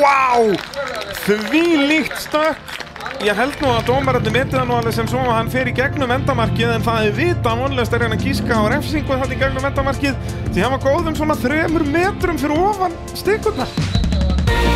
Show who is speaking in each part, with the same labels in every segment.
Speaker 1: Vá! Því líkt stökk Ég held nú að dómarandi metið hann nú alveg sem svo að hann fer í gegnum endamarkið en það er vita að vonlegast er hann að gíska á refsingu þetta í gegnum endamarkið því hann var góðum svona þremur metrum fyrir ofan stikurnar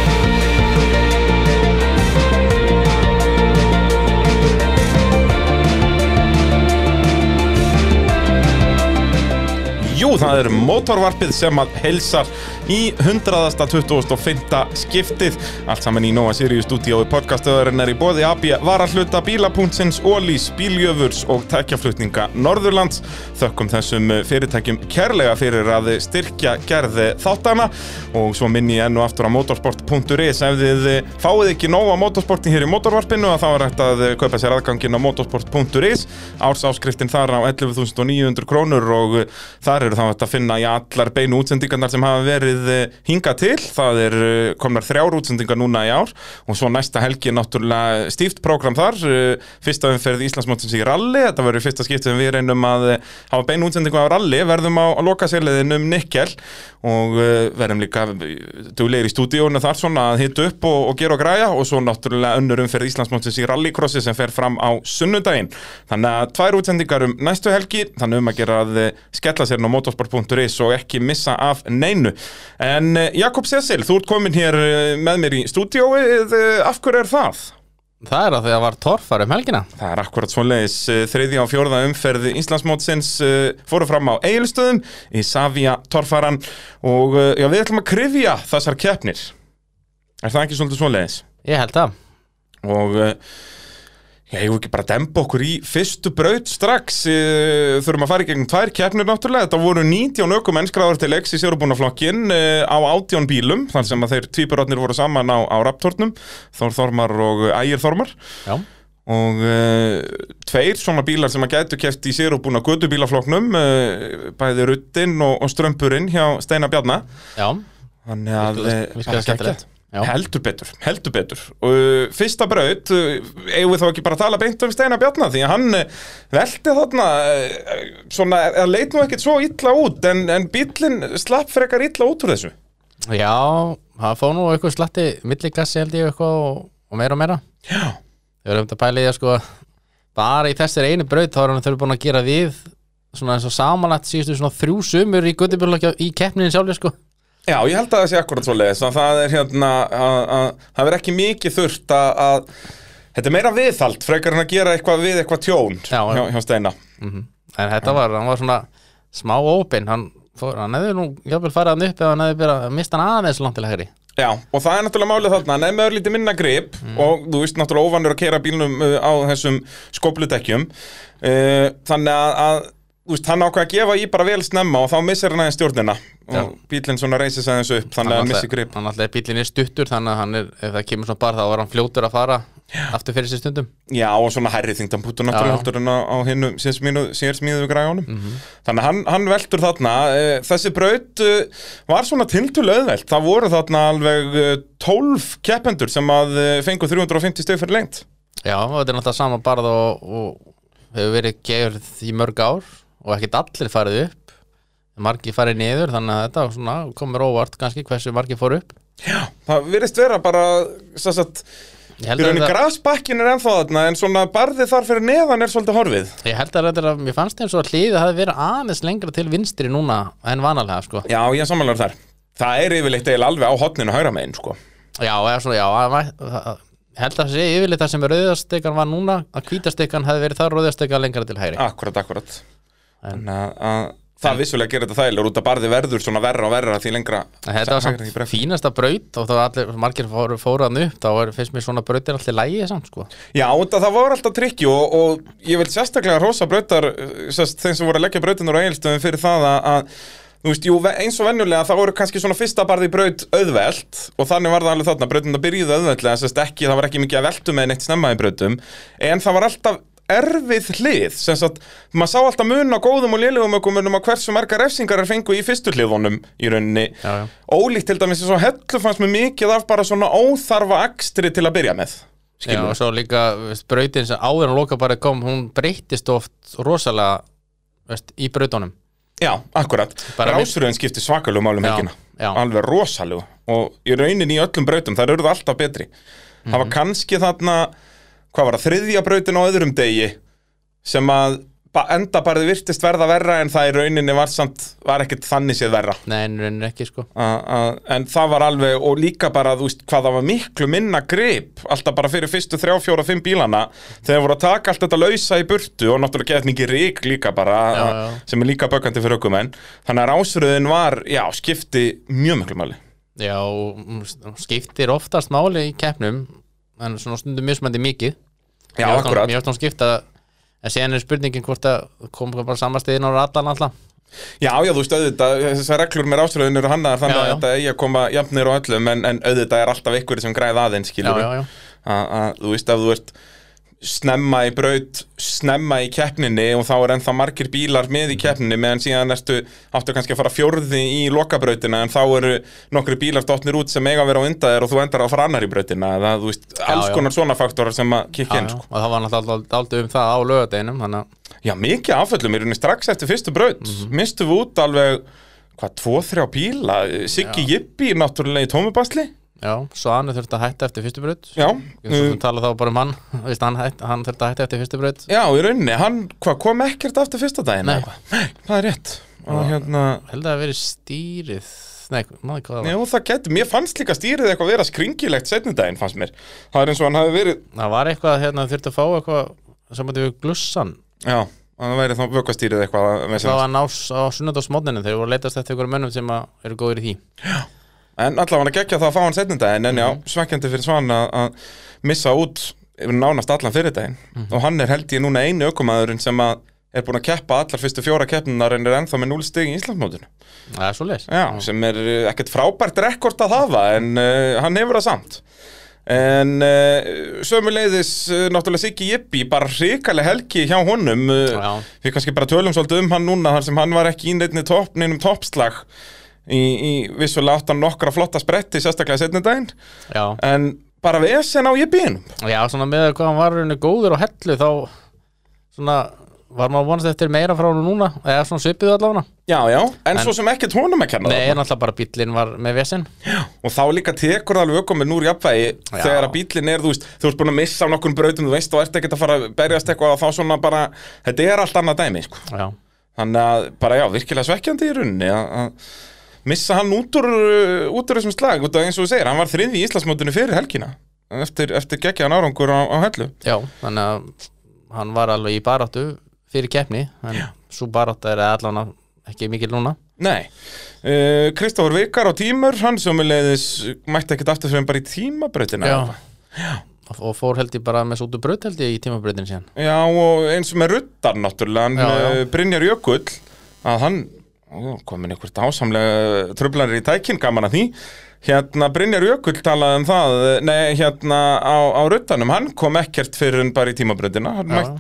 Speaker 1: Jú, það er mótorvarpið sem að heilsar í 125. skiptið. Allt saman í Nóa Sirius stúdíói podcastöðurinn er í bóði AB varahluta bílapunktsins, Ólís, Bíljöfurs og tækjaflutninga Norðurlands. Þökkum þessum fyrirtækjum kærlega fyrir að styrkja gerði þáttana og svo minni ég enn og aftur á motorsport.is ef þið fáið ekki nóg á motorsporti hér í mótorvarpinu að þá er hægt að eh, kaupa sér aðgangin á motorsport.is ársáskriftin þar á 11.900 krónur og eh, þar eru þá hægt að finna í allar beinu útsendingarnar sem hafa verið eh, hingað til það er eh, komnar þrjár útsendingar núna í ár og svo næsta helgi er náttúrulega stíft prógram þar eh, fyrsta umferð Íslandsmótsins í ralli þetta verður í fyrsta skipti sem við reynum að eh, hafa beinu útsendingu á ralli verðum á að loka sérleðin um Nikkel og eh, verðum líka duglegir í stúdíónu þar svona að hita upp og, og gera og græja og svo náttúrulega önnur umferð Íslandsmótsins í rallycrossi sem fer fram á sunnudaginn þannig að tvær útsendingar um næstu helgi þannig um að gera að eh, skella sér inn á motorsport.is og ekki missa af neinu en eh, Jakob Cecil, þú ert komin hér eh, með mér í stúdíóið eh, af hverju er það?
Speaker 2: Það er að því að var torfar um helgina
Speaker 1: Það er akkurat svonleis þriðja og fjórða umferð Íslandsmótsins eh, fóru fram á Egilstöðum í Savia Torfaran og eh, já, við ætlum að krifja þessar keppnir Er það ekki svolítið svonleis?
Speaker 2: Ég held það
Speaker 1: og eh, ég hefur ekki bara að dempa okkur í fyrstu braut strax eh, þurfum að fara í gegnum tvær keppnir náttúrulega þetta voru 19 ökum ennskráður til X í sérubúnaflokkin á 18 bílum þar sem að þeir tvíburotnir voru saman á, á raptornum Þór Þormar og Ægir Þormar
Speaker 2: Já,
Speaker 1: og uh, tveir svona bílar sem að gætu keft í sér og búin að götu bílafloknum uh, bæði ruttinn og, og strömpurinn hjá Steina Bjarna
Speaker 2: já,
Speaker 1: Þannig að eh,
Speaker 2: Virkaði-
Speaker 1: bara
Speaker 2: virkaði
Speaker 1: geggjað.
Speaker 2: skemmtilegt. Já.
Speaker 1: Heldur betur, heldur betur og uh, fyrsta braut, uh, eigum við þá ekki bara að tala beint um Steinar Bjarnar því að hann uh, velti þarna uh, svona, það leit nú ekkert svo illa út en, en bíllinn slapp frekar illa út úr þessu
Speaker 2: já Það fóð nú eitthvað slatti milliklassi held ég eitthvað og, og meira og meira
Speaker 1: Já,
Speaker 2: Þau erum þetta pælið að sko bara í þessari einu braut þá er hann þau búin að gera við svona eins og samanlagt síðustu svona þrjú sumur í Götubjörlokja í keppninu sjálf sko
Speaker 1: Já, ég held að það sé akkurat svo leiðis að það er hérna að, að, það verð ekki mikið þurft að, að þetta er meira viðhald frekar en að gera eitthvað við eitthvað tjón
Speaker 2: Já,
Speaker 1: hjá,
Speaker 2: já.
Speaker 1: hjá Steina
Speaker 2: En þetta var, hann var svona smá ópin hann, fór, hann hefði nú jafnvel farið hann upp ef hann hefði bara mist hann aðeins langt til hægri
Speaker 1: Já, og það er náttúrulega málið þarna, hann er með örlítið minna grip
Speaker 2: Mm.
Speaker 1: og þú veist náttúrulega óvanur að keira bílnum uh, á þessum skópludekkjum uh, þannig að, að þú veist, hann ákvað að gefa í bara vel snemma og þá missir hann aðeins stjórnina og bílinn svona reysir sig aðeins upp þannig að hann missir grip
Speaker 2: Hann alltaf bílinn er stuttur þannig að hann er, ef það kemur svona bar þá var hann fljótur að fara aftur fyrir sér stundum
Speaker 1: Já, og svona herri þingdambútu
Speaker 2: Já. Mhm.
Speaker 1: náttúrulega heldur en á, á hinnu sérsmíðu græjónum mm -hmm. Þannig að hann, hann veltur þarna eh, Þessi braut eh, var svona tiltölu auðvelt Það voru þarna alveg eh, 12 keppendur sem að eh, fengu 350 stöð fyrir lengt
Speaker 2: Já, og þetta er náttúrulega sama barð og, og hefur verið gerð í mörg ár og ekkert allir farið upp margir farið niður þannig að þetta var svona, komur óvart kannski hversu margir fór upp
Speaker 1: Já, það virðist vera bara svo að,
Speaker 2: Ég
Speaker 1: í
Speaker 2: held að,
Speaker 1: rauninni
Speaker 2: þetta,
Speaker 1: grasbakkin er ennþá þarna en svona barðið þar fyrir neðan er svolítið horfið
Speaker 2: ég held að þetta, mér fannst eins og að hlýða það verið aðeins lengra til vinstri núna en vanalega sko
Speaker 1: Já, ég samanlega þar Það er yfirleitt eiginlega alveg á hotninu hægra megin sko.
Speaker 2: Já, eða svona, já, að væ- það- ég held að það sé yfirleitt það sem rauðastekan var núna að hvítastekan hefði verið það rauðastekan lengra til hægri
Speaker 1: Akkurat, akkurat Þannig að- að það vissulega gerir þetta þægilegur út að barðið verður svona verra og verra því lengra
Speaker 2: En Þetta var
Speaker 1: hægra í
Speaker 2: samt
Speaker 1: brekku.
Speaker 2: fínasta braut og þá var allir, margir fóru, fóru hann upp þá er, finnst mér svona brautir allir lægi samt sko
Speaker 1: Já, út að það var alltaf trikki og, og ég vil sérstaklega rosa brautar eh, sérst, þeim sem voru að leggja brautinur á eigilstöðum fyrir það að, að þú veist, jú, ve- eins og venjulega þá voru kannski svona fyrsta barði braut auðvelt og þannig var það alveg þarna, brautin að byrjuðu auðveltlega sérst, ekki, það var ekki mikið að veltum eða neitt snemma í brautum en það var alltaf erfið hlið sem sagt, maður sá alltaf mun á góðum og lélegum ökumunum að hversu margar refsingar er fengu í fyrstu hliðunum í rauninni
Speaker 2: Já, já.
Speaker 1: ólíkt til dæmis eins og hellu fannst mér mikið af bara svona óþarfa akstri til að byrja með
Speaker 2: Já,
Speaker 1: Skilurðu?
Speaker 2: og svo líka veist, brautin sem áður en loka bara kom hún breyttist oft rosalega veist, í brautunum
Speaker 1: Já, akkurat
Speaker 2: Bara
Speaker 1: Rásröðin skipti svakalugum málum
Speaker 2: Já,
Speaker 1: Um helgina
Speaker 2: já.
Speaker 1: Alveg rosalugum og í raunin í öllum brautum, þær urðu alltaf betri það
Speaker 2: Mhm.
Speaker 1: var kannski þarna hvað var það, þriðja brautin á öðrum degi sem að ba- endabarði virtist verða verra en það í rauninni var samt, var ekkert þannig séð verra
Speaker 2: Nei, en reynir ekki sko
Speaker 1: A- a- en það var alveg og líka bara þú veist hvað það var miklu minna grip alltaf bara fyrir fyrstu þrjá, fjóra, fimm bílana þegar voru að taka allt þetta lausa í burtu og náttúrulega geðt mikið rík líka bara
Speaker 2: Já,
Speaker 1: a-
Speaker 2: já.
Speaker 1: sem er líka bökandi fyrir okkur menn þannig að rásröðin var, já, skipti mjög miklu máli
Speaker 2: Já, og, mm, s- skiptir oftast máli í keppnum en svona stundum mismandi mikið
Speaker 1: Já,
Speaker 2: Mér varst nú-
Speaker 1: akkurat.
Speaker 2: Mér varst nú skipta en síðan er spurningin hvort að kom bara samastiðin á allan alltaf
Speaker 1: Já, já, þú veist, auðvitað, þessar reglur með rásröðin eru hannaðar þannig
Speaker 2: Já,
Speaker 1: að
Speaker 2: já.
Speaker 1: þetta eigi að koma jafnir og öllum en, en auðvitað er alltaf ykkur sem græða aðeins,
Speaker 2: Já,
Speaker 1: skilur
Speaker 2: já, já
Speaker 1: að, að þú veist ef þú ert snemma í braut snemma í keppninni og þá er ennþá margir bílar með
Speaker 2: Mhm.
Speaker 1: í keppninni meðan síðan ertu, áttu kannski að fara fjórði í lokabrautina en þá eru nokkri bílar dottnir út sem eiga að vera á undan þér og þú endar á að fara annar í brautina eða þú veist, alls
Speaker 2: já.
Speaker 1: konar svona faktorar sem að kikki
Speaker 2: Já,
Speaker 1: inn
Speaker 2: já,
Speaker 1: sko.
Speaker 2: og það var náttúrulega aldrei um það á lögadeinum þannig að
Speaker 1: Já, mikið afföllum, í rauninni strax eftir fyrstu braut
Speaker 2: Mhm.
Speaker 1: mistum við út alveg hvað, tvo, þrjá bíla, Siggi Jippi náttúrulega í tómubasli
Speaker 2: Já, Svani þurfti að hætta eftir fyrstu braut
Speaker 1: Já,
Speaker 2: Ég svo sem tala þá bara um hann Vist, hann, hætt, hann þurfti að hætta eftir fyrstu braut
Speaker 1: Já, í rauninni, hann hva, kom ekkert aftur fyrsta daginn
Speaker 2: Nei.
Speaker 1: eða eitthvað? Nei, það er rétt Og hérna,
Speaker 2: Held að það hafi verið stýrið Nei, maður hvað það var
Speaker 1: já það getur, mér fannst líka stýrið eitthvað vera skringilegt setni daginn fannst mér Það er eins og hann hafi verið,
Speaker 2: Það var eitthvað hérna þurfti að fá eitthvað Samvætti við glussan
Speaker 1: já, hann væri þá vökkastýrið eitthvað að- með sem-
Speaker 2: Það var nás á sunnudagsmótninu Þeir voru að leitast eftir ykkur mönnum sem að eru góðir í því
Speaker 1: En allavega hann að gegja það að fá hann setni daginn En já, svekkjandi fyrir Svan að- að missa út yfir nánast allan fyrir daginn Og hann er held ég núna einu ökumæðurinn sem að er búin að keppa allar fyrstu fjóra keppnunar en er ennþá með 0 stig í Íslandsmótinu
Speaker 2: Það er svo leis
Speaker 1: Já, sem er uh, ekkert frábært rekord að hafa en uh, hann hefur það samt en uh, sömuleiðis uh, náttúrulega Siggi Jippi bara hrikaleg helgi hjá honum uh,
Speaker 2: Já.
Speaker 1: við kannski bara tölum svolítið um hann núna þar sem hann var ekki í neinni topp, neinum toppslag í, í vissulega áttan nokkra flotta spretti sérstaklega setni daginn
Speaker 2: Já,
Speaker 1: en bara við á Jippiðinum
Speaker 2: já svona með hvað hann var rauninni góður og hellu Þá svona var maður vonast eftir meira frá hann núna Eða svona svipið allavega
Speaker 1: Já, já, en, svo sem ekkert honum að kenna
Speaker 2: Nei, náttúrulega bara bíllinn var með vesinn
Speaker 1: og þá líka tekur það alveg ökominn úr jafnvægi
Speaker 2: Já.
Speaker 1: þegar að bílinn er, þú veist, þú ert búin að missa á nokkur brautum, þú veist, þú ert ekkert að fara að berjast eitthvað og þá svona bara, þetta er allt annað dæmi, sko.
Speaker 2: Já,
Speaker 1: Þannig að, bara já, virkilega svekkjandi í runni að missa hann út úr, uh, út úr þessum slag, út af eins og þú segir, hann var þriði í Íslandsmótinu fyrir helgina, eftir, eftir geggjaðan árangur á, á hellu.
Speaker 2: Já, þannig að hann var alveg í baráttu fyrir keppni en svo barátta er allan að ekki mikil núna
Speaker 1: Nei, uh, Kristófur Vikar á tímur, hann sem leiðis mætti ekkert aftur fyrir en bara í tímabrautina.
Speaker 2: Og, og fór held ég bara með sútu braut held ég í tímabrautin síðan
Speaker 1: Já, og eins og með ruddar náttúrulega, hann
Speaker 2: Já, já.
Speaker 1: eh, Brynjar Jökull að hann, ó, komin einhvert ásamlega tröflanir í tækin, gaman að því hérna Brynjar Jökull talaði um það eh, nei, hérna á, á ruddanum hann kom ekkert fyrir en bara í tímabröndina
Speaker 2: Já.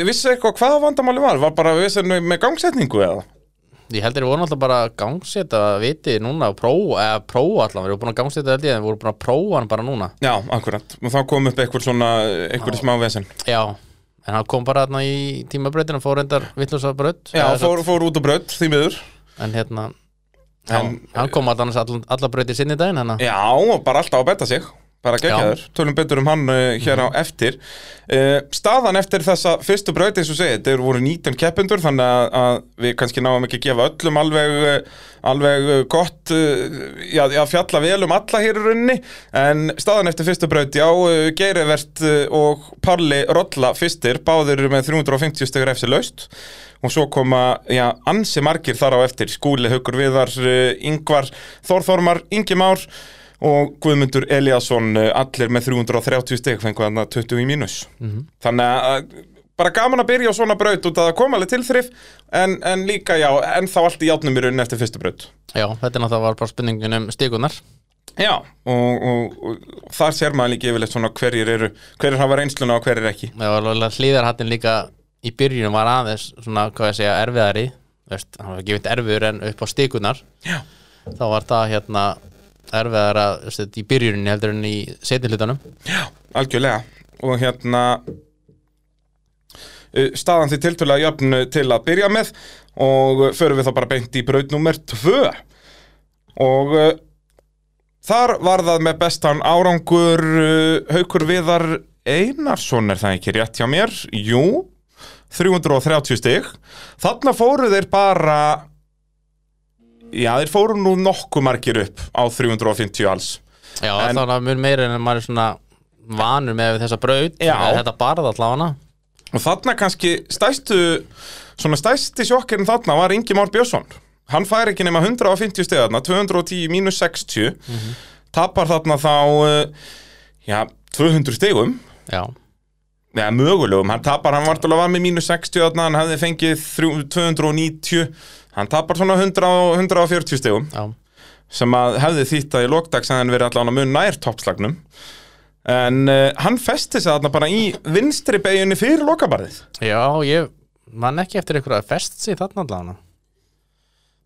Speaker 1: vissi eitthvað hvað vandamáli var var bara vissi hann með gangsetningu eða
Speaker 2: Ég heldur ég voru náttúrulega bara að gangseta viti núna og prófa, eða prófa allan við voru búin að gangseta held ég en voru búin að prófa hann bara núna
Speaker 1: já, akkurat, og þá kom upp eitthvað svona eitthvað smá vesen
Speaker 2: Já, en hann kom bara þarna í tímabrautin og fór endar vittlösa braut
Speaker 1: já,
Speaker 2: Eða svo-
Speaker 1: fór, fór út á braut því miður
Speaker 2: En hérna,
Speaker 1: En-
Speaker 2: já, hann kom allan allan, allan brautir sinni í daginn hann
Speaker 1: Já, og bara alltaf að betta sig bara geggjaður, tölum betur um hann uh, hér á eftir uh, staðan eftir þessa fyrstu braut eins og segið, þetta eru voru 19 keppendur þannig að, að við kannski náum ekki að gefa öllum alveg, uh, alveg uh, gott uh, já, já, fjalla vel um alla hér í runni, en staðan eftir fyrstu braut, já, uh, Geirivert uh, og Palli Rolla fyrstir báðir eru með 350 stegur eftir laust og svo koma, já, ansi margir þar á eftir, Skúli, Haukur Viðar uh, Ingvar, Þórþormar, Ingi Már og Guðmundur Eliasson eh, allir með 330 steg fengu þarna 20 í mínus þannig að bara gaman að byrja á svona braut út að það kom alveg tilþrif en, en líka já, en þá allt í játnum í rauninni eftir fyrstu braut
Speaker 2: Já, þetta er náttúrulega bara spurningin um stíkunar
Speaker 1: Já, og, og, og, þar sér maður líka yfirleitt svona hverjir eru hverjir hafa reynsluna og hverjir ekki
Speaker 2: Það var alveg hlýðarhattin líka í byrjunum var aðeins svona, hvað ég segja, erfiðari Þú veist, hann var gefið erfiður en upp á stikunar
Speaker 1: Já.
Speaker 2: þá var það hérna erfiðara þú veist, þetta í byrjuninni heldur en í setni hlutunum
Speaker 1: Algjörlega og hérna uh, staðan því tiltölulega jöfn uh, til að byrja með og uh, förum við þá bara beint í braut nummer tvö og uh, Þar var það með bestan árangur uh, Haukur Viðar Einarsson er það ekki rétt hjá mér Jú, 330 stig Þarna fóru þeir bara Já, þeir fóru nú nokkuð margir upp á 350 alls
Speaker 2: Já,
Speaker 1: En-
Speaker 2: þá er það mun meira en maður er svona vanur með þessa braut
Speaker 1: Já.
Speaker 2: Þetta barða allavega
Speaker 1: Og þarna kannski stæstu, svona stæsti sjokkirinn þarna var Ingi Már Björnsson. Hann fær ekki nema 150 stegarna, 210 mínus 60, tapar þarna þá, uh, já, 200 stegum,
Speaker 2: Já,
Speaker 1: neða mögulegum, hann tapar, hann var alveg var með mínus 60 þarna, hann hafði fengið þrjú- 290, hann tapar svona 100, og 140 stegum
Speaker 2: já,
Speaker 1: sem að hefði þýtt að í lokdags að hann verið allan að mun nær toppslagnum en uh, hann festi sig þarna bara í vinstri beginni fyrir lokabarðið
Speaker 2: já, ég man ekki eftir einhverju að fest sig þarna allavega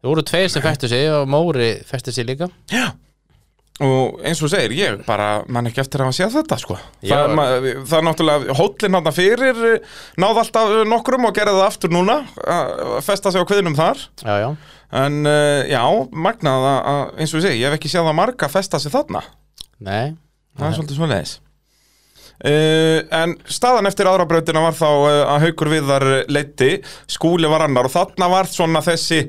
Speaker 2: Það voru tveir sem festu sig og Móri festi sig líka
Speaker 1: Já Og eins og þú segir, ég bara man ekki eftir að hafa séð þetta sko
Speaker 2: Já.
Speaker 1: það, ma, það er náttúrulega, hóllinn hann fyrir eh, náði alltaf eh, nokkrum og gerði það aftur núna að festa sig á kviðnum þar
Speaker 2: Já, já,
Speaker 1: En eh, já, magnað að, að- eins og þú segir, ég hef ekki séð það marga festa sig þarna
Speaker 2: nei
Speaker 1: Það er svolítið svoleiðis Uh, en staðan eftir aðra brautina var þá uh, að Haukur Viðar leiti skúli var annar og þarna var svona þessi,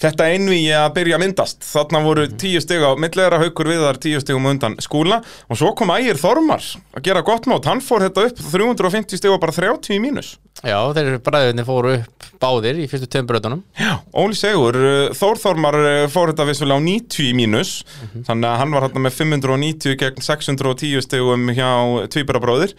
Speaker 1: þetta einvíi að byrja að myndast, þarna voru tíu stig á millera Haukur Viðar tíu stigum á undan skúla og svo kom Ægir Þormar að gera gott mót, hann fór þetta upp 350 stig og bara 30 í mínus
Speaker 2: Já, þeir bræðinni fóru upp báðir í fyrstu tveim brautunum
Speaker 1: Já, Óli Segur, uh, Þór Þormar uh, fór þetta vissulega á 90 í mínus þannig að hann var hérna með 590 gegn 610 stigum hjá Tvíburabróðir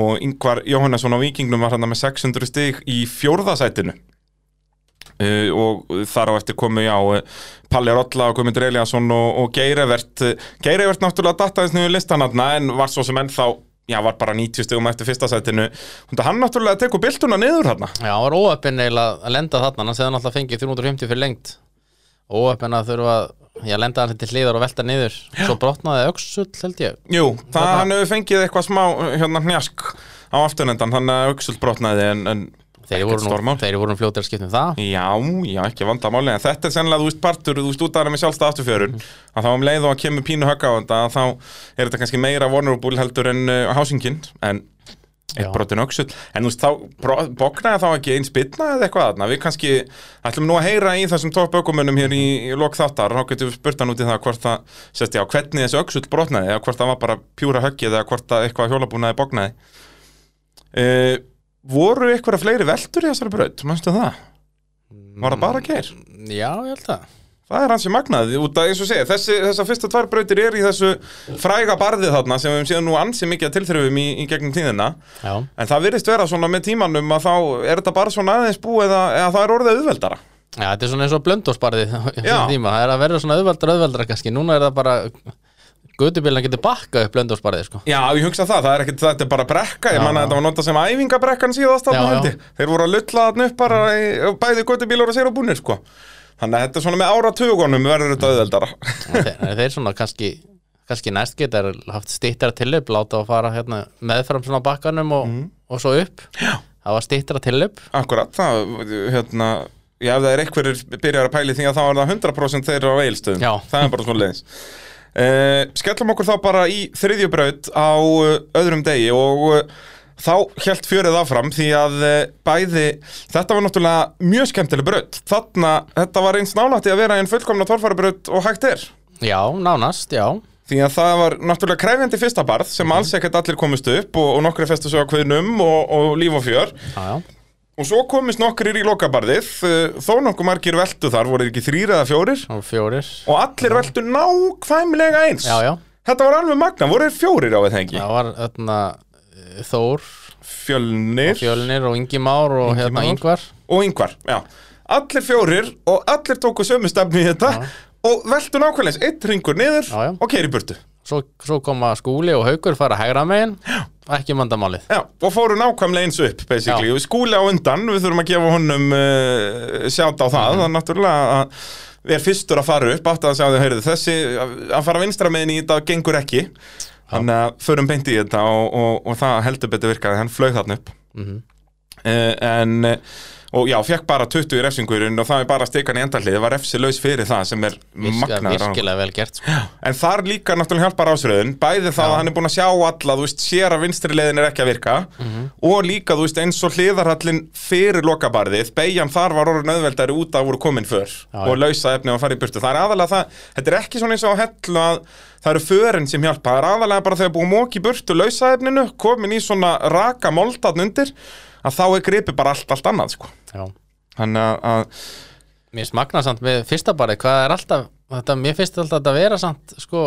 Speaker 1: og Ingvar Jóhannesson á Víkingnum var hérna með 600 stig í fjórðasætinu uh, og þar á eftir komu já uh, Palli Rolla og Guðmund Eliasson og, og Geirivert uh, Geirivert náttúrulega dattaðins niður listanatna en var svo sem ennþá já, var bara 90 stigum eftir fyrsta sætinu Þannig að hann náttúrulega tekur byltuna niður hérna
Speaker 2: Já, hann var óöppin eiginlega að lenda þarna hann segði náttúrulega fengið 350 fyrir lengt óöppin að þurfa að ég lenda hann til hliðar og velta niður svo brotnaði öxull held ég
Speaker 1: Jú, það hann hefur fengið eitthvað smá hérna hnjask á aftunendan þannig að auksult brotnaði en, en
Speaker 2: þeir
Speaker 1: ekkert
Speaker 2: voru, nú,
Speaker 1: stórmál.
Speaker 2: þeir voru nú fljótir að skipta um það
Speaker 1: Já, já, ekki vandamáli en þetta er sennilega þú veist partur, þú veist út af hana með sjálfstæða afturfjörun að þá um leið og að kemur pínu högg á þetta að þá er þetta kannski meira vulnerable heldur en uh, hásingin en
Speaker 2: Já.
Speaker 1: eitt brotin auksult en þú veist þá bro- bognaði þá ekki eins bitna eða eitthvað þarna, við kannski ætlum nú að heyra í þessum topp aukumunum hér í, í lok þáttar, þá getum við spurt hann út í það hvort það, sérst já, hvernig þessi auksult brotnaði eða hvort það var bara pjúra höggið eða hvort það eitthvað hjólabúnaði bognaði uh, voru eitthvað fleiri veldur í þessari braut, mannstu það? Var það bara geir?
Speaker 2: Já, ég held það
Speaker 1: Það er hansi magnaði, út að eins og segja, þessi, þessar fyrsta tvær brautir er í þessu fræga barði þarna sem við höfum séð nú ansi mikið að tilþrifum í, í gegnum tíðina
Speaker 2: Já,
Speaker 1: en það virðist vera svona með tímanum að þá er þetta bara svona aðeins búið eða, eða það er orðið auðveldara
Speaker 2: Já þetta er svona eins og blöndósbarðið
Speaker 1: Já.
Speaker 2: tíma. það er að verða svona auðveldra auðveldra kannski núna er það bara gutubílan getur bakkað upp blöndósbarðið sko.
Speaker 1: Já, ég hugsa það, það er ekkit, þetta er bara brekka, ég
Speaker 2: Já.
Speaker 1: manna að þetta var nota sem æfingabrekkan síðast þarna
Speaker 2: Já, já.
Speaker 1: held ég Þeir voru að lulla þarna upp bara, í- bæði göttubílar og sér og búnir sko Þannig að þetta er svona með áratugunum verður þetta auðveldara
Speaker 2: þeir, þeir svona kannski kannski næst geta er haft stýttara tilöp láta að fara hérna, meðfram svona bakkanum og, og svo upp Já. það var stýttara tilöp
Speaker 1: Akkurat, það, hérna, já, ef það er einhverjir byrjar að pæli því að þá er það 100% þeirra á eilstöðum,
Speaker 2: Já.
Speaker 1: það er bara svona leiðis. Uh, skellum okkur þá bara í þriðjubraut á eh, öðrum degi og uh, þá hjælt fjörið áfram því að uh, bæði, þetta var náttúrulega mjög skemmtileg braut, þarna, þetta var eins nálætti að vera einn fullkomna torfærabraut og hægt er.
Speaker 2: Já, nánast, já
Speaker 1: Því að það var náttúrulega krefjandi fyrsta barð sem alls ekkert allir komist upp og, og nokkri festu svo á kveðnum og, og líf og fjör
Speaker 2: Já, já,
Speaker 1: Og svo komist nokkrir í lokabarðið, uh, þó nokkuð margir veldu þar, voru þeir ekki þrýr eða fjórir
Speaker 2: það voru fjórir
Speaker 1: Og allir veldu nákvæmlega eins
Speaker 2: Já, já,
Speaker 1: Þetta var alveg magna, voru þeir fjórir á við það ekki
Speaker 2: það var öðna, Þór,
Speaker 1: Fjölnir
Speaker 2: Fjölnir og Ingi Már og hérna
Speaker 1: Már.
Speaker 2: Ingvar
Speaker 1: og yngvar, já Allir fjórir og allir tóku sömu stefni í þetta Og veldu nákvæmlega eins, eitt ringur niður
Speaker 2: Já, já.
Speaker 1: og keiri burtu
Speaker 2: svo, svo koma Skúli og Haukur fara hægra megin ekki mandamálið
Speaker 1: Já, og fóru nákvæmlega eins upp, basically
Speaker 2: Já.
Speaker 1: og Skúli á undan, við þurfum að gefa honum uh, sjátt á
Speaker 2: Mhm.
Speaker 1: það, það er náttúrulega að við er fyrstur að fara upp átt að sjá þau, heyrðu, þessi að fara vinstra meðin í þetta gengur ekki þannig að förum beint í þetta og, og, og það heldur betur virkaði, hann flög þarna upp
Speaker 2: Mhm.
Speaker 1: uh, Eh, en uh, og já, fekk bara 20 í refsingurinn og það er bara stikan í endarlið, var refsi laus fyrir það sem er
Speaker 2: Virkilega,
Speaker 1: magnaður árangur.
Speaker 2: virkilega vel gert sko.
Speaker 1: En þar líka náttúrulega hjálpar ásröðun Bæði það að hann er búinn að sjá alla Þú veist, sér að vinstri leiðin er ekki að virka
Speaker 2: Mhm.
Speaker 1: Og líka, þú veist, eins og hliðarhallin Fyrir lokabarðið, beigjan þar var orðin auðveldari út að voru komin för
Speaker 2: Já,
Speaker 1: Og lausa efni og fara í burtu Það er aðalega það, þetta er ekki svona eins og að hellu að Það eru förin sem hjálpa, það er aðalega bara þegar búið að móki burtu lausa efninu Komin í svona raka moldatn undir Að þá er gripi bara allt, allt annað, sko
Speaker 2: Já.
Speaker 1: Þannig að, að
Speaker 2: Mér finnst magna samt með fyrsta barið Hvað er alltaf, þetta, mér finnst alltaf þetta vera samt sko,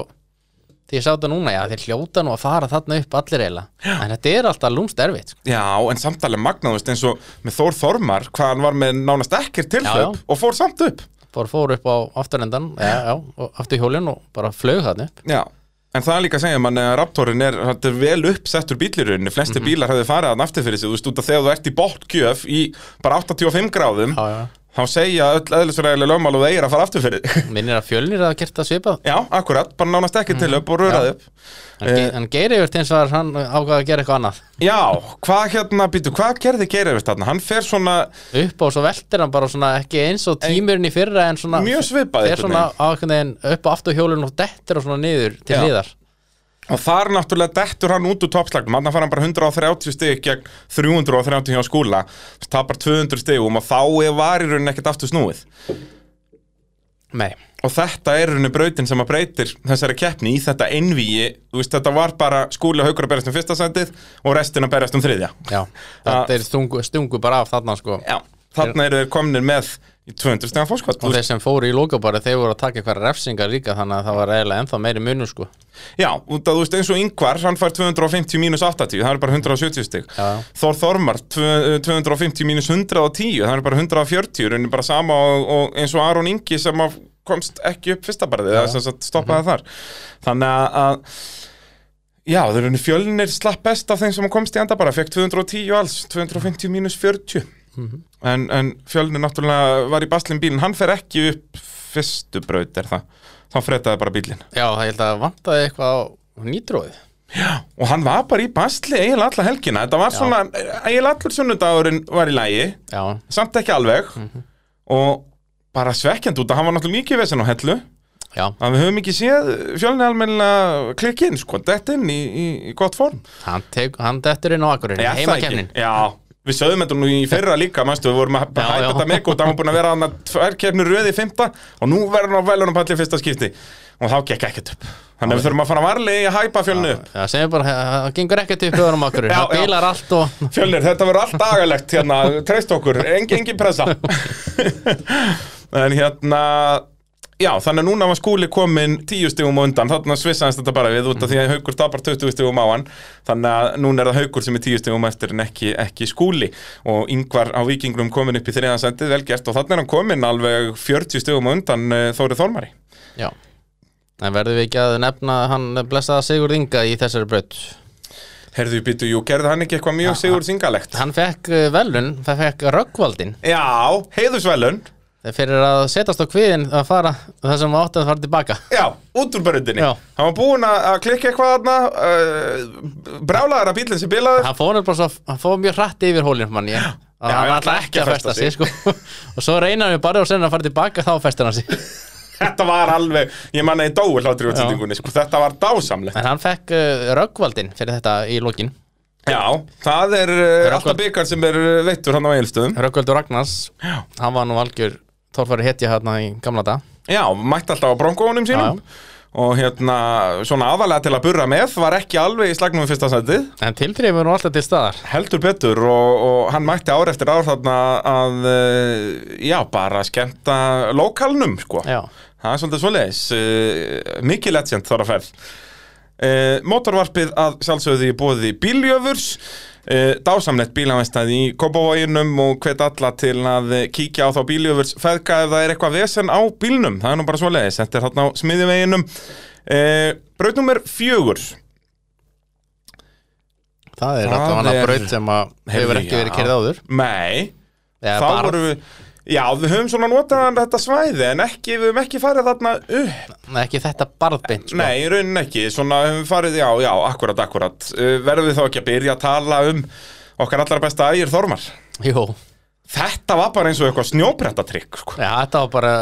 Speaker 2: því ég sá þetta núna já, þeir hljóta nú að fara þarna upp allir eiginlega En þetta er alltaf lúmst erfitt sko.
Speaker 1: Já, en samtalið magnað, þú veist, eins og með Þór Þormar, hvað hann var með nánast ekkert tilhlaup
Speaker 2: Já, já.
Speaker 1: og fór samt upp.
Speaker 2: sko. Fór fór upp á afturendan já, já, og aftur hjólinn og bara flög þarna upp
Speaker 1: Já, en það er líka að segja mann að Raptorin er, þetta er vel uppsettur bílirunni, flesti
Speaker 2: Mhm.
Speaker 1: bílar hefði farið hann aftur fyrir sig, þú veist, út að þegar þú ert í bóttkjöf í bara 85 gráðum,
Speaker 2: Já, já,
Speaker 1: þá segja öll eðlisverðilega lögmál og það er að fara aftur fyrir. þig.
Speaker 2: minnir að fjölnir að gert það svipað
Speaker 1: já, akkurat, bara nánast ekkert
Speaker 2: Mhm.
Speaker 1: tilhlaup og röraði upp. Eh.
Speaker 2: En, ge en Geiri yfir eins var hann ákvað að gera eitthvað annað
Speaker 1: Já, hvað hérna, býtu, hvað gerði Geirivert þarna? Hann fer svona
Speaker 2: upp og svo veltir hann bara svona ekki eins og tímurinn í fyrra en svona
Speaker 1: mjög svipað
Speaker 2: er
Speaker 1: einhvern
Speaker 2: svona
Speaker 1: veginn.
Speaker 2: á einhvern veginn upp á aftur hjólun og dettur og svona niður til
Speaker 1: Já.
Speaker 2: hliðar
Speaker 1: Og þar náttúrulega dettur hann út úr toppslagnum, hann fara hann bara 130 stig gegn 330 hjá skúla, tapar 200 stigum um og þá er var í rauninni ekkert aftur snúið.
Speaker 2: Nei,
Speaker 1: Og þetta er í rauninni brautin sem að breytir þessari keppni í þetta einvíi, þú veist þetta var bara skúli og haugur að berjast um fyrsta sendið og restin að berjast um þriðja.
Speaker 2: já, þetta er stungu, stungu bara af þarna sko
Speaker 1: Já, þarna eru þeir komnir með í 200 stigan fórskot.
Speaker 2: og þeir sem fóru í lókabari þeir voru að taka eitthvað refsingar líka þannig að það var eiginlega ennþá meiri munur sko
Speaker 1: Já, út að þú veist eins og yngvar, hann fær 250 mínus 80, það er bara 170 stig
Speaker 2: Já.
Speaker 1: Þór Þormar, tvö- 250 mínus 110, það er bara 140 raunin bara sama og, og eins og Aron Ingi sem að komst ekki upp fyrsta barðið, það sem sagt stoppaði þar Þannig að- að, já, þau raunin fjölnir slapp best af þeim sem komst í enda bara, fekk 210 alls, 250 mínus 40 en, en fjölnir náttúrulega var í baslinn bílinn, hann fer ekki upp fyrstu braut er það þá fretaði bara bílinn
Speaker 2: Já, það held að vantaði eitthvað á nýtróið
Speaker 1: og hann var bara í basli eiginlega alla helgina þetta var svona, eiginlega allur sunnudagurinn var í lægi,
Speaker 2: Já,
Speaker 1: samt ekki alveg
Speaker 2: Mhm.
Speaker 1: og bara svekkjand út að hann var náttúrulega mikið vesen á hellu
Speaker 2: já,
Speaker 1: að við höfum ekki séð fjölni almenna klikkinn, sko, dett inn í, í, í gott form
Speaker 2: hann, tek, hann dettur inn á akkurinn,
Speaker 1: Er það
Speaker 2: heimakefnin
Speaker 1: ekki? Já, við sögðum þetta nú í fyrra líka, manstu, við vorum að
Speaker 2: Já,
Speaker 1: hætta
Speaker 2: já.
Speaker 1: þetta með og það var búin að vera hann að tvær kefnur röði í fymta og nú verður hann á velunum palli í fyrsta skipti og þá gekk ekkert upp þannig að við þurfum að fara varlega í að hæpa fjölni upp
Speaker 2: Það segir bara, það gengur ekkert upp öðrum akkurinn,
Speaker 1: Já,
Speaker 2: það
Speaker 1: já.
Speaker 2: bílar allt og
Speaker 1: Fjölnir, þetta verður allt dagalegt hérna, treyst okkur, engin, engin pressa En hérna Já, þannig að núna var skúli komin tíu stigum á undan, þannig að svissaðist þetta bara við út af því að haukur tapar 20 stigum á hann þannig að núna er það haukur sem er tíu stigum eftir en ekki, ekki skúli og yngvar á vikinglum komin upp í þriðansendið vel gert og þannig er hann komin alveg 40 stigum á undan eh, Þórið Þormari
Speaker 2: Já En verðum við ekki að nefna hann blessaða Sigurð Inga í þessari braut
Speaker 1: Herðu, býtu, jú, gerði hann ekki eitthvað mjög sigur syngalegt?
Speaker 2: Hann fekk eh, velun, það fekk röggvaldin
Speaker 1: Já, heiðusvelun
Speaker 2: fyrir að setast á kviðin að fara það sem átti að fara tilbaka
Speaker 1: Já, út úr bröndinni
Speaker 2: Já.
Speaker 1: Hann var búinn að að klikka eitthvað þarna uh, Brálaður að bílinn sem bilaður
Speaker 2: Hann fór, nefnilega bara svo, hann fór mjög hratt yfir hólinn mann ég og
Speaker 1: Já,
Speaker 2: hann
Speaker 1: ég
Speaker 2: ætla ekki að festa sig sko. og svo reynar hann bara og sen að fara tilbaka þá festir hann sig
Speaker 1: Þetta var alveg, ég manna ég dói hlátri útsendingunni sko, Þetta var dásamlegt
Speaker 2: en hann fekk uh, röggvaldin fyrir þetta í lokin
Speaker 1: Já, það er uh, alltaf
Speaker 2: ákvað-
Speaker 1: byggar sem er uh, veittur hann á eilstöðum
Speaker 2: Röggvaldur Ragnars,
Speaker 1: Já.
Speaker 2: hann var nú algjör Þorfari hetja hérna í gamla dag
Speaker 1: Já, mætti alltaf á bronkóunum sínum
Speaker 2: Já.
Speaker 1: Og hérna, svona aðalega til að burra með Var ekki alveg í slagnum við fyrsta sætið
Speaker 2: en tilþrifur nú alltaf til staðar
Speaker 1: Heldur betur og, og hann mætti ár eftir ár þarna að, uh, já, bara skemmta lokalnum, sko.
Speaker 2: Já.
Speaker 1: Það er svolítið svoleiðis. Uh, mikið legend þar að ferð. Uh, motorvarpið að sjálfsögðu í bóði bíljöfurs. Uh, dásamlegt bílavæstæði í Kópavoginum og hvet alla til að eh, kíkja á þá bíljöfurs feðka ef það er eitthvað vesen á bílnum. Það er nú bara svoleiðis. Þetta er þarna á smiðiveginum. Uh, braut nummer fjögur.
Speaker 2: það er
Speaker 1: Það
Speaker 2: alltaf hann að
Speaker 1: er-
Speaker 2: braut sem að hefur
Speaker 1: Heyrðu,
Speaker 2: ekki verið
Speaker 1: já.
Speaker 2: kerð áður
Speaker 1: Nei.
Speaker 2: Eða
Speaker 1: þá
Speaker 2: bara-
Speaker 1: vorum við Já, við höfum svona notað þetta svæði en ekki, við höfum ekki farið þarna upp
Speaker 2: Nei, ekki þetta barðbind sko.
Speaker 1: Nei, í rauninni ekki, svona höfum við farið, já, já, akkurat, akkurat uh, Verðum við þá ekki að byrja að tala um okkar allra besta ægir Þormar
Speaker 2: Jú,
Speaker 1: Þetta var bara eins og eitthvað snjóbrettatrykk sko.
Speaker 2: Já, þetta var bara,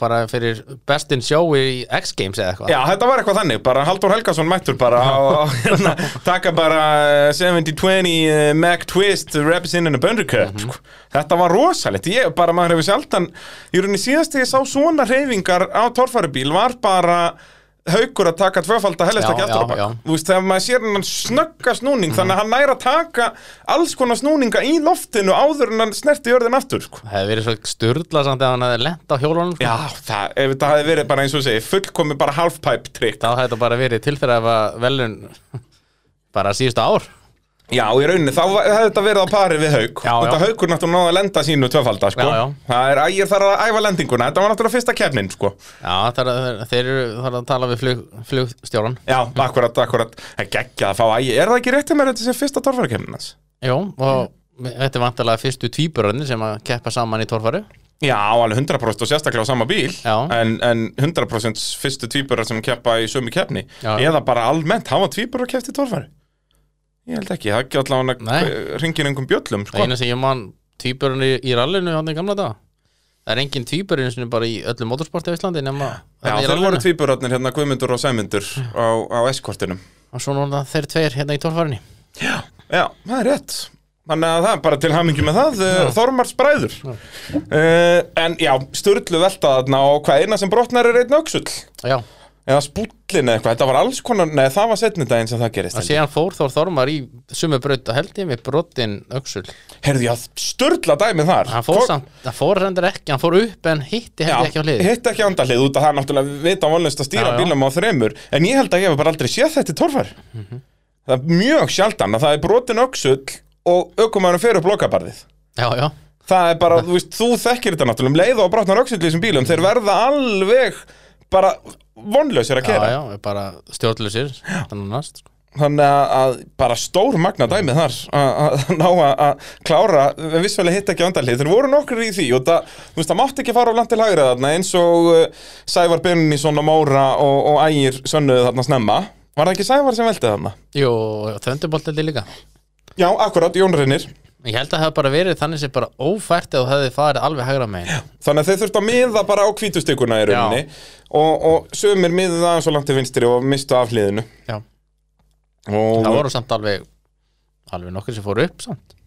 Speaker 2: bara fyrir bestin sjó í X Games eða eitthvað
Speaker 1: Já, þetta var eitthvað þannig, bara Haldur Helgason mættur bara og hérna, taka bara eh, 70-20 eh, Mac Twist Raps in and a Boundary Cup
Speaker 2: Mhm.
Speaker 1: sko. Þetta var rosalegt, ég bara maður hefur sjaldan í rauninni síðast þegar ég sá svona reyfingar á torfæribíl var bara haukur að taka tvöfalda helesta
Speaker 2: Já, já, já. Mhm.
Speaker 1: kjátturabak þú veist, þegar maður sér hann snögga snúning þannig að hann næra taka alls konar snúninga í loftinu áður en hann snerti jörðin aftur sko.
Speaker 2: Það hefði verið svo sturla samt ef hann hefði lent á hjólunum sko.
Speaker 1: Já, það, ef þetta hefði verið bara eins og ég segi, fullkomi bara halfpipe trikk
Speaker 2: Þá hefði þetta bara verið tilfæra ef að velun bara síðustu ár
Speaker 1: Já, í rauninni, þá var- hefði þetta verið á pari við haug
Speaker 2: Já,
Speaker 1: Þetta
Speaker 2: já.
Speaker 1: haugur náttúrulega náði að lenda sínu tvöfalda, sko
Speaker 2: Já, já.
Speaker 1: Það er ægir þar að æfa lendinguna, þetta var náttúrulega fyrsta kefnin, sko
Speaker 2: Já, það er, þeir eru það er að tala við flug, flugstjóran
Speaker 1: Já, akkurat, akkurat, það geggja að fá ægir Er það ekki réttið mér þetta sem fyrsta torfærakefnin hans?
Speaker 2: Jó, og
Speaker 1: Mm.
Speaker 2: þetta er vantarlega fyrstu tvíburarnir sem að keppa saman í torfari
Speaker 1: Já, alveg 100% og sérstaklega á sama bíl
Speaker 2: Já.
Speaker 1: en, en 100% fyrstu tvíburar sem keppa í sömu kefni
Speaker 2: Já.
Speaker 1: Eða bara almennt, hafa tvíburar keppt í torfæri? Ég held ekki, það er ekki allavega
Speaker 2: Nei.
Speaker 1: hringir einhverjum bjöllum, sko
Speaker 2: Það eina sem ég man tvíburarnir í rallinu hann í gamla dag Það er engin tvíburinn sem er bara í öllu motorsporti á Íslandi nema
Speaker 1: Já,
Speaker 2: þarna í
Speaker 1: það voru
Speaker 2: rallinu.
Speaker 1: tvíburarnir hérna Guðmundur og Sæmundur
Speaker 2: Hm.
Speaker 1: á, á eskortinum
Speaker 2: Og svo núna þeir tveir hérna í torfarinni
Speaker 1: Já, það er rétt Þannig að það er bara til hamingi með það eh, já. Þormars bræður já. Eh, En já, sturlu velta þarna og hvað eina sem brotnar er einn öxull
Speaker 2: Já,
Speaker 1: Eða spúllin eða eitthvað, þetta var alls konar Nei, það var setni daginn sem það gerist
Speaker 2: og síðan fór Þór Þormar í sumu braut og held ég með brotin öxul
Speaker 1: Herðu, já, sturla dæmið þar
Speaker 2: Hann fór
Speaker 1: Hvor-
Speaker 2: samt, hann fór hendur ekki, hann fór upp en hitti
Speaker 1: Já,
Speaker 2: hendur ekki á hlið
Speaker 1: hitt ekki andahlið út að það er náttúrulega vita vonlust að stýra
Speaker 2: Já, já.
Speaker 1: bílum á þremur en ég held að ég hef bara aldrei séð þetta í torfar
Speaker 2: Mhm.
Speaker 1: það er mjög sjaldan að það er brotin öxull og aukumæðurum fer upp lokabarðið
Speaker 2: Já, já,
Speaker 1: Það er bara, þú veist, þú þekkir þetta náttúrulega um leið og brotnar öxull í þessum bílum, þeir verða alveg bara vonlausir að
Speaker 2: já,
Speaker 1: gera
Speaker 2: já, er bara stjórnlusir Þannig sko.
Speaker 1: þannig að, að bara stór magna dæmið þar að- að ná að að klára en vissulega hitt ekki andarlið, þeir voru nokkur í því og það, þú veist, það mátti ekki fara á land til hægri þarna eins og uh, Sævar Bennisson og Móra og, og Ægir sönnuðu þarna snemma, var það ekki Sævar sem veldi þarna?
Speaker 2: Jú, þönduboltið líka
Speaker 1: Já, akkurat, Jón Reynir
Speaker 2: Ég held að það hefði bara verið þannig sem bara ófært eða þú hefði farið alveg hægra megin
Speaker 1: Þannig að þeir þurftu að miða bara á hvítustikuna í rauninni og, og sömur miðið aðeins og langt til vinstri og mistu af hliðinu
Speaker 2: Já,
Speaker 1: og,
Speaker 2: það voru samt alveg alveg nokkur sem fóru upp samt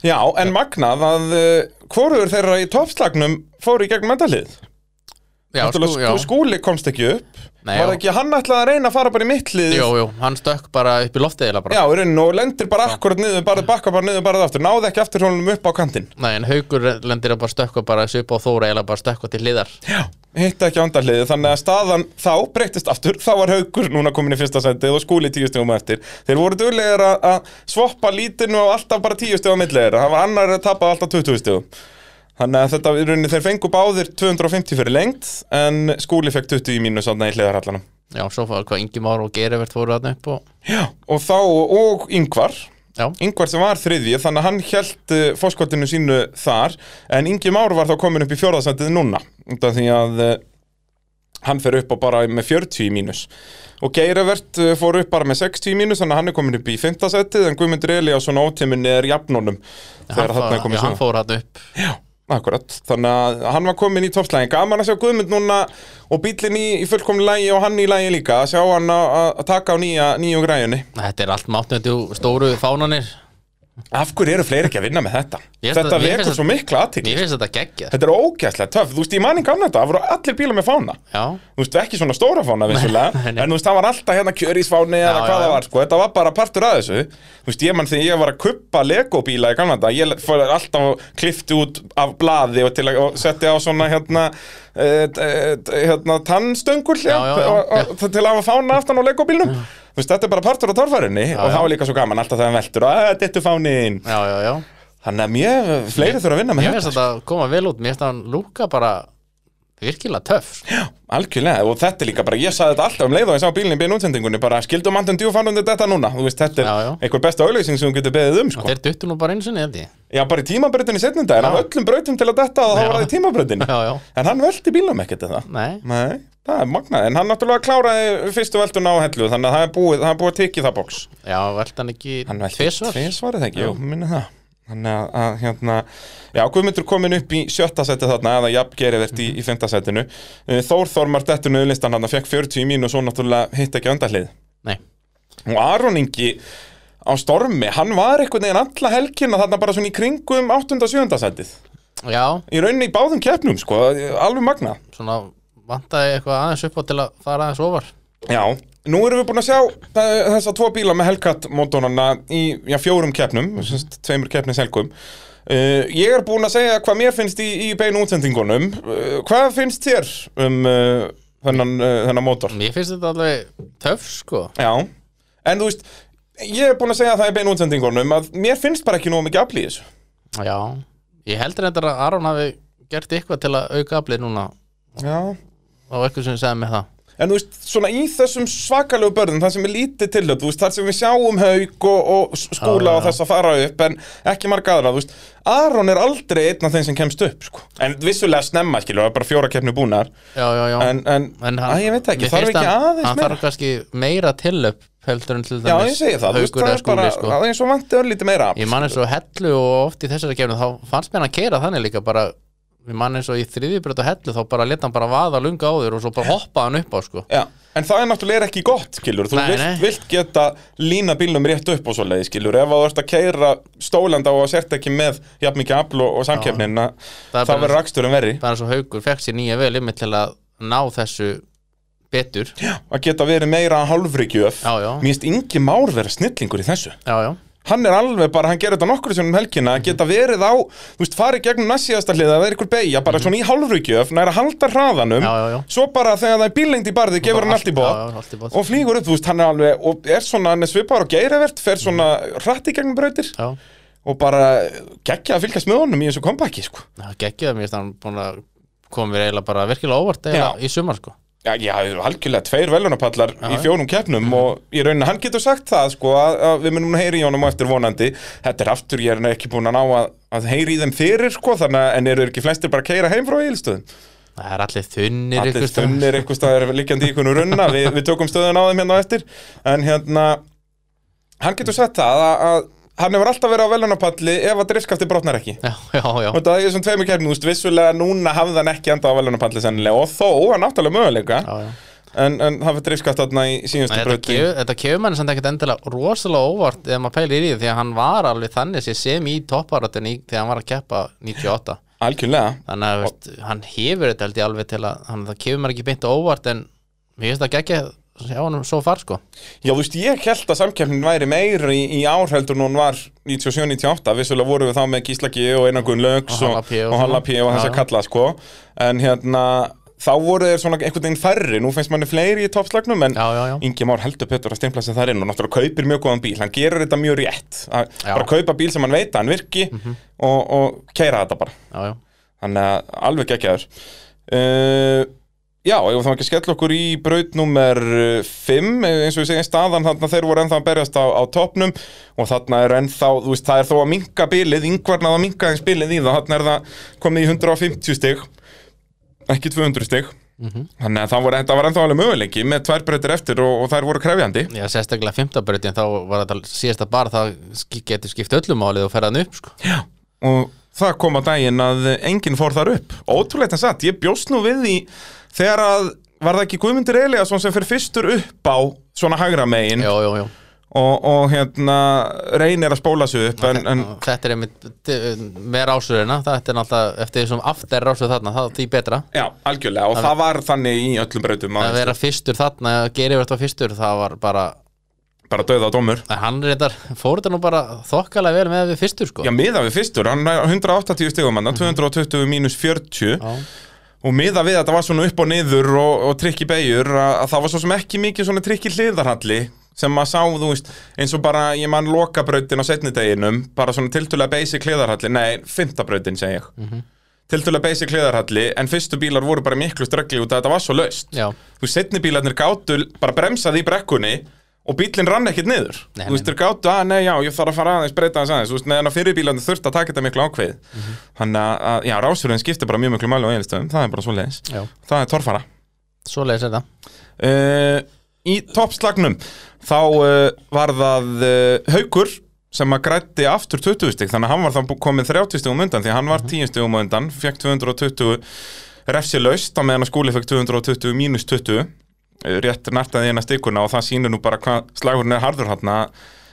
Speaker 1: Já, en magnað að uh, hvorur þeirra í toppslagnum fóru í gegn mendalið
Speaker 2: Já, sko,
Speaker 1: Náttúrulega
Speaker 2: já.
Speaker 1: skú, skúli komst ekki upp
Speaker 2: Nei,
Speaker 1: Var
Speaker 2: já.
Speaker 1: ekki hann ætlaði að reyna að fara bara í mittlið
Speaker 2: Jú, jú, hann stökk bara upp í loftið eiginlega bara.
Speaker 1: Já, í rauninni og lendir bara akkurat niður, bara bakka bara niður, bara aftur Náði ekki aftur hólum upp á kantinn
Speaker 2: Nei, en haugur lendir að bara stökkva bara þessu upp á Þóra eða bara stökkva til hliðar
Speaker 1: Já Hitta ekki ándahliðið, þannig að staðan þá breyttist aftur Þá var haukur núna komin í fyrsta sendið og skúli tíu stegum eftir Þeir voru duglegir að- að svoppa lítinu og alltaf bara tíu stegum millegir Það var annar að tapa alltaf 20 stegum Þannig að þetta, í rauninni, þeir fengu báðir 250 fyrir lengt En skúli fekk 20 í mínus átna í hliðarallanum
Speaker 2: Já, svo fór hvað Ingi Már og Gerivert fóru þarna upp og
Speaker 1: Já Og þá, og yngvar
Speaker 2: Já,
Speaker 1: Ingvar sem var þriðji, þannig að hann held uh, fórskotinu sínu þar en Ingi Már var þá komin upp í fjórðasendið núna út af því að uh, hann fer upp á bara með 40 í mínus og Geirivert uh, fór upp bara með 60 í mínus þannig að hann er komin upp í fimmtasendið en Guðmundur Eliasson átiminni er jafnónum þegar
Speaker 2: fór-
Speaker 1: þarna er
Speaker 2: já,
Speaker 1: komin
Speaker 2: hann
Speaker 1: svona
Speaker 2: fór þarna upp
Speaker 1: Akkurat, þannig að hann var komin í toppslægin gaman að sjá Guðmund núna og bílinn í, í fullkomni lægi og hann í lægi líka að sjá hann að að taka á nýja, nýju græjunni
Speaker 2: Þetta er allt mátnöndu stóru fánanir
Speaker 1: Af hverju eru fleiri ekki að vinna með þetta?
Speaker 2: Ég finnst
Speaker 1: þetta
Speaker 2: að- mér
Speaker 1: vekur
Speaker 2: finnst
Speaker 1: svo
Speaker 2: að-
Speaker 1: mikla aðtík
Speaker 2: Mér finnst þetta geggja
Speaker 1: Þetta er ógæslega töff, þú veist, ég manning gamla þetta, það voru allir bílar með fána
Speaker 2: Já,
Speaker 1: Þú veist, ekki svona stóra fána vissulega
Speaker 2: nei, nei.
Speaker 1: En þú veist, það var alltaf hérna kjörisfáni
Speaker 2: Já,
Speaker 1: eða
Speaker 2: já,
Speaker 1: hvað það
Speaker 2: já.
Speaker 1: var, sko Þetta var bara partur að þessu Þú veist, ég mann þegar ég var að kuppa legobíla í gamla þetta Ég fór alltaf og klifti út af blaði og, til að, og setti á svona hérna, eh, eh, hérna tannstöngul
Speaker 2: Já, já, já.
Speaker 1: og, og, og, Til að hafa fána aftan á legobílnum Þú veist, þetta er bara partur á torfærinni Og það var líka svo gaman alltaf þegar hann veltur að þetta fánin
Speaker 2: já, já, já
Speaker 1: Þannig að mér, fleiri þurfa að vinna með
Speaker 2: Mér finnst
Speaker 1: þetta
Speaker 2: þetta koma vel út Mér finnst hann lúka bara virkilega töff sko.
Speaker 1: Algjörlega, og þetta er líka bara, ég sagði þetta alltaf um leið og ég sá bílinni bein útsendingunni bara skildum andan djú fannundi þetta núna Þú veist, þetta er
Speaker 2: Já, já.
Speaker 1: einhver besta auðlýsing sem þú getur beðið um, sko
Speaker 2: Þeir duttu nú bara eins og nefndi
Speaker 1: Já, bara í tímabrautinni setnum daginn,
Speaker 2: Já.
Speaker 1: af öllum brautum til að detta og þá
Speaker 2: Já.
Speaker 1: var það í tímabrautinni
Speaker 2: Já, já,
Speaker 1: En hann velti bílum ekkert eða
Speaker 2: nei
Speaker 1: Nei, það er magnað, en hann náttúrulega kláraði fyrstu veltuna á hellu Þannig að það er búið, það er búið að tekið það box
Speaker 2: Já, velt hann ekki
Speaker 1: Hann velti
Speaker 2: tvisvar
Speaker 1: tvisvar, eða ekki, jú, minni það Þannig að, að hérna, já, Guðmundur komin upp í sjötta seti þarna, eða jafn gerivert í, í fymta setinu. Eh, Þór Þormar dettur nöðlistan hann, fekk 40 mín og svo náttúrulega hitt ekki öndahlið.
Speaker 2: Nei,
Speaker 1: Og Aron Ingi á stormi, hann var einhvern veginn alla helgina þarna bara svona í kringum 8. og 7. setið.
Speaker 2: já,
Speaker 1: Í rauninni í báðum keppnum, sko, alveg magna.
Speaker 2: svona vantaði eitthvað aðeins upp á til að fara aðeins ofar
Speaker 1: Já, nú erum við búin að sjá eh, þessa tvo bíla með Hellcat-mótorana í já, fjórum keppnum, sem sagt, tveimur keppnis helgum. Uh, ég er búin að segja hvað mér finnst í, í beinu útsendingunum. Uh, hvað finnst þér um uh, þennan, uh, þennan mótor?
Speaker 2: Mér finnst þetta alveg töff sko
Speaker 1: Já, en þú veist, ég er búin að segja það í beinu útsendingunum að mér finnst bara ekki nóg mikið afl í þessu.
Speaker 2: Já, ég heldur þetta að Aron hafi gert eitthvað til að auka aflið núna
Speaker 1: Já.
Speaker 2: og eitthvað sem segði mig það
Speaker 1: En þú veist, svona í þessum svakalegu börnum, það sem er lítið til upp, þú veist, þar sem við sjáum haug og, og skúla
Speaker 2: Já, já.
Speaker 1: og þess að fara upp, en ekki marga aðra, þú veist, Aron er aldrei einn af þeim sem kemst upp, sko. En vissulega snemma, skilur, það er bara fjóra keppni búnar,
Speaker 2: Já, já, já
Speaker 1: en, en, Æ, ég veit það ekki,
Speaker 2: mér
Speaker 1: þarf
Speaker 2: finnst
Speaker 1: ekki
Speaker 2: hann-
Speaker 1: aðeins
Speaker 2: Hann
Speaker 1: meira?
Speaker 2: þarf kannski meira tillöp heldur en til
Speaker 1: já,
Speaker 2: dæmis
Speaker 1: ég segi það, þú veist,
Speaker 2: Haukur
Speaker 1: það er
Speaker 2: eða
Speaker 1: bara,
Speaker 2: Skúli, sko.
Speaker 1: það er eins og vantið örlítið meira.
Speaker 2: Ég man eins og hellu og oft í þessari gefnum þá fannst mér hann keira þannig líka bara Ég man eins og í þriðjubrötu hellu þá bara leta hann bara vaða lunga á þér og svo bara hoppaði hann upp á sko
Speaker 1: Já, en það er náttúrulega ekki gott, skilur, þú
Speaker 2: Nei,
Speaker 1: vilt,
Speaker 2: nei.
Speaker 1: vilt geta lína bílnum rétt upp og svo leiði, skilur, ef þú ert að keira stólanda og sért ekki með jafn mikið afl og, og samkeppnin, að
Speaker 2: Það er
Speaker 1: þá
Speaker 2: bara-
Speaker 1: verður raksturinn verri.
Speaker 2: Það er eins og haugur fekk sér nýja vel ymmið til að ná þessu betur Já,
Speaker 1: að geta verið meira hálfrikjöf
Speaker 2: Já, já.
Speaker 1: mér finnst Ingi Már vera snillingur í þessu
Speaker 2: já,
Speaker 1: hann er alveg bara, hann gerir þetta nokkru sinum helgina að geta verið á, þú veist, farið gegnum næssíðasta hliða, það er ykkur beigja, bara svona í hálfrikjöf næra halda hraðanum
Speaker 2: Mhm. já, já, já.
Speaker 1: svo bara þegar það er bílengd í barði, gefur hann allt í
Speaker 2: Já, já,
Speaker 1: bóð
Speaker 2: allt í bóð
Speaker 1: og flýgur upp, þú veist, hann er alveg og er svona, hann er svipar og geirivert fer svona hratt í gegnum brautir
Speaker 2: Já,
Speaker 1: og bara geggja að fylgjast með honum í þessu kompaki, sko
Speaker 2: það geggjaði mér þannig búin að koma mér eiginlega bara virkilega óvart eiginlega í sumar sko
Speaker 1: Já, já, algjörlega tveir velunarpallar í fjónum keppnum og í rauninni hann getur sagt það sko að, að við munum heyri í honum á eftir vonandi Þetta er aftur, ég er nú ekki búin að ná að, að heyri í þeim fyrir sko þannig að en eru ekki flestir bara að keira heim frá Egilstöðum
Speaker 2: Það er allir þunnir
Speaker 1: Allir
Speaker 2: ykkur staðar.
Speaker 1: þunnir einhvers staðar líkjandi í kunnu runna við, við tökum stöðun á þeim hérna á eftir en hérna, hann getur sagt það að, að hann hefur alltaf verið á velunarpalli ef að driftskafti brotnar ekki
Speaker 2: Já, já, já,
Speaker 1: Og þetta er þessum tveimur keppnum, þú veist, vissulega núna hafði hann ekki enda á velunarpalli sennilega og þó, hann áttalega möguleika
Speaker 2: já, já.
Speaker 1: En, en það fyrir driftskatt þarna í
Speaker 2: En
Speaker 1: síðustu
Speaker 2: Þetta
Speaker 1: brauti
Speaker 2: kefur, þetta kefur mann samt ekkert endilega rosalega óvart ef maður pælir í því því að hann var alveg þannig sé sem í topparatun þegar hann var að keppa 98
Speaker 1: Algjörlega
Speaker 2: þannig að veist, hann hefur þetta held ég alveg til að hann, það kefur mann ekki beint á óvart en mér finnst það geggja sjá hann svo far sko
Speaker 1: Já, þú veist, ég held að samkeppnin væri meira í, í ár heldur en hún var 97-98 Vissulega voru við þá með Gísla G og Einangun Lögs
Speaker 2: Og Halla
Speaker 1: og,
Speaker 2: P og
Speaker 1: og Halla P og þess að
Speaker 2: svona. Já, já.
Speaker 1: kalla, sko En hérna, þá voru þeir svona einhvern veginn færri Nú finnst manni fleiri í toppslagnum En
Speaker 2: Já, já, já.
Speaker 1: Ingi Már heldur Petur að steinpla sig þar inn Og náttúrulega kaupir mjög góðan bíl Hann gerir þetta mjög rétt að
Speaker 2: Já. Mhm.
Speaker 1: Bara kaupa bíl sem hann veit að hann virki og, og keira þetta bara
Speaker 2: já, já.
Speaker 1: Þannig að alveg geggjaður uh, Já, ég var þá ekki að skella okkur í braut nummer 5 Eh, eins og ég segi staðan þarna þeir voru ennþá að berjast á, á topnum og þarna er ennþá, þú veist, það er þó að minka bilið, yngvarnað að minka eins bilið í það þarna er það komið í 150 stig ekki 200 stig þannig að það voru, þetta var ennþá alveg möguleiki með tvær breytir eftir og, og þær voru krefjandi
Speaker 2: Já, sérstaklega fimmtabrautin þá var þetta síðasta bar það sk- getur skipt öllum álið og ferða hann upp sko.
Speaker 1: Já. og það kom að daginn að enginn fór þar upp ótrúleitt en satt, ég bjóst nú við því þegar að var það ekki Guðmundur Eliasson sem fyrir fyrstur upp á svona hægra megin
Speaker 2: Jó, jó, jó
Speaker 1: og, og hérna reynir að spóla sig upp en, en
Speaker 2: Þetta er einmitt d- með rásurina þetta er náttúrulega eftir þessum aftur rásur þarna það því betra
Speaker 1: já, algjörlega og það var þannig í öllum breytum
Speaker 2: að vera fyrstur þarna, gerið verðt á fyrstur það var bara,
Speaker 1: bara döða á dómur
Speaker 2: en hann reyndar fór þetta nú bara þokkalega vel með við fyrstur sko Mhm.
Speaker 1: Já, miða við fyrstur, hann er 180 stigum hann, 220 mínus 40
Speaker 2: Já.
Speaker 1: og miða við að þetta var svona upp og niður og, og trikk í beigur að, að það var svo sem ekki mikið svona trikk í hliðarhalli sem maður sá, þú veist, eins og bara ég mann lokabrautin á setnideginum bara svona tiltulega basic hliðarhalli nei, fymtabrautin segi ég mm
Speaker 2: Mhm.
Speaker 1: tiltulega basic hliðarhalli, en fyrstu bílar voru bara miklu ströggli út að þetta var svo laust
Speaker 2: Já.
Speaker 1: þú veist, setni bílarnir gátu bara bremsaði í brekkunni og bílinn rann ekkert niður
Speaker 2: Nei,
Speaker 1: þú veist, þeir gátu, að nei, já, ég þarf að fara aðeins breyta aðeins aðeins, þú veist, meðan að fyrir bílarnir þurft að taka þetta miklu ákveð
Speaker 2: Mhm.
Speaker 1: þannig að, að, já, rásurinn skiptir bara mjög miklu máli á eiginstöðum, það er bara svo leiðis
Speaker 2: Já.
Speaker 1: það er torfara
Speaker 2: svo leiðis þetta
Speaker 1: Eh, uh, í toppslagnum þá uh, var það uh, haukur sem að grætti aftur 20 stig þannig að hann var þá bú- komið 30 stigum undan því að hann var 10 stigum undan, fekk 220 refsilaust á meðan að skúli fekk 220 mínus 20 eh, rétt nartaði eina stikuna og það sýnir nú bara hvað slagurinn er harður hann að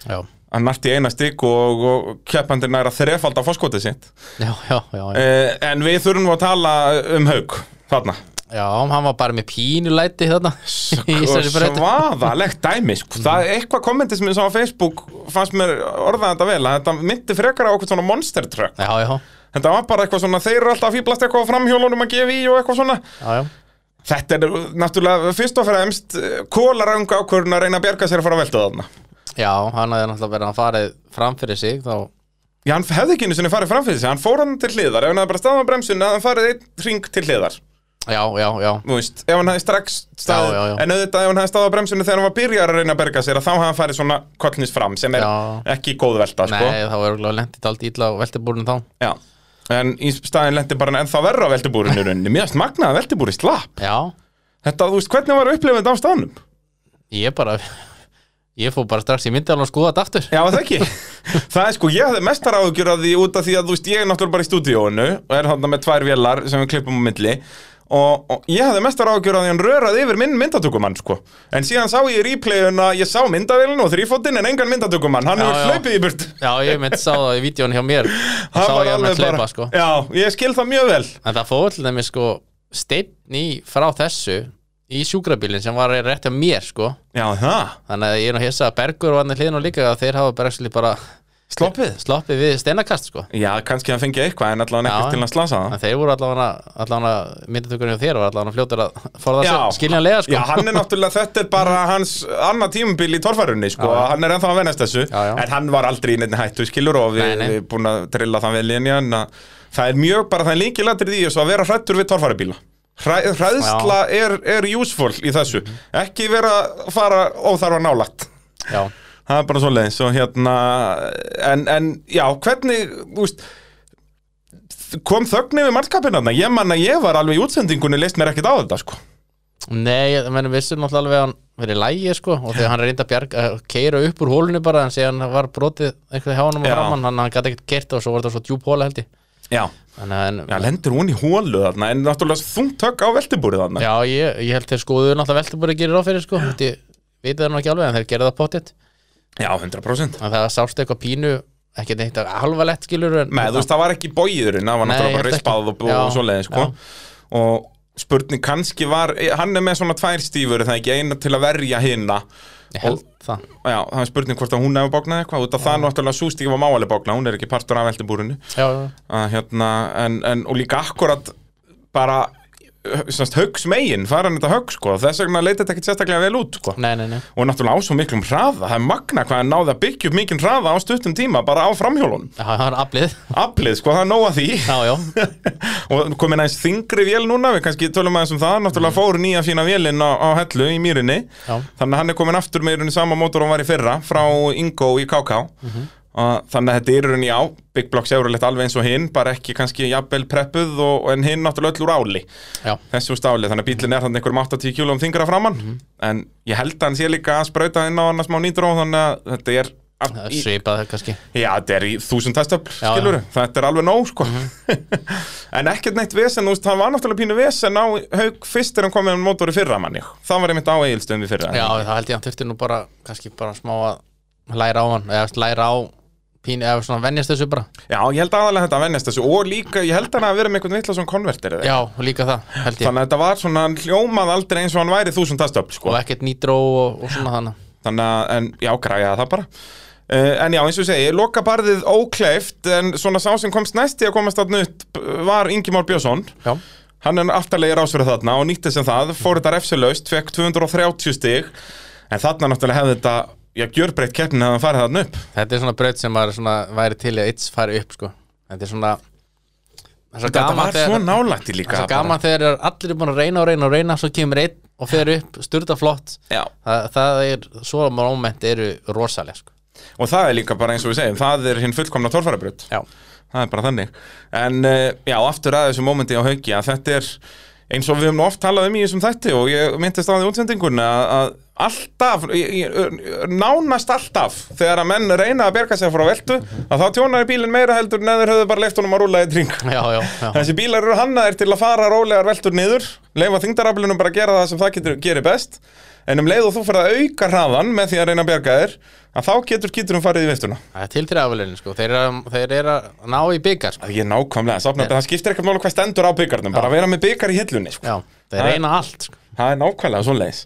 Speaker 2: já,
Speaker 1: að narti eina stik og, og keppandi næra þrefald á fórskotið sitt
Speaker 2: já, já, já, já.
Speaker 1: eh, en við þurfum nú að tala um haug þarna
Speaker 2: já hann var bara með pínulæti þarna í
Speaker 1: og
Speaker 2: þessari Mm. braut.
Speaker 1: svaðalegt dæmi sko. það er eitthvað kommentið sem ég sá á Facebook fannst mér orðað þetta vel að þetta myndi frekar á okkur svona monster truck
Speaker 2: já, já,
Speaker 1: þetta var bara eitthvað svona, þeir eru alltaf að fýblast eitthvað á framhjólunum að gefa í og eitthvað svona
Speaker 2: já, já.
Speaker 1: þetta er náttúrulega fyrst og fremst kólaranga ákvörðun að reyna að bjarga sér að fara að velta þarna
Speaker 2: já, hann hafði náttúrulega verið að farið fram fyrir sig þá,
Speaker 1: Já, hann hefði ekki einu sinni farið framfyrir sig, hann fór hann til hliðar ef hann hefði bara staðan á bremsunni, að hann farið einn ring til hliðar
Speaker 2: já, já, já
Speaker 1: Þú veist, ef hann hefði strax staðið,
Speaker 2: Já, já, já.
Speaker 1: en auðvitað ef hann hefði staðið á bremsunni þegar hann var byrjar að reyna að berga sér að þá hefði hann farið svona kollnis fram sem er
Speaker 2: Já.
Speaker 1: ekki góð velta, sko
Speaker 2: nei, þá er örugglega lendið allt ítla og veltibúrun þá
Speaker 1: Já. En í staðin lendi bara ennþá verra á veltibúrinu í rauninni, mjögst magnaði veltibúri slapp
Speaker 2: já,
Speaker 1: Þetta, þú veist, hvernig var upplifin þetta á staðnum?
Speaker 2: ég bara ég fór bara strax í myndal og skoða þetta aftur
Speaker 1: Já, það ekki Það er sko, ég hefði mestar áhugjur að því út af því að þú veist, ég er náttúrulega bara í stúdíóinu og er þarna með tvær vélar sem við klippum á milli og, og ég hefði mestar áhugjur að því hann röraði yfir minn myndatökumann sko en síðan sá ég í replayun að ég sá myndavélun og þrýfótinn en engan myndatökumann hann
Speaker 2: Já,
Speaker 1: hefur
Speaker 2: já.
Speaker 1: hlaupið í burt
Speaker 2: já, ég mynd sá það í vídjón hjá mér þá sá ég hann að kleipa, sko
Speaker 1: Já, ég skil það mjög vel
Speaker 2: En það fór til dæmis sko steinn í frá þessu í sjúkrabílinn sem var rétt hjá mér sko
Speaker 1: Já, það,
Speaker 2: þannig að ég er nú hissa að Bergur og hann er hliðin og líka að þeir hafa bara, actually bara
Speaker 1: sloppið
Speaker 2: sloppið við steinakast sko
Speaker 1: Já, kannski hann fengi eitthvað en allavega
Speaker 2: Já.
Speaker 1: ekkert til að slasa það
Speaker 2: en þeir voru allavega, allavega myndatökurinn hjá þér var allavega fljótur að forða
Speaker 1: Já.
Speaker 2: sér skiljanlega sko Mm.
Speaker 1: Já, hann er náttúrulega, þetta er bara hans annað tímabil í torfærunni, sko, hann er ennþá að venast þessu,
Speaker 2: Já, já.
Speaker 1: en hann var aldrei í neitt hættu skilur og við
Speaker 2: Nei, nei.
Speaker 1: við erum búin að drilla þann vel í henni, en að það er mjög bara, það er líkilættir í þessu að vera hrættur við torfærubíla. Hræ, hræðsla er, er useful í þessu, ekki vera að fara óþarfa nálægt.
Speaker 2: já,
Speaker 1: Það er bara svoleiðis og hérna, en, en já, hvernig, þú veist, kom þögn yfir mannskapinarna, ég man að ég var alveg í útsendingunni, leist mér ekkert á þetta, sko.
Speaker 2: nei, ég menn vissum náttúrulega alveg að hann verið lægi sko og þegar hann reyndi að bjarga að keira upp úr hólunni bara en segja hann var brotið einhverju hjá hann og
Speaker 1: Já.
Speaker 2: framann hann, hann gæti ekkert kert og svo var það svo djúb hóla held ég
Speaker 1: Já.
Speaker 2: þannig að en,
Speaker 1: Já, lendur hún í hólu þarna en náttúrulega þungt högg á veltibúrið þarna
Speaker 2: Já, ég, ég held þeir skoðu náttúrulega veltubur að gera ráð fyrir sko Þetta ég veit það nú ekki alveg en þeir gera það pottitt
Speaker 1: Já, 100%
Speaker 2: En það sást eitthvað pínu, ekki neitt halva lett skilur en,
Speaker 1: Nei, þú veist, það var ekki bóiðurinn það var
Speaker 2: Nei,
Speaker 1: náttúrulega bara
Speaker 2: ég held
Speaker 1: rispað og,
Speaker 2: ekki. Já,
Speaker 1: og svoleiðis sko. og spurning kannski var e, hann er með svona tvær stífur er það ekki eina til að verja hinna
Speaker 2: Ég held það
Speaker 1: Já, það er spurning hvort að hún hefur bóknað eitthvað út af það náttúrulega sústík var máalega bóknað hún er ekki partur af veltibúrinu
Speaker 2: Já, já,
Speaker 1: að, hérna, en, en, og líka akkurat bara höggs megin faran þetta högg sko. þess vegna leita þetta ekki sérstaklega vel út sko.
Speaker 2: nei, nei, nei
Speaker 1: og náttúrulega á svo miklum hraða það er magna hvað hann náði að byggja upp mikinn hraða á stuttum tíma bara á framhjólunum
Speaker 2: Já, það var aflið
Speaker 1: aflið sko það er nóg að því
Speaker 2: Já, já,
Speaker 1: og komin aðeins þingri vél núna við kannski tölum aðeins um það náttúrulega fór nýja fína vélinn á, á hellu í mýrinni
Speaker 2: já,
Speaker 1: þannig að hann er komin aftur með í rauninni sama mótor og hann var í fyrra frá Ingo í KK og þannig að þetta er í rauninni á Big Block sérulegt alveg eins og hinn bara ekki kannski jafnvel preppuð og, en hinn náttúrulega öll úr áli
Speaker 2: já,
Speaker 1: þessu stáli, þannig að bílinn er þannig einhverjum 80 kílum þingra framann en ég held að hann sé líka að sprauta inn á hann að smá nýtró þannig að þetta er
Speaker 2: það
Speaker 1: að,
Speaker 2: er
Speaker 1: í,
Speaker 2: svipað kannski
Speaker 1: já, þetta er í þúsund testöfl
Speaker 2: Já, Mhm.
Speaker 1: skilur, þetta er alveg nóg sko. en ekkert neitt vesen, þú veist, það var náttúrulega pínu vesen á haug fyrst þegar hann kom með mótor í fyrra manni það var einmitt á eigilstöðum við fyrra
Speaker 2: Já, það held ég að hann þurfti nú bara, kannski bara smá að læra á hann Eða læra á pínu, eða svona venjast þessu bara
Speaker 1: Já, ég held aðalega þetta að vennast þessu og líka, ég held hann að vera með einhvern vitla svona konvertir eða eitthvað.
Speaker 2: Já, og líka það, held ég
Speaker 1: þannig að þetta var svona, hann hljómað aldrei eins og hann væri þúsund testöfl sko.
Speaker 2: Og ekkert nýtró og, og svona þannig
Speaker 1: þannig að, en já, græjaði það bara uh, en já, eins og ég segi, loka barðið ókleift, en svona sá sem komst næst í að komast þarna upp eh, var Ingi Már Björnsson
Speaker 2: Já,
Speaker 1: hann er aftarlega rásverið þarna og nýtti sem það fór þetta refsilaust, fekk 230 stig en þarna náttúrulega hefði þetta já, gjörbreytt keppnin hefði hann farið þarna upp
Speaker 2: Þetta er svona braut sem maður svona væri til í að eitt fari upp sko. Þetta er svona Það er svo
Speaker 1: þetta
Speaker 2: gaman
Speaker 1: var svo
Speaker 2: þegar,
Speaker 1: nálægt í
Speaker 2: það
Speaker 1: líka
Speaker 2: er svo gaman þegar er allir er búin að reyna og reyna og reyna svo kemur einn og fer upp, styrta flott
Speaker 1: bara. já
Speaker 2: það, það er, svo moment eru rosalega sko.
Speaker 1: Og það er líka bara eins og við segjum, það er hinn fullkomna torfærabröð.
Speaker 2: Já,
Speaker 1: Það er bara þannig. En eh, já, aftur að þessu mómenti á hauki að þetta er eins og við höfum nú oft talað um í þessum þætti og ég myndist á því útsendingun að, að alltaf, í- í- nánast alltaf þegar að menn reyna að berga sér frá veltu að þá tjónar bílinn meira heldur en ef þeir höfðu bara leift honum að rúla í tring
Speaker 2: já, já, já,
Speaker 1: Þessi bílar eru hannaðir til að fara rólegar veltur niður, leifa þingdaraflunum bara að gera það sem það getur, gerir best en um leið og þú fyrir að auka hraðan með því að reyna að berga þér að þá getur kýturum farið í veftuna
Speaker 2: það er til þrjáfélagin sko. þeir, eru- þeir eru að ná í byggar sko.
Speaker 1: Það er nákvæmlega, safnandi, það skiptir ekkert máli hvað stendur á byggarnum bara að vera með byggar í hillunni sko.
Speaker 2: já, þeir
Speaker 1: Það er-
Speaker 2: reyna allt sko.
Speaker 1: Það er nákvæmlega svo leiðis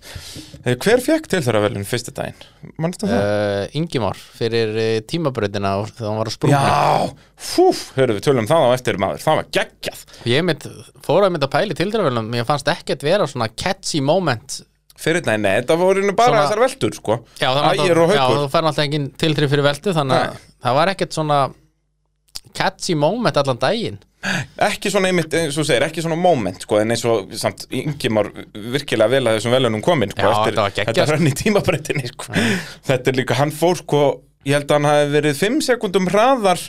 Speaker 1: Hver fekk til þeirra velun fyrstu daginn? Manstu það?
Speaker 2: uh, Ingimár fyrir eh, tímabrautina og þegar hann var að sprunga
Speaker 1: Já, fúf, hörðu við tölum það á eftir maður, það var geggjað
Speaker 2: ég mitt, fór að mynda að pæli tildrafélum mér fannst ekkert vera svona catchy moment
Speaker 1: Fyrir daginn, nei, þetta voru nú bara
Speaker 2: Svona-
Speaker 1: þessar veltur sko.
Speaker 2: já, þannig
Speaker 1: Ægir og
Speaker 2: að já,
Speaker 1: haukur
Speaker 2: þú fær alltaf engin tiltrif fyrir veltu þannig að
Speaker 1: Nei.
Speaker 2: það var ekkert svona catchy moment allan daginn
Speaker 1: ekki svona einmitt, eins og þú segir, ekki svona moment sko, en eins og samt Ingimar virkilega vel að þessum velunum komin sko,
Speaker 2: Já,
Speaker 1: eftir,
Speaker 2: þetta var geggjað,
Speaker 1: þetta rann í tímabrettinni sko. þetta er líka, hann fór sko ég held að hann hafi verið 5 sekundum hraðar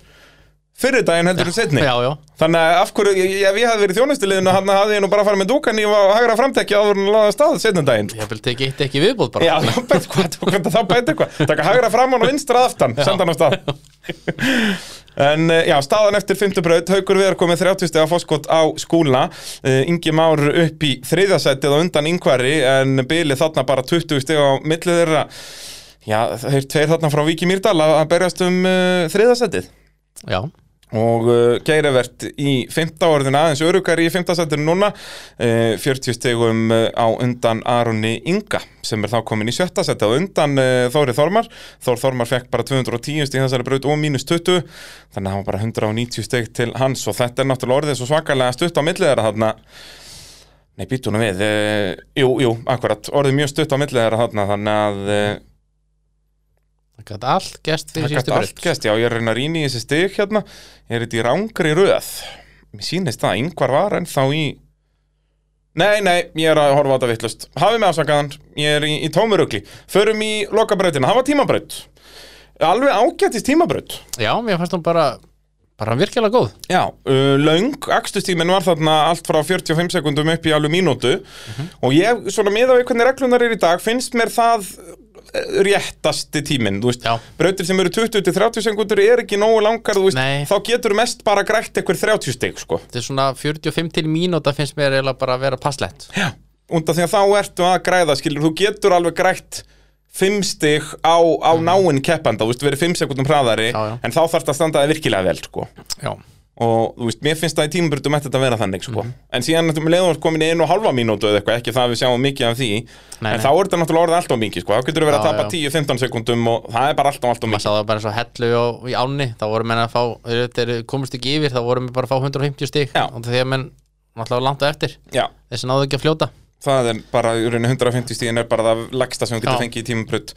Speaker 1: fyrir daginn heldur en setni
Speaker 2: já, já,
Speaker 1: þannig að af hverju, ef ég hafi verið í þjónustuliðinu hann hafði ég nú bara farið með dúkan í og hagra framtekja áður en hann laða stað setni daginn sko.
Speaker 2: ég vil tekið eitt ekki viðbúð bara
Speaker 1: Já, þá bætt hvað, þá bætt þá bætt eitthvað Takka hagra framan og vinstra aftan, senda hann á stað En eh, já, staðan eftir fimmtubraut, Haukur Viðar komið 30 steg á fóskot á skúla Eh, Ingi Már upp í þriðasætið og undan yngvari En bilið þarna bara 20 steg á millið þeirra Já, þeir tveir þarna frá Víki Mýrdal að að berjast um uh, þriðasætið
Speaker 2: já,
Speaker 1: og uh, Geirivert í 15 orðin aðeins örugari í 15 sættir núna uh, 40 stegum uh, á undan Aroni Inga sem er þá komin í sjötta sætti á undan uh, Þóri Þormar Þór Þormar fekk bara 210 stig í þessari braut og mínus 20 þannig að hann var bara 190 stig til hans og þetta er náttúrulega orðið svo svakalega stutt á millið þeirra þarna Nei, býtunum við, uh, jú, jú, akkurat, orðið mjög stutt á millið þeirra þarna, þannig að uh,
Speaker 2: það gæti allt gæst
Speaker 1: Það
Speaker 2: fyrir
Speaker 1: gæti
Speaker 2: sístu
Speaker 1: allt
Speaker 2: breytt
Speaker 1: gæst, já, ég er að reyna að rýna í þessi stig hérna Ég er þetta í rangri röð Mér sýnist það, að yngvar var ennþá í Nei, nei, ég er að horfa á þetta vittlust Hafið mig afsakaðan, ég er í, í tómurugli Förum í lokabrautina, það var tímabraut Alveg ágættist tímabraut
Speaker 2: já, mér fannst hún bara, bara virkilega góð
Speaker 1: Já, uh, löng, akstustíminn var þarna allt frá 45 sekundum upp í alveg mínútu
Speaker 2: Mhm.
Speaker 1: og ég, svona miða við hvernig reglunar er í dag, finnst mér það eh, réttasti tíminn, þú veist
Speaker 2: Já.
Speaker 1: brautir sem eru 20-30 sekundur er ekki nógu langar, þú veist,
Speaker 2: Nei.
Speaker 1: þá getur mest bara grætt eitthvað 30 stig, sko
Speaker 2: þetta er svona 45 til mínúta finnst mér eiginlega bara að vera passlegt
Speaker 1: Já. undan því að þá ertu að græða, skilur, þú getur alveg grætt 5 stig á, á náinn keppanda, þú veist, verið 5 sekundum hraðari,
Speaker 2: Mhm. Já, já.
Speaker 1: en þá þarf að standa það virkilega vel, sko
Speaker 2: já,
Speaker 1: og þú veist, mér finnst það í tímabrutum ætti þetta að vera þannig sko. en síðan náttúrulega leiðum við komin í einu og halva mínútu eða eitthvað, ekki það að við sjáum mikið af því
Speaker 2: Nei,
Speaker 1: en
Speaker 2: nei.
Speaker 1: þá er þetta náttúrulega orðið alltaf mikið sko. þá getur við verið að
Speaker 2: Já,
Speaker 1: tapa
Speaker 2: já.
Speaker 1: 10-15 sekundum og það er bara alltaf, alltaf
Speaker 2: maður
Speaker 1: mikið
Speaker 2: sá það bara eins og hellu á, í ánni þá voru menn að fá, þeir- þeir komust ekki yfir þá voru menn bara að fá 150 stík
Speaker 1: Já.
Speaker 2: og þegar menn náttúrulega langt á eftir
Speaker 1: Já,
Speaker 2: þessi náðu ekki að fljóta
Speaker 1: það er bara í rauninni 150 stíðin er bara það lagsta sem þú getur
Speaker 2: Já.
Speaker 1: fengið í tímabrut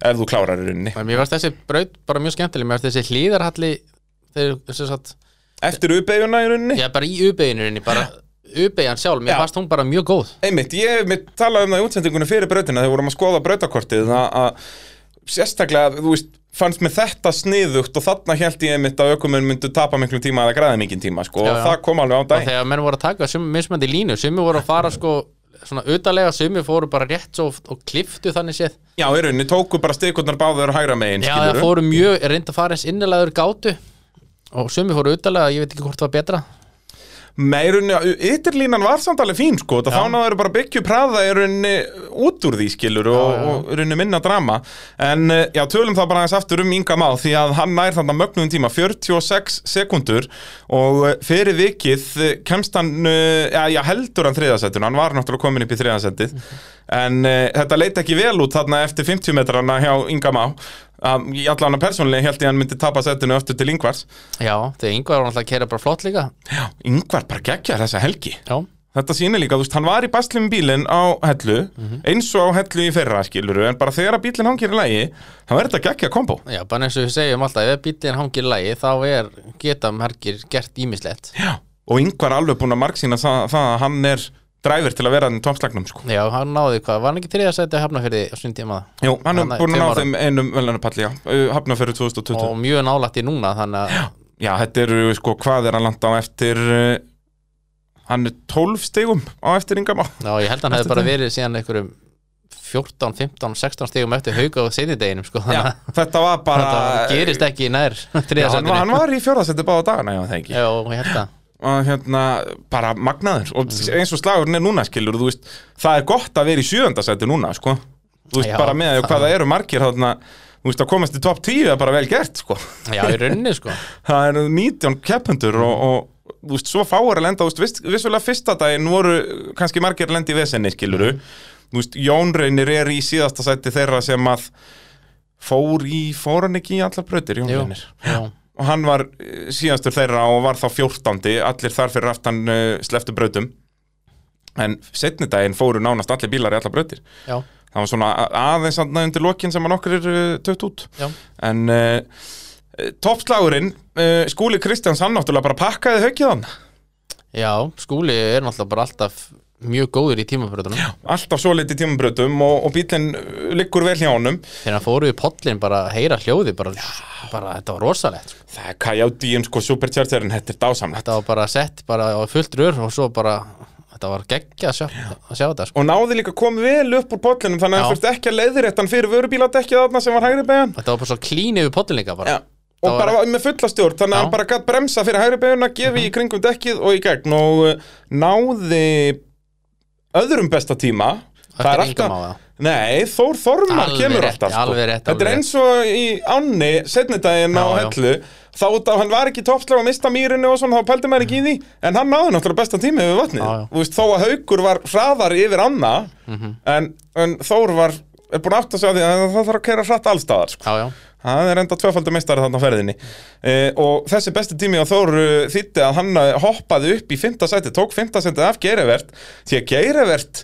Speaker 1: ef þú klárar í rauninni
Speaker 2: en mér varst þessi braut bara mjög skemmtileg mér varst þessi hlýðarhalli þeir, sem sagt,
Speaker 1: Eftir uppeiguna í rauninni
Speaker 2: ég er bara í ubeginurinni bara ubegan sjálf, mér
Speaker 1: Já.
Speaker 2: fannst hún bara mjög góð
Speaker 1: Einmitt, ég hef mitt talað um það í útsendingunum fyrir brautina þegar við vorum að skoða brautakortið að, að sérstaklega, þú veist, fannst mér þetta sniðugt og þarna held ég einmitt að ökumenn myndu tapa miklu tíma eða græða mikinn tíma sko,
Speaker 2: Já,
Speaker 1: og
Speaker 2: já.
Speaker 1: það kom alveg á
Speaker 2: og
Speaker 1: daginn
Speaker 2: þegar menn voru að taka sum, mismandi línu sumi voru að fara sko svona utalega, sumi fóru bara rétt svo og kliftu þannig séð
Speaker 1: Já, í rauninni tóku bara stikurnar báður og hægra megin,
Speaker 2: Já, það
Speaker 1: skilurðu.
Speaker 2: fóru mjög, reyndi að fara eins innilegaður gátu og sumi fóru utalega, ég veit ekki hvort það var betra
Speaker 1: Nei, í rauninni, ytterlínan var samt alveg fín sko, það þá náður bara byggju praða í rauninni út úr því skilur og,
Speaker 2: já.
Speaker 1: og í rauninni minna drama en eh, já, tölum það bara aðeins aftur um Inga Má því að hann nær þannig mögnuðum tíma 46 sekundur og eh, fyrir vikið eh, kemst hann eh, já, já, heldur hann þriðasettun, hann var náttúrulega komin upp í þriðasettið en uh, þetta leit ekki vel út þarna eftir 50 metrana hjá Inga Má um, í allan að persónulega held ég að hann myndi tapa settinu eftir til Ingvars
Speaker 2: Já, þegar Ingvar var alltaf að kera bara flott líka
Speaker 1: Já, Ingvar bara geggjar þessa helgi
Speaker 2: Já,
Speaker 1: Þetta sýnir líka, þú veist, hann var í basli með bílinn á hellu,
Speaker 2: Mhm.
Speaker 1: eins og á hellu í fyrra, skiluru, en bara þegar að bílinn hangir í lægi, þá er þetta geggja kombo.
Speaker 2: já, bara eins og við segjum alltaf ef bíllinn hangir í lagi, þá er geta margir gert ímislegt
Speaker 1: Já. Og Ingvar er alveg búin að marksýna það, það að hann er dræfur til að vera þannig tómslagnum, sko.
Speaker 2: Já, hann náði hvað, var hann ekki þriðasæti að hafna fyrir á sín tíma
Speaker 1: Jú, hann er
Speaker 2: Hann
Speaker 1: búin
Speaker 2: er
Speaker 1: að
Speaker 2: fimm
Speaker 1: ná
Speaker 2: ára.
Speaker 1: þeim einum velunarpalli, já, hafnafyrir 2020.
Speaker 2: og mjög nálætt í núna, þannig að
Speaker 1: Já, þetta eru, sko, hvað er hann landa á eftir, uh, hann er 12 stegum á eftir Ingamá.
Speaker 2: já, ég held að hann hefði bara verið síðan einhverjum 14, 15, 16 stegum eftir hauka á sinnideginum sko,
Speaker 1: Já,
Speaker 2: þannig að
Speaker 1: þetta var bara
Speaker 2: þetta gerist ekki í nær
Speaker 1: Já, hann, var,
Speaker 2: þriðasendinu
Speaker 1: hann var í fjórðasetti báða dagana, já, það ekki
Speaker 2: Já, og hérna
Speaker 1: og hérna, bara magnaður og
Speaker 2: Mhm.
Speaker 1: eins og slagurinn er núna, skilur þú veist, það er gott að vera í sjöðandasetti núna, sko þú veist,
Speaker 2: Já,
Speaker 1: bara með
Speaker 2: það-
Speaker 1: hvað það eru margir þarna, þú veist, að komast í top 10 er bara vel gert, sko
Speaker 2: Já, í rauninni sko
Speaker 1: það eru 19 keppendur og, og þú veist, svo fáir að lenda, þú veist, viss, vissulega fyrsta daginn voru kannski margir að lenda í vesenni, skilur þú veist, Jón Reynir er í síðasta sæti þeirra sem að fór í, fór hann ekki í allar brautir, Jón
Speaker 2: Jú,
Speaker 1: Reynir
Speaker 2: já,
Speaker 1: og hann var eh, síðastur þeirra og var þá 14. allir þar fyrir aftan uh, sleftu brautum en setni daginn fóru nánast allir bílar í allar brautir
Speaker 2: já,
Speaker 1: það var svona a- aðeins aðna undir lokin sem hann okkur er uh, tött út
Speaker 2: já
Speaker 1: en uh, toppslagurinn uh, Skúli Kristjáns hann náttúrulega bara pakkaði höggið hann
Speaker 2: Já, skúli er náttúrulega bara alltaf mjög góður í tímabröðunum
Speaker 1: alltaf svo liti tímabrautum og, og bílinn eh, liggur vel hjá honum
Speaker 2: Þegar hann fóru í pollin bara að heyra hljóði bara, bara þetta var rosalegt sko.
Speaker 1: það er kajátíum sko superchargerinn, þetta er dásamlegt
Speaker 2: Þetta var bara sett bara á fullt rör og svo bara, þetta var geggja að sjá, að sjá þetta sko.
Speaker 1: og náði líka komið vel upp úr bollinum þannig að
Speaker 2: Já.
Speaker 1: hann þurfti ekki að leiðréttan fyrir vörubíladekkið þarna sem var hægri beðan
Speaker 2: Þetta var bara svo klín yfir pollin líka bara
Speaker 1: Já. Og
Speaker 2: Það var-
Speaker 1: bara var... með fulla stjórn, þannig að
Speaker 2: Já.
Speaker 1: hann bara gætt bremsa fyrir hægri beiguna, gefi í kringum dekkið og í gegn og uh, náði öðrum besta tíma. Það er alltaf,
Speaker 2: engum á það.
Speaker 1: nei, Þór Þormar
Speaker 2: Alveg
Speaker 1: kemur
Speaker 2: rétt,
Speaker 1: alltaf sko.
Speaker 2: alveg rétt, alveg
Speaker 1: Þetta er
Speaker 2: rétt.
Speaker 1: eins og í Anni, setnidaginn á
Speaker 2: Já, já.
Speaker 1: Hellu, þá út af hann var ekki toppslag og mista mýrinu og svona, þá pældi maður ekki í því, en hann náði náttúrulega besta tíma yfir vatnið.
Speaker 2: Já, Mhm. já.
Speaker 1: Þú veist, þó að Haukur var hraðar yfir Anna, en, en Þór var, er búin aftur að segja því að það þarf að kera hratt allstaðar, sko.
Speaker 2: Já, já,
Speaker 1: Það er enda tvöfaldur meistari þarna á ferðinni eh, og þessi besti tími á Þór eh, þýddi að hann eh, hoppaði upp í fymta sæti, tók fymta sæti af Geirivert því að Geirivert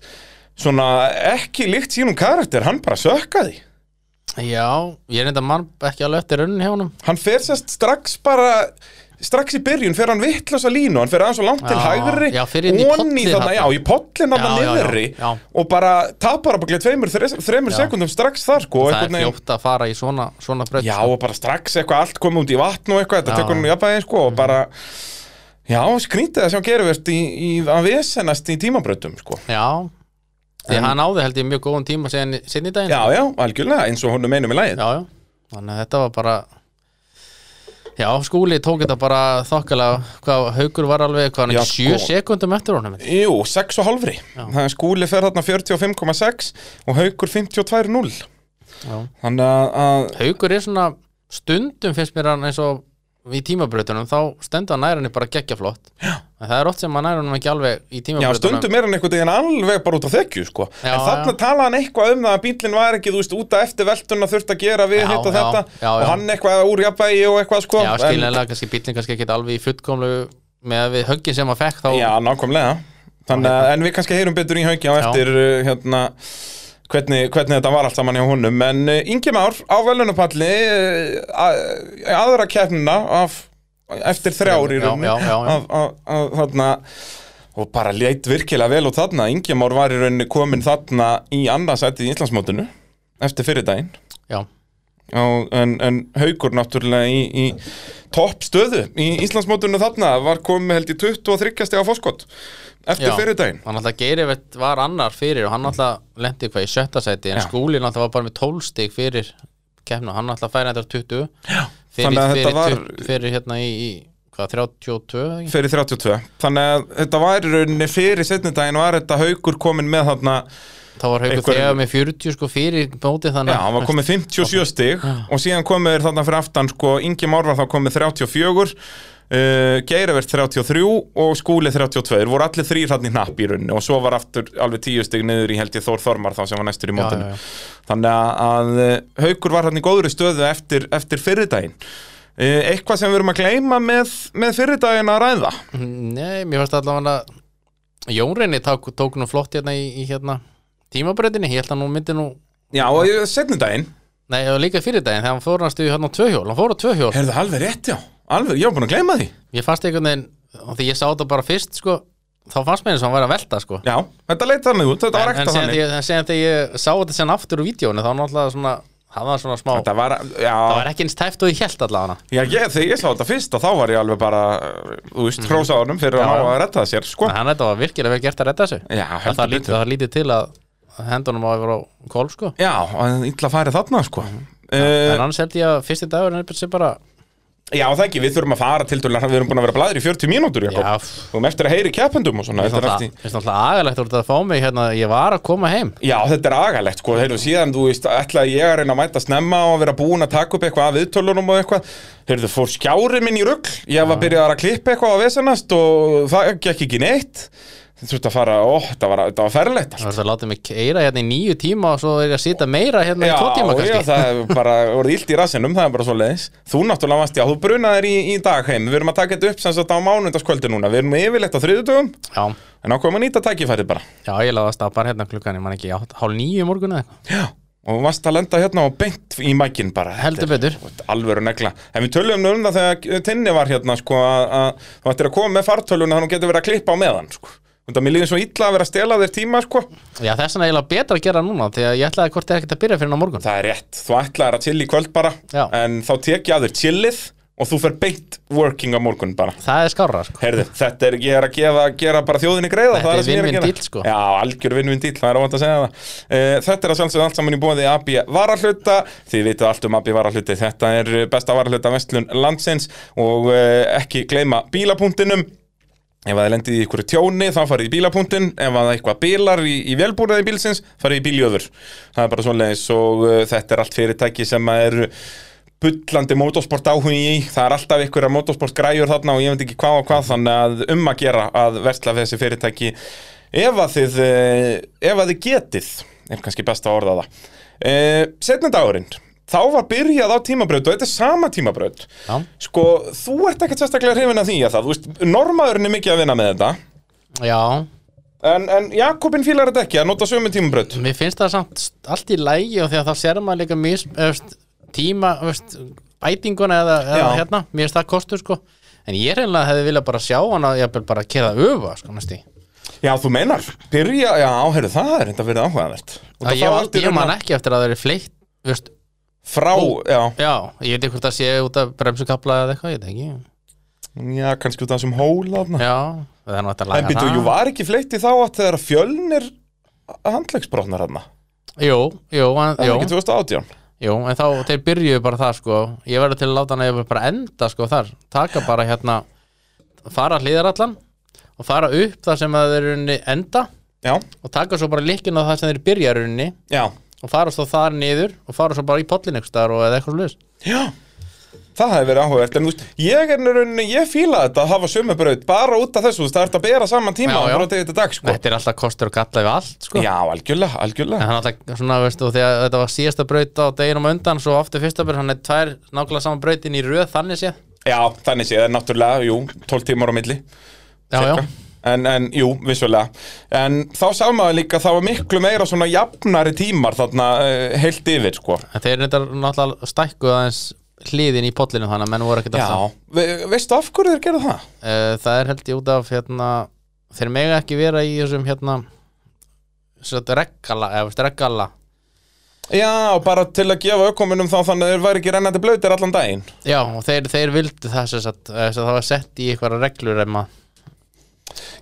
Speaker 1: svona ekki líkt sínum karakter, hann bara sökkaði
Speaker 2: já, ég er enda mann ekki alveg eftir raunin hjá honum
Speaker 1: hann fer sérst strax bara strax í byrjun fer hann vittlösa línu hann fer aðeins og langt til
Speaker 2: Já,
Speaker 1: hægri
Speaker 2: já, fer inn í
Speaker 1: onni
Speaker 2: pollinn
Speaker 1: þarna, já,
Speaker 2: þarna.
Speaker 1: í pollin þarna
Speaker 2: Já, já, já,
Speaker 1: niðurri
Speaker 2: já.
Speaker 1: og bara tapar að baklega tveimur, þre- þremur
Speaker 2: Já.
Speaker 1: sekundum strax þar sko,
Speaker 2: Það
Speaker 1: einhvern
Speaker 2: er
Speaker 1: veginn-
Speaker 2: fljótt að fara í svona, svona bröð
Speaker 1: Já og bara strax eitthvað allt komið út í vatn og eitthvað, þetta
Speaker 2: Já.
Speaker 1: tekur hann jafnvægi sko og bara Já, skrýntið að sjá geruvert í, í að vesennast í tímabrautum sko
Speaker 2: já Því
Speaker 1: En-
Speaker 2: hann áði held ég mjög góðan tíma sen, sinni daginn
Speaker 1: Já, já, algjörlega, eins og honum einum í lagið
Speaker 2: já, já. Þannig að þetta var bara Já, skúli tók þetta bara þokkalega hvað haukur var alveg, hvað hann
Speaker 1: Já,
Speaker 2: ekki sjö
Speaker 1: sko.
Speaker 2: sekundum eftir honum
Speaker 1: Jú, 6 og halvri
Speaker 2: Já.
Speaker 1: Það er skúli fer þarna 45,6 og haukur 52,0
Speaker 2: já.
Speaker 1: Þannig að, að
Speaker 2: Haukur er svona stundum finnst mér hann eins og í tímabrautunum þá stendur hann nærunni bara geggja flott en það er oft sem hann nærunum ekki alveg í
Speaker 1: Já,
Speaker 2: tímabrautunum
Speaker 1: stundum er hann einhvern veginn alveg bara út á þekju, sko.
Speaker 2: Já,
Speaker 1: en þarna
Speaker 2: já.
Speaker 1: talaði hann eitthvað um það að bílinn var ekki, þú veist, út af eftir veltuna þurft að gera við
Speaker 2: Já,
Speaker 1: hitt og
Speaker 2: já,
Speaker 1: þetta
Speaker 2: já, já.
Speaker 1: og hann eitthvað úr jafnvægi og eitthvað, sko.
Speaker 2: Já,
Speaker 1: En-
Speaker 2: skiljanlega, kannski bíllinn kannski ekki alveg í fullkomlu með að við höggin sem hann fekk þá
Speaker 1: Já, nákvæmlega Þannig að, en við kannski heyrum betur í hauki á
Speaker 2: Já.
Speaker 1: eftir uh, hérna, hvernig, hvernig þetta var allt saman hjá honum En uh, Ingi Már á velunapalli uh, aðra keppnina af, eftir þrjár í
Speaker 2: Já,
Speaker 1: rauninni
Speaker 2: já, já, já.
Speaker 1: af- af- af þarna og bara leit virkilega vel út þarna Ingi Már var í rauninni komin þarna í annarsætið í Íslandsmótinu eftir fyrir daginn
Speaker 2: Já,
Speaker 1: Já, en, en haukur náttúrulega í, í toppstöðu í Íslandsmótinu þarna var komið held í 23. á fóskot eftir
Speaker 2: Já.
Speaker 1: fyrir daginn
Speaker 2: hann alltaf Geirivert var annar fyrir og hann alltaf lendi hvað í sjötta sæti en
Speaker 1: Mm. Já.
Speaker 2: skúlinn alltaf var bara með 12 stig fyrir kemna, hann alltaf færi þetta 20 Já, fyrir,
Speaker 1: þannig að þetta
Speaker 2: fyrir,
Speaker 1: var-
Speaker 2: tu- fyrir hérna í, í hvað, 32 eða ekki?
Speaker 1: fyrir 32 þannig að þetta var í rauninni fyrir setni daginn var þetta haukur komin með þarna
Speaker 2: þá var haugur
Speaker 1: Einhver-
Speaker 2: þegar með 40 sko fyrir móti
Speaker 1: já,
Speaker 2: þannig að-
Speaker 1: hann var komið 57 stig og síðan komið þeir þarna fyrir aftan sko, Ingi Már var þá komið 34 Uh, Geiravert 33 og Skúli 32 Þeir voru allir þrýr hann í hnapp í rauninni og svo var aftur alveg tíu stig niður í held ég Þór Þormar þá sem var næstur í
Speaker 2: Já,
Speaker 1: mótinu
Speaker 2: já, já.
Speaker 1: Þannig að, að eh, Haukur var hann í góðri stöðu eftir, eftir fyrirdaginn. Eh, Eitthvað sem við erum að gleyma með, með fyrirdaginn að ræða.
Speaker 2: Nei, mér fannst allavega að Jón Reyni tók, tók nú flott hérna í, í hérna tímabreytinni, ég held að nú myndi nú
Speaker 1: Já, og setni daginn.
Speaker 2: Nei, og líka fyrir daginn þegar hann fór hann stuði hérna á tvöhjól, hann fór á tvöhjól
Speaker 1: Er það alveg rétt, já? Alveg, ég var búin að gleyma því.
Speaker 2: Ég fannst einhvern veginn, og því ég sá þetta bara fyrst sko, þá fannst mér eins og hann væri að velta sko
Speaker 1: Já, þetta leit þannig út, þetta var
Speaker 2: en
Speaker 1: ekta
Speaker 2: segja
Speaker 1: þannig.
Speaker 2: þegar ég, segja þegar ég sá þetta sen aftur úr vídjónu þá náttúrulega svona, það var svona smá
Speaker 1: Þetta var, já,
Speaker 2: það var ekki eins tæft og ég held allavega
Speaker 1: já ég, þegar ég sá þetta fyrst og þá var ég alveg bara, eh, þú veist, hrósa honum fyrir að
Speaker 2: Já,
Speaker 1: ná
Speaker 2: já.
Speaker 1: að retta sér, sko.
Speaker 2: en hann þetta var virkilega vel gert að redda þessu
Speaker 1: Já,
Speaker 2: það
Speaker 1: heldur
Speaker 2: var lítið,
Speaker 1: betur.
Speaker 2: það var lítið til að hendunum á yfir á kolf sko
Speaker 1: Já, og illa farið þarna sko
Speaker 2: En
Speaker 1: uh,
Speaker 2: annars held ég að fyrsti dagur er sem bara
Speaker 1: Já, það ekki, við þurfum að fara til dæla Við erum búin að vera blæðir í 40 mínútur, Jakob
Speaker 2: Já,
Speaker 1: Við erum eftir að heyri keppendum og svona
Speaker 2: finnst
Speaker 1: þetta er
Speaker 2: alltaf,
Speaker 1: allt í-
Speaker 2: finnst alltaf agalegt úr þetta að fá mig hérna Ég var að koma heim
Speaker 1: Já, þetta er agalegt, sko, heyrðu, síðan, þú veist, ætlaði ég að reyna að mæta snemma og vera búin að taka upp eitthvað af viðtölunum og eitthvað, heyrðu, fór skjárið minn í rugl, ég var byrjað að klippa eitthvað á vesenast og það gekk ekki neitt, þú veist að fara, ó, þetta var, þetta var ferlegt,
Speaker 2: Það var það að láta mig keira hérna í nýju tíma og svo er ég að sita meira hérna í tvo tíma
Speaker 1: já,
Speaker 2: kannski
Speaker 1: það hefur bara voruð illt í rassinum, það er bara svo leiðis. Þú náttúrulega varst, já, þú brunaðir í, í dag heim. Við erum að taka þetta upp sem sagt á mánundaskvöldi núna. Við erum yfirleitt á þriðutugum,
Speaker 2: Já,
Speaker 1: en ákveðum að nýta tækifærið bara.
Speaker 2: já, ég laði að stappa hérna klukkan, ég man ekki, já, hálf nýju morgun eða eitthvað
Speaker 1: Já. Og varst að lenda hérna og beint í mækinn bara.
Speaker 2: Heldur betur.
Speaker 1: Alvöru negla. En við töluðum nú um það þegar Tinni var hérna, sko, að að þú ættir að koma með fartöluna þannig að hún getur verið að klippa á meðan, sko. Þannig að mér líður svo illa að vera að stela þér tíma, sko.
Speaker 2: Já, þess vegna er eiginlega betra að gera núna Þegar ég ætlaði hvort er ekkert að byrja fyrir á morgun
Speaker 1: Það er rétt, þú ætlaðir að chill í kvöld bara
Speaker 2: Já.
Speaker 1: En þá tek ég að þér chillið Og þú fer beint working á morgun bara
Speaker 2: Það er skárra, sko
Speaker 1: Herðu, þetta er, ég er að gefa, gera bara þjóðinni greiða
Speaker 2: Þetta
Speaker 1: það
Speaker 2: er
Speaker 1: það sem ég að
Speaker 2: win-win
Speaker 1: gera.
Speaker 2: deal, sko.
Speaker 1: Já, algjör vinn-vinn dýll, það er óvænt að segja það uh, Þetta er að sjálfsögðu allt saman í bóði AB Varahluta Þið vitið allt um AB Varahluti Þetta er eh, besta varahluta vestlun landsins Og uh, ekki gleyma bílapunktinum Ef að þið lendið í ykkur tjóni, þá farið í bílapunktin Ef að það eitthvað bílar í, í velbúnaði bílsins, farið í bíljöður Það er bara svoleiðis og uh, þetta er allt fyrirtæki sem að er bullandi motorsport áhugi í Það er alltaf ykkur að motorsport græjur þarna og ég veit ekki hvað og hvað Þannig að um að gera að versla við þessi fyrirtæki Ef að þið, uh, ef að þið getið, er kannski best að orða það uh, Setna dagurinn, þá var byrjað á tímabraut og þetta er sama tímabraut
Speaker 2: Já,
Speaker 1: Sko, þú ert ekkert sérstaklega hrifin að því að það, þú veist, normaðurinn er mikið að vinna með þetta
Speaker 2: já,
Speaker 1: En, en Jakobin fílar þetta ekki að nota sömu tímabraut
Speaker 2: Mér finnst það samt allt í lægi og því að þá sér maður líka mis, öfst, tíma öfst, bætinguna eða, eða
Speaker 1: Já.
Speaker 2: hérna, mér finnst það kostur sko en ég reynilega hefði viljað bara sjá hana ég hefði bara keða öfa sko næst í
Speaker 1: Já, þú meinar, byrja, já, heyrðu, það er enda verið áhugavert Og
Speaker 2: Það
Speaker 1: það
Speaker 2: ég,
Speaker 1: fá
Speaker 2: var-
Speaker 1: allt í
Speaker 2: ég
Speaker 1: raun
Speaker 2: man
Speaker 1: að-
Speaker 2: ekki eftir að það er fleitt veist,
Speaker 1: Frá, já,
Speaker 2: já, ég veit ekki hvort það sé út af bremsukapla eða eitthvað, ég veit ekki
Speaker 1: já, kannski út af þessum hóla þarna.
Speaker 2: Já, það er náttúrulega
Speaker 1: En býtu, jú, var ekki fleitt í þá að þegar fjölnir handlegsbrotnar hann
Speaker 2: Jú, jú, en,
Speaker 1: Það er
Speaker 2: jú,
Speaker 1: ekki 2018
Speaker 2: jú, en þá þeir byrjuðu bara það sko ég verður til að láta hana ég bara enda sko þar taka bara hérna fara hlýðarallan og fara upp þar sem að þeir runni enda
Speaker 1: Já,
Speaker 2: og taka svo bara líkin á það sem þeir byrja runni
Speaker 1: já,
Speaker 2: og fara svo þar niður og fara svo bara í pollin einhvers staðar og eða eitthvað slúðis
Speaker 1: já Það hefði verið áhugavert, en þú veist, ég er rauninni, ég fíla þetta að hafa sömubraut bara út af þessu, þú veist, það ert að bera saman tíma
Speaker 2: Já,
Speaker 1: og
Speaker 2: já.
Speaker 1: bara til þetta dag, sko.
Speaker 2: Þetta er alltaf kostur og galla við allt sko
Speaker 1: Já, algjörlega,
Speaker 2: En
Speaker 1: algjörlega.
Speaker 2: hann alltaf svona, veist þú, þegar þetta var síðasta braut á deginum á undan, svo aftur fyrsta braut, hann er tvær nákvæmlega saman brautin í röð, þannig séð.
Speaker 1: Já, þannig séð, en náttúrulega, jú, 12 tímar á milli.
Speaker 2: Já, já,
Speaker 1: cirka. En, en, jú, vissulega. En þá sá maður líka, það var miklu meira svona jafnari tímar þarna uh, heilt yfir, sko.
Speaker 2: en þeir reyndar náttúrulega stækkuð aðeins hliðin í pollinu þannig að menn voru ekkert alltaf.
Speaker 1: Já, Ve veistu af hverju þeir gerðu það?
Speaker 2: Uh, það er held ég út af, hérna, þeir mega ekki vera í þessum, hérna, svona reggala, eða veist, reggala.
Speaker 1: Já, bara til að gefa ökominum þá þannig að þeir væri ekki rennandi blöytir allan daginn.
Speaker 2: Já, og þeir, þeir vildu það sem sagt, eh, sem það var sett í eitthvað reglur um ef maður,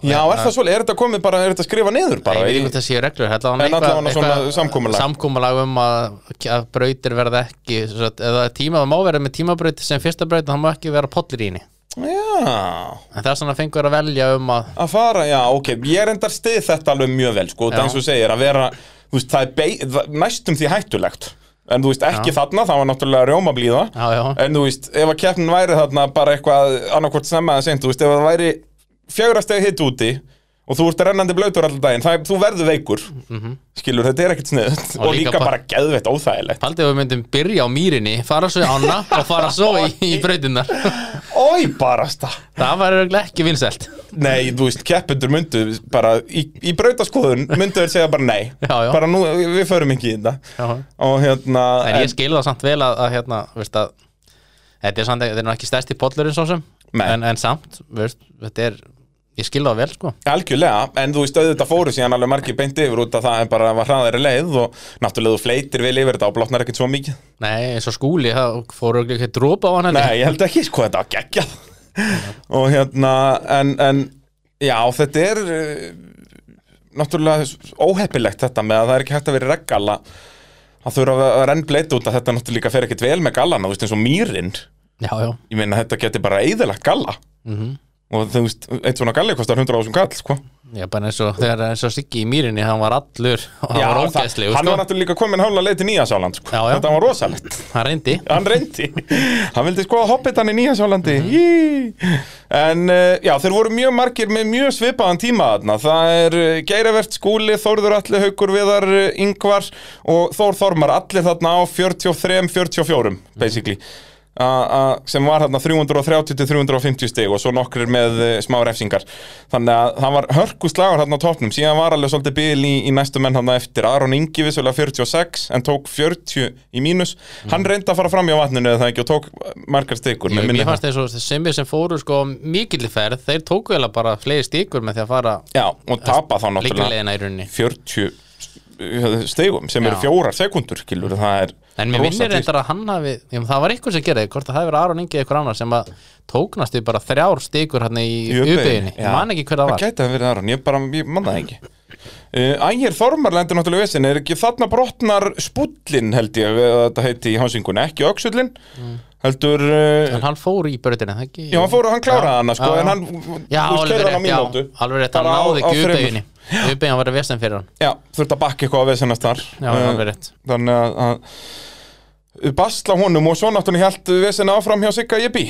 Speaker 1: Já, er það svolítið, er þetta komið bara, er þetta skrifað niður
Speaker 2: Nei,
Speaker 1: bara?
Speaker 2: ég veit
Speaker 1: í-
Speaker 2: ekki hvort það séu reglur allavega
Speaker 1: En
Speaker 2: eitthvað-
Speaker 1: allavega svona
Speaker 2: eitthvað
Speaker 1: samkomulag.
Speaker 2: samkomulag um að, að brautir verða ekki sem sagt, eða tíma, það má vera með tímabrauti sem fyrsta brauti, það má ekki vera pollir í henni
Speaker 1: Já,
Speaker 2: en það er svona fengur að velja um að
Speaker 1: að fara, já, ok, ég er endar stið þetta alveg mjög vel, sko, það
Speaker 2: Já.
Speaker 1: eins og þú segir að vera, þú veist, það er bei, það, næstum því hættulegt, en þú veist, ekki þarna, það var náttúrulega rjómablíða,
Speaker 2: já, já,
Speaker 1: en þú veist, ef að keppnin væri þarna bara eitthvað annarkvort snemma að seint, þú veist, ef það væri fjögra steg hitt úti og þú ert rennandi blautur allan daginn, það, er- þú verður veikur, skilur, þetta er ekkert sniðut og,
Speaker 2: Mhm. Og líka
Speaker 1: líka,
Speaker 2: bara-
Speaker 1: bara geðveitt óþægilegt.
Speaker 2: Paldið við myndum byrja á mýrinni, fara svo í ána og fara svo í, í brautinnar
Speaker 1: Ói, barasta!
Speaker 2: Það var örugglega ekki vinsælt
Speaker 1: Nei, þú veist, keppendur myndu bara í, í brautaskoðun myndu þeir segja bara nei
Speaker 2: Já, já.
Speaker 1: bara nú, við við förum ekki í þetta
Speaker 2: Já.
Speaker 1: og hérna
Speaker 2: En ég skil það samt vel að, að hérna, veist að Þetta er samt, þetta er nú ekki stærsti pollurinn svo sem
Speaker 1: Nei.
Speaker 2: en, en samt, veist, þetta er Ég skil það vel, sko
Speaker 1: algjörlega, en þú veist, auðvitað fóru síðan alveg margir beint yfir út að það er bara var hraðari leið og náttúrulega þú fleitir vel yfir þetta og blotnar ekkert svo mikið
Speaker 2: Nei, eins og skúli, það fóru ekki eitthvað dropa á hann held ég.
Speaker 1: Nei, ég held ekki, sko, þetta var geggjað og hérna, en, en já, þetta er eh, náttúrulega s- óheppilegt þetta með að það er ekki hægt að vera í reggala að þurfa að- að renn bleit út að þetta náttúrulega líka fer ekkit vel með gallana, þú veist eins og mýrin
Speaker 2: já, já,
Speaker 1: ég meina þetta geti bara eðilagt galla
Speaker 2: mhm
Speaker 1: og þú veist, eitt svona galli kostar 100 ásum kall, sko
Speaker 2: Já, bara eins og þegar eins og Siggi í mýrinni, hann var allur og hann
Speaker 1: Já,
Speaker 2: var
Speaker 1: það-
Speaker 2: ógæslegu,
Speaker 1: Hann
Speaker 2: sko,
Speaker 1: var náttúrulega líka komin hálfa leið til Nýjasjáland, sko
Speaker 2: Já, já.
Speaker 1: Þetta var rosalegt
Speaker 2: hann reyndi
Speaker 1: hann reyndi hann vildi skoða hoppitann í Nýjasjólandi mm. en uh, já, þeir voru mjög margir með mjög svipaðan tíma þarna það er uh, Geiravert skúli, Þórður Alli Haukur Viðar uh, Ingvar og Þór Þormar, allir þarna á 43-44 basically A, a, sem var þarna 330-350 stig og svo nokkrir með uh, smá refsingar þannig að hann var hörkuslagur þarna á topnum síðan var alveg svolítið bil í, í næstu menn þarna eftir Aron Ingi vissulega 46 en tók 40 í mínus hann reyndi að fara fram hjá vatninu eða það ekki og tók margar stikur
Speaker 2: Mm. Ég,
Speaker 1: með minni
Speaker 2: Mér fannst eins og semir sem fóru sko mikilli ferð, þeir tóku eða bara fleiri stíkur með því að fara
Speaker 1: já, og tapa þá náttúrulega
Speaker 2: líkulegina í rauninni
Speaker 1: 40 stigum sem eru
Speaker 2: Já.
Speaker 1: fjórar sekundur kilur, það er
Speaker 2: En mér
Speaker 1: rosa
Speaker 2: vinnir
Speaker 1: dýrt.
Speaker 2: reyndar að hann hafi já, það var eitthvað sem gerði, hvort það hefur Aron Ingi eða eitthvað annar sem að tóknast í bara þrjár stíkur hann í
Speaker 1: Í UPI.
Speaker 2: uppeginni, ég
Speaker 1: Já.
Speaker 2: man ekki hver það var
Speaker 1: gæti að verið Aron, ég bara, ég manna það ekki uh, Ægir Þormar lendur náttúrulega í vesinn Er ekki þarna brotnar spúllin held ég Eða þetta heiti í hansingunni, ekki öxullin Heldur uh,
Speaker 2: Mm. En hann fór í bröðinni, það ekki
Speaker 1: Já, hann fór og hann kláraði hana sko
Speaker 2: Já.
Speaker 1: En hann,
Speaker 2: Já,
Speaker 1: þú veist,
Speaker 2: alveg
Speaker 1: keyrði hann á
Speaker 2: rétt,
Speaker 1: mínútu.
Speaker 2: já, alveg rétt, hann
Speaker 1: Bara á-
Speaker 2: náði
Speaker 1: á
Speaker 2: ekki
Speaker 1: þremur.
Speaker 2: uppeginni Uppegin var að vestan fyrir hann
Speaker 1: Já, þurfti að bakka eitthvað að vesennast þar
Speaker 2: Já,
Speaker 1: Eh,
Speaker 2: alveg rétt
Speaker 1: Þannig að, að Basla honum og svo náttúrulega held vesinn áfram hjá Sigga Jibbi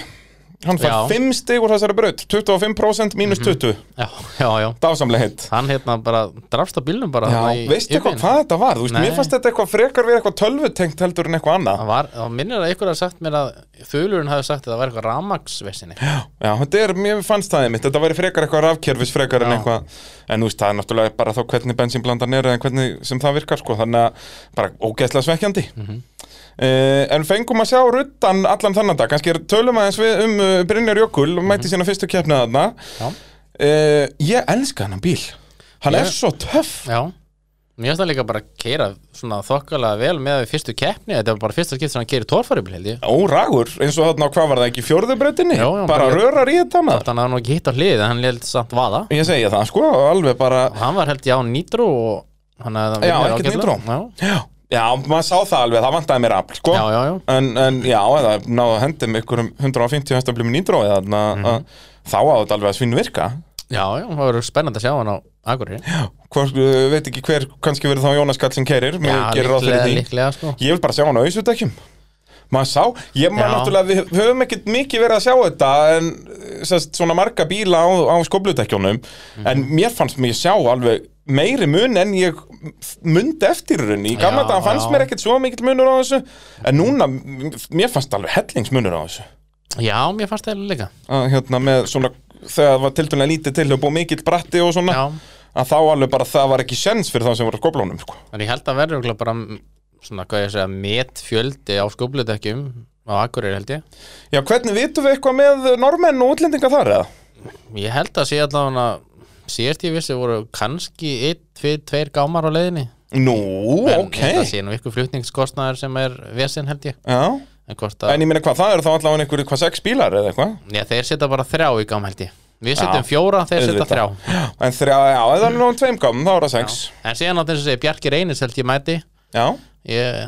Speaker 1: Hann fær
Speaker 2: Já. Mhm.
Speaker 1: 5 stig úr þessari braut 25% mínus 20
Speaker 2: Já, já, já
Speaker 1: Dásamlega hitt
Speaker 2: hann hérna bara drafst á bílnum bara
Speaker 1: Já,
Speaker 2: þarna í-
Speaker 1: veistu
Speaker 2: í
Speaker 1: eitthvað
Speaker 2: beinni.
Speaker 1: hvað þetta var? Þú veist, mér
Speaker 2: Nei.
Speaker 1: fannst þetta eitthvað frekar við eitthvað tölvutengt heldur en eitthvað annað
Speaker 2: það var, þá minnir að ykkur hafði sagt mér að þulurinn hafði sagt að það var eitthvað ramagsvesinni
Speaker 1: Já, þetta er, mér fannst það einmitt, þetta væri frekar eitthvað rafkerfis frekar en
Speaker 2: Já.
Speaker 1: eitthvað En þú veist, það er náttúrulega bara þá hvernig bensínblandan er eða hvernig sem það virkar sko Þannig að bara ógeðslega svekkjandi
Speaker 2: Mhm.
Speaker 1: uh, En fengum að sjá ruttan allan þennan dag, kannski er- tölum aðeins við um uh, Brynjar Jökul og mætti sína fyrstu keppnið þarna
Speaker 2: Mhm. Já.
Speaker 1: uh, Ég elska hennan bíl, hann
Speaker 2: Ég-
Speaker 1: er svo töff
Speaker 2: já, mér finnst það líka bara að keira svona þokkalega vel með við fyrstu keppni þetta var bara fyrsta skipt sem hann keiri torfarubíl held ég
Speaker 1: Óragur, eins og þarna á hvað var það ekki fjórðubreytinni,
Speaker 2: Já,
Speaker 1: bara
Speaker 2: já, bara-
Speaker 1: rörar í þetta maður
Speaker 2: þannig að hann var ekki hitt á hlið en hann held samt vaða
Speaker 1: Ég segja það sko, alveg bara
Speaker 2: og hann var held ég á nýtrú og hann hafði það
Speaker 1: Já,
Speaker 2: virkar
Speaker 1: ekkert
Speaker 2: ágætlega.
Speaker 1: Já, já maður sá það alveg, það vantaði mér afl sko.
Speaker 2: já, já, já, já
Speaker 1: En, en já, eða náðu að hendi með ykkur um 150 hestablum í nýndró eða þarna,
Speaker 2: Mhm.
Speaker 1: að- þá á þetta alveg að svínu virka
Speaker 2: Já, já, það verður spennandi að sjá hann á Akureyri Já,
Speaker 1: Hvor, uh, veit ekki hver, kannski verið þá Jónas Kall sem kerir, mér gerir ráð
Speaker 2: líklega,
Speaker 1: fyrir því
Speaker 2: líklega sko
Speaker 1: Ég vil bara sjá hann á auðsutækjum Maður sá, ég maður
Speaker 2: Já.
Speaker 1: náttúrulega, við við höfum ekkert mikið verið að sjá þetta en sest, svona marga bíla á, á skoblutækjunum en mér fannst mér sjá alveg meiri mun en ég mundi eftir í rauninni, í gamla
Speaker 2: Já,
Speaker 1: dag fannst
Speaker 2: já.
Speaker 1: mér ekkert svo mikill munur á þessu en núna, m- mér fannst alveg hellingsmunur á þessu
Speaker 2: Já, mér fannst það líka
Speaker 1: að, hérna, með svona, þegar það var tildulega lítið tilhjöp og mikill bratti og svona
Speaker 2: Já,
Speaker 1: að þá alveg bara það var ekki sjens fyrir þá sem voru á skoblunum sko.
Speaker 2: En ég held að verður örugglega bara mm, svona, hvað ég að segja, metfjöldi á skóplutekjum á Akureyri held ég
Speaker 1: Já, hvernig vitum við eitthvað með normenn og útlendinga þar eða?
Speaker 2: Ég held að sé allavega síðast ég vissi voru kannski 1-2 gámar á leiðinni
Speaker 1: Nú,
Speaker 2: En
Speaker 1: ok
Speaker 2: ég held að sé nú ykkur flutningskostnaður sem er vesinn held ég
Speaker 1: Já,
Speaker 2: En hvort að,
Speaker 1: en ég meina hvað, það eru þá allavega einhverju hvað sex bílar eða eitthvað
Speaker 2: já þeir setja bara þrjá í gám held ég Við setjum
Speaker 1: Já,
Speaker 2: fjóra, þeir setja
Speaker 1: auðvitað.
Speaker 2: þrjá
Speaker 1: En þrjá, já, eða nú um tveim gámum, þá eru það sex
Speaker 2: En síðan átt eins og segja, Bjarki Reynis held ég mæti
Speaker 1: Já,
Speaker 2: ég,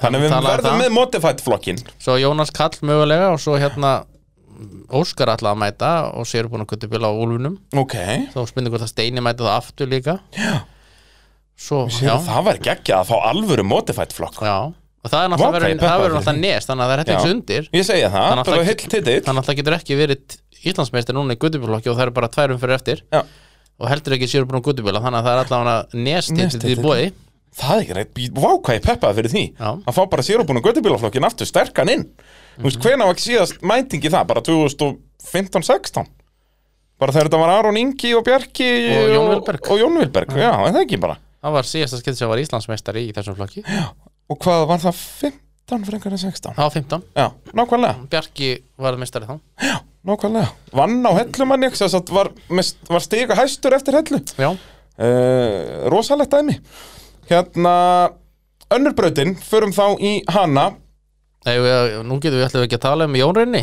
Speaker 1: þannig við
Speaker 2: talaði um
Speaker 1: verðum
Speaker 2: það.
Speaker 1: með modified flokkin
Speaker 2: Svo Jónas Kall mögulega og svo hérna Óskar allavega að mæta og sér búin að kuttu bila á úlfunum
Speaker 1: Ok,
Speaker 2: þá spynni hvort að Steini mæti það aftur líka já svo, já,
Speaker 1: já. það var geggjað að fá alvöru modified flokk
Speaker 2: já og það
Speaker 1: Vá, hvað
Speaker 2: er náttúrulega
Speaker 1: ég
Speaker 2: verið,
Speaker 1: peppaður
Speaker 2: það verður
Speaker 1: fyrir
Speaker 2: náttúrulega nest þannig að það er þetta
Speaker 1: Já.
Speaker 2: ekki undir
Speaker 1: Ég segja það,
Speaker 2: Þannig að
Speaker 1: bara
Speaker 2: það-
Speaker 1: heill titill
Speaker 2: þannig að það getur ekki verið Íslandsmeistir núna í Gutubjörnflokki og það eru bara tværum fyrir eftir
Speaker 1: Já.
Speaker 2: og heldur ekki sér búin á Gutubjörn þannig að það er allavega nest til
Speaker 1: Nestill.
Speaker 2: því bóði
Speaker 1: Það er ekki, vá hvað ég peppaði fyrir því
Speaker 2: Já.
Speaker 1: Að fá bara sérubúinu göttubílaflokkin aftur sterkan inn Þú veist, hvenær var síðast mætingi það, bara 2015-16 Bara þegar þetta var Aron Ingi og Bjarki
Speaker 2: Og Jón Vilberg.
Speaker 1: og, og Jón Vilberg, já, en það ekki bara
Speaker 2: það var síðast að skipta sem var Íslandsmeistari í þessum flokki það
Speaker 1: Og hvað var það 15 frekar en 16?
Speaker 2: var 15,
Speaker 1: Já, nákvæmlega,
Speaker 2: Bjarki var meistari þá
Speaker 1: nákvæmlega Vann á hellu manni, þess að var, mest- var stiga hæstur eftir hellu
Speaker 2: já,
Speaker 1: uh, Rosalegt dæmi Hérna, önnur brautin, förum þá í hana
Speaker 2: Eða, við- nú getum við allir ekki að tala um Jón Reyni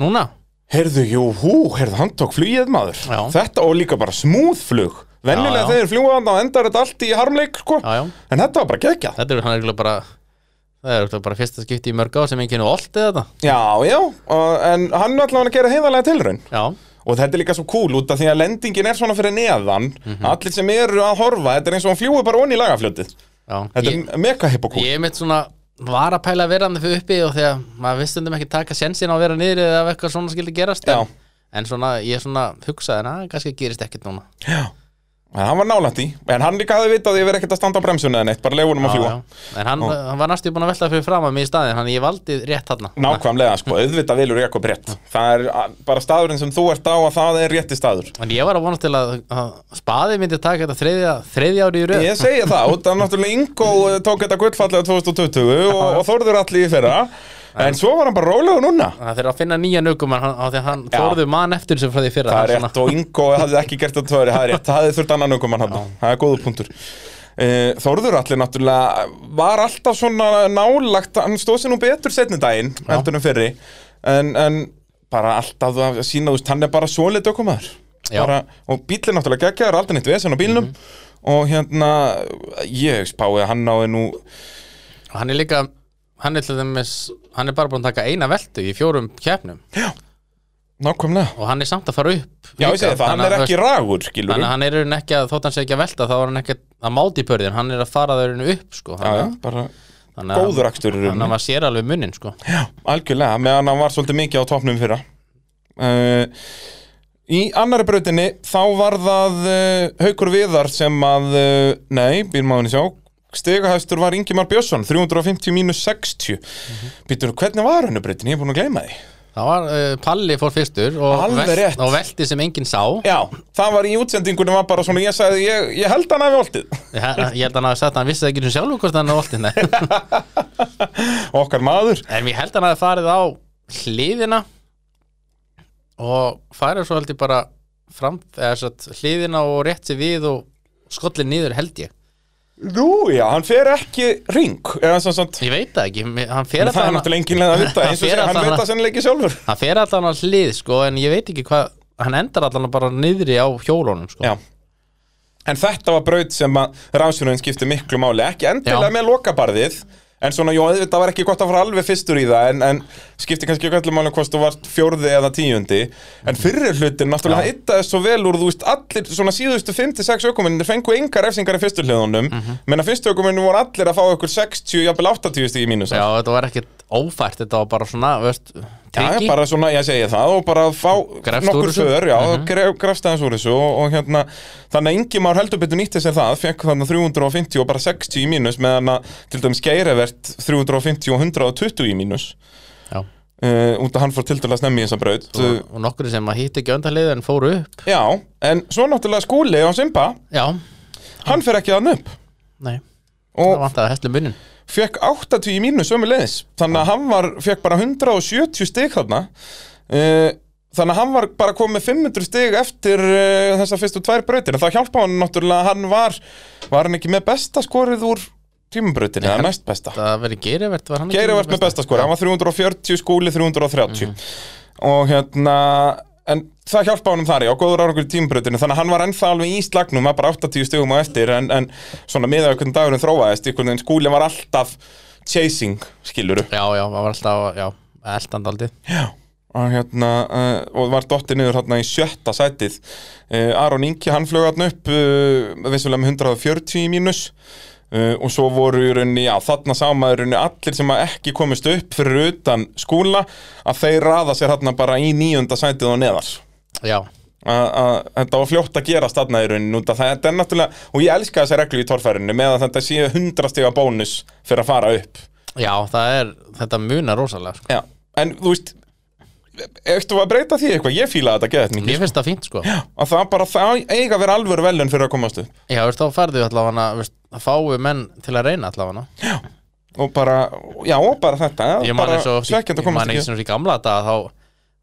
Speaker 2: núna
Speaker 1: Herðu, jú, hú, herðu, hann tók flugið maður
Speaker 2: Já.
Speaker 1: Þetta og líka bara smúð flug venjulega
Speaker 2: Já, já.
Speaker 1: þegar þeir fljúa þannig að endar þetta allt í harmleik sko.
Speaker 2: já, já,
Speaker 1: en þetta var bara geggjað
Speaker 2: þetta er hann eiginlega bara það er örugglega bara fyrsta skipti í mörg ár sem enginn oltið þetta
Speaker 1: Já, já, og, en hann er allavega að gera heiðarlega tilraun
Speaker 2: já,
Speaker 1: og þetta er líka svo cool út af því að lendingin er svona fyrir neðan
Speaker 2: Mhm.
Speaker 1: allir sem eru að horfa, þetta er eins og hann fljúi bara onni í lagafljótið
Speaker 2: já
Speaker 1: þetta
Speaker 2: ég,
Speaker 1: er mega hippokúl
Speaker 2: ég er mitt svona var að pæla að vera hann fyrir uppi og þegar maður vissundum ekki taka sensin á að vera niðri eða ef eitthvað svona skildi gerast
Speaker 1: Já.
Speaker 2: en, en svona, ég svona hugsaði að kannski gerist ekkert núna
Speaker 1: En hann var nálægt í, en hann líka hafði vitað að ég verið ekkert að standa á bremsunni eða neitt, bara leifunum að
Speaker 2: já,
Speaker 1: fljúa
Speaker 2: já. en hann, hann var næstu búin að velta fyrir fram að mig í staðin hann ég valdi rétt hann
Speaker 1: Nákvæmlega, sko, auðvitað vilur eitthvað brett Það er a- bara staðurinn sem þú ert á að það er rétti staður
Speaker 2: en ég var að vonast til að, að spaði myndi taka þetta þriðja, þriðja ári í röð
Speaker 1: Ég segja það, út af náttúrulega Ingo eh, tók þetta gullfallega 2020 og, og Þórður allir í fyrra En svo var hann bara rólegur núna
Speaker 2: það þeir að finna nýjan aukumann á því að hann
Speaker 1: Já.
Speaker 2: þorðu mann eftir sem frá því fyrra
Speaker 1: Það er
Speaker 2: Hann
Speaker 1: rétt og Ingo hafði ekki gert þetta tvöri, það er rétt, það hafði þurft annan aukumann hann, það er góður punktur. Eh, Þórður allir náttúrulega var alltaf svona nálagt, hann stóð sér nú betur setni daginn, heldur en fyrri, en, en bara alltaf að sína, þú veist, hann er bara svoleitt aukumæður.
Speaker 2: Já.
Speaker 1: Bara, og bíllinn náttúrulega geggjaður, aldrei neitt vesen á bílnum og hérna, ég spáði að hann náði nú,
Speaker 2: Og hann er líka hann er, til dæmis, hann er bara búin að taka eina veltu í fjórum keppnum
Speaker 1: nákvæmlega,
Speaker 2: og hann er samt að fara upp
Speaker 1: já ég
Speaker 2: líka.
Speaker 1: segi það, hann
Speaker 2: Þannig að-
Speaker 1: er ekki ragur, skilur
Speaker 2: þannig að hann er í rauninni ekki að þótt hann sé ekki að velta þá er hann ekki að máti í börðin hann er að fara það raun upp sko.
Speaker 1: Já, já,
Speaker 2: þannig,
Speaker 1: bara
Speaker 2: þannig að-
Speaker 1: góður akstur í
Speaker 2: þannig
Speaker 1: rauninni.
Speaker 2: að maður sér alveg munnin sko.
Speaker 1: Já, algjörlega, meðan hann var svolítið mikið á topnum fyrra uh, Í annari brautinni þá var það uh, Haukur Viðar sem að, uh, nei, býrmáðunni sjá Stegahæstur var Ingimar Björnsson, 350 mínus 60 mm hvernig var hennu brautin? Ég er búin að gleyma því
Speaker 2: það var uh, Palli fór fyrstur og,
Speaker 1: Alveg rétt.
Speaker 2: og velti sem enginn sá
Speaker 1: Já, það var í útsendingunum var bara svona, ég sagði, ég, ég held hann hafi oltið
Speaker 2: ég ég held að hann hafi sagt að hann vissi ekki um sjálfur hvort hann er oltið en
Speaker 1: Okkar maður
Speaker 2: ég held að hann hafi farið á hliðina og farið svo held ég bara fram, eða, satt, hliðina og rétt sér við og skollin niður held ég
Speaker 1: Nú, já, hann fer ekki ring eða sem sagt,
Speaker 2: ég veit það ekki, mér- hann
Speaker 1: það
Speaker 2: fer
Speaker 1: er
Speaker 2: allan-
Speaker 1: náttúrulega engin leið að vita
Speaker 2: Hann
Speaker 1: eins og
Speaker 2: fer
Speaker 1: segja, hann
Speaker 2: allan-
Speaker 1: veit það sennilega ekki sjálfur
Speaker 2: hann fer allan að hlið sko en ég veit ekki hvað hann endar allan bara niðri á hjólunum sko.
Speaker 1: Já En þetta var braut sem að rásunin skipti miklu máli Ekki endilega
Speaker 2: Já.
Speaker 1: með lokabarðið En svona, jú, þetta var ekki gott að fara alveg fyrstur í það En, en skipti kannski ekki öllu máli hvort þú vart fjórði eða tíundi En fyrir hlutin, náttúrulega,
Speaker 2: Já.
Speaker 1: hann yttaði svo vel úr Þú veist, allir svona síðustu 5-6 ökuminnir fengu engar efsingar í fyrstu hliðunum mm -hmm. Menna fyrstu ökuminnir voru allir að fá ykkur 60, jafnvel 80 stíði mínus
Speaker 2: Já, þetta var ekkert ófært þetta var bara svona, veist,
Speaker 1: Já,
Speaker 2: tryggi
Speaker 1: bara svona, ég segi það og bara fá
Speaker 2: Grefst úr
Speaker 1: nokkur
Speaker 2: þessu? Mhm.
Speaker 1: för, já, uh -huh. grefst aðeins úr þessu og, og hérna, þannig að Ingimar heldur betur nýtti sér það, fekk þarna 350 og bara 60 í mínus, meðan að til dæmis Geirivert 350 og 120 í mínus,
Speaker 2: Já,
Speaker 1: uh, út að hann fór til dæmis snemmi í þessa braut uh,
Speaker 2: og, og nokkur sem að hýtti ekki öndarlið en fóru upp
Speaker 1: Já, en svo náttúrulega skúli á Simba,
Speaker 2: Já,
Speaker 1: hann fer ekki þann upp
Speaker 2: nei, það
Speaker 1: og
Speaker 2: vantaði heslu munnin
Speaker 1: fekk 80 í mínus sömulegis, þannig að hann var, fekk bara 170 stig þarna uh, Þannig að hann var bara komið með 500 stig eftir uh, þessar fyrstu tvær brautir en það hjálpa hann náttúrulega að hann var var hann ekki með besta skorið úr tímabrautinni, eða næst besta
Speaker 2: Það verið gerivert var hann ekki Mm.
Speaker 1: Geiri vart með besta skorið, hann var 340 skúli 330 og hérna en það hjálpa honum þar já, góður árangur í tímabrautinni, þannig að hann var ennþá alveg í slagnum, var bara 80 stigum á eftir en, en svona miðað við hvernig dagurinn þróaðist einhvern veginn skúli var alltaf chasing, skiluru
Speaker 2: Já, já, það var alltaf, já, eldandaldi
Speaker 1: og hérna uh, og var dottið niður hérna í sjötta sætið uh, Aron Ingi hann flög hérna upp uh, vissulega með 140 í mínus uh, og svo voru í rauninni, já þarna sá maður í rauninni allir sem að ekki komist upp fyrir utan skúla að þeir raða sér hérna bara í nýjunda sætið og neðar
Speaker 2: Já,
Speaker 1: að að þetta var fljótt að gerast þarna í rauninni út af það, þetta er náttúrulega og ég elska þessa reglu í torfærinu með að þetta séu 100 stiga bónus fyrir að fara upp
Speaker 2: já, það er, þetta munar rosalega sko.
Speaker 1: já. en þú veist eftir að breyta því eitthvað, ég fílaði þetta geðið mikið
Speaker 2: Mér finnst það fínt sko
Speaker 1: að það bara það eiga að vera alvöru velun fyrir að komast upp
Speaker 2: Já, veist, þá færðu allavega veist, að fáu menn til að reyna allavega
Speaker 1: og bara, já, og bara þetta
Speaker 2: ég man
Speaker 1: bara
Speaker 2: eins og
Speaker 1: svekkjandi að
Speaker 2: ég man
Speaker 1: komast
Speaker 2: eins
Speaker 1: ekki
Speaker 2: og í gamla dag þá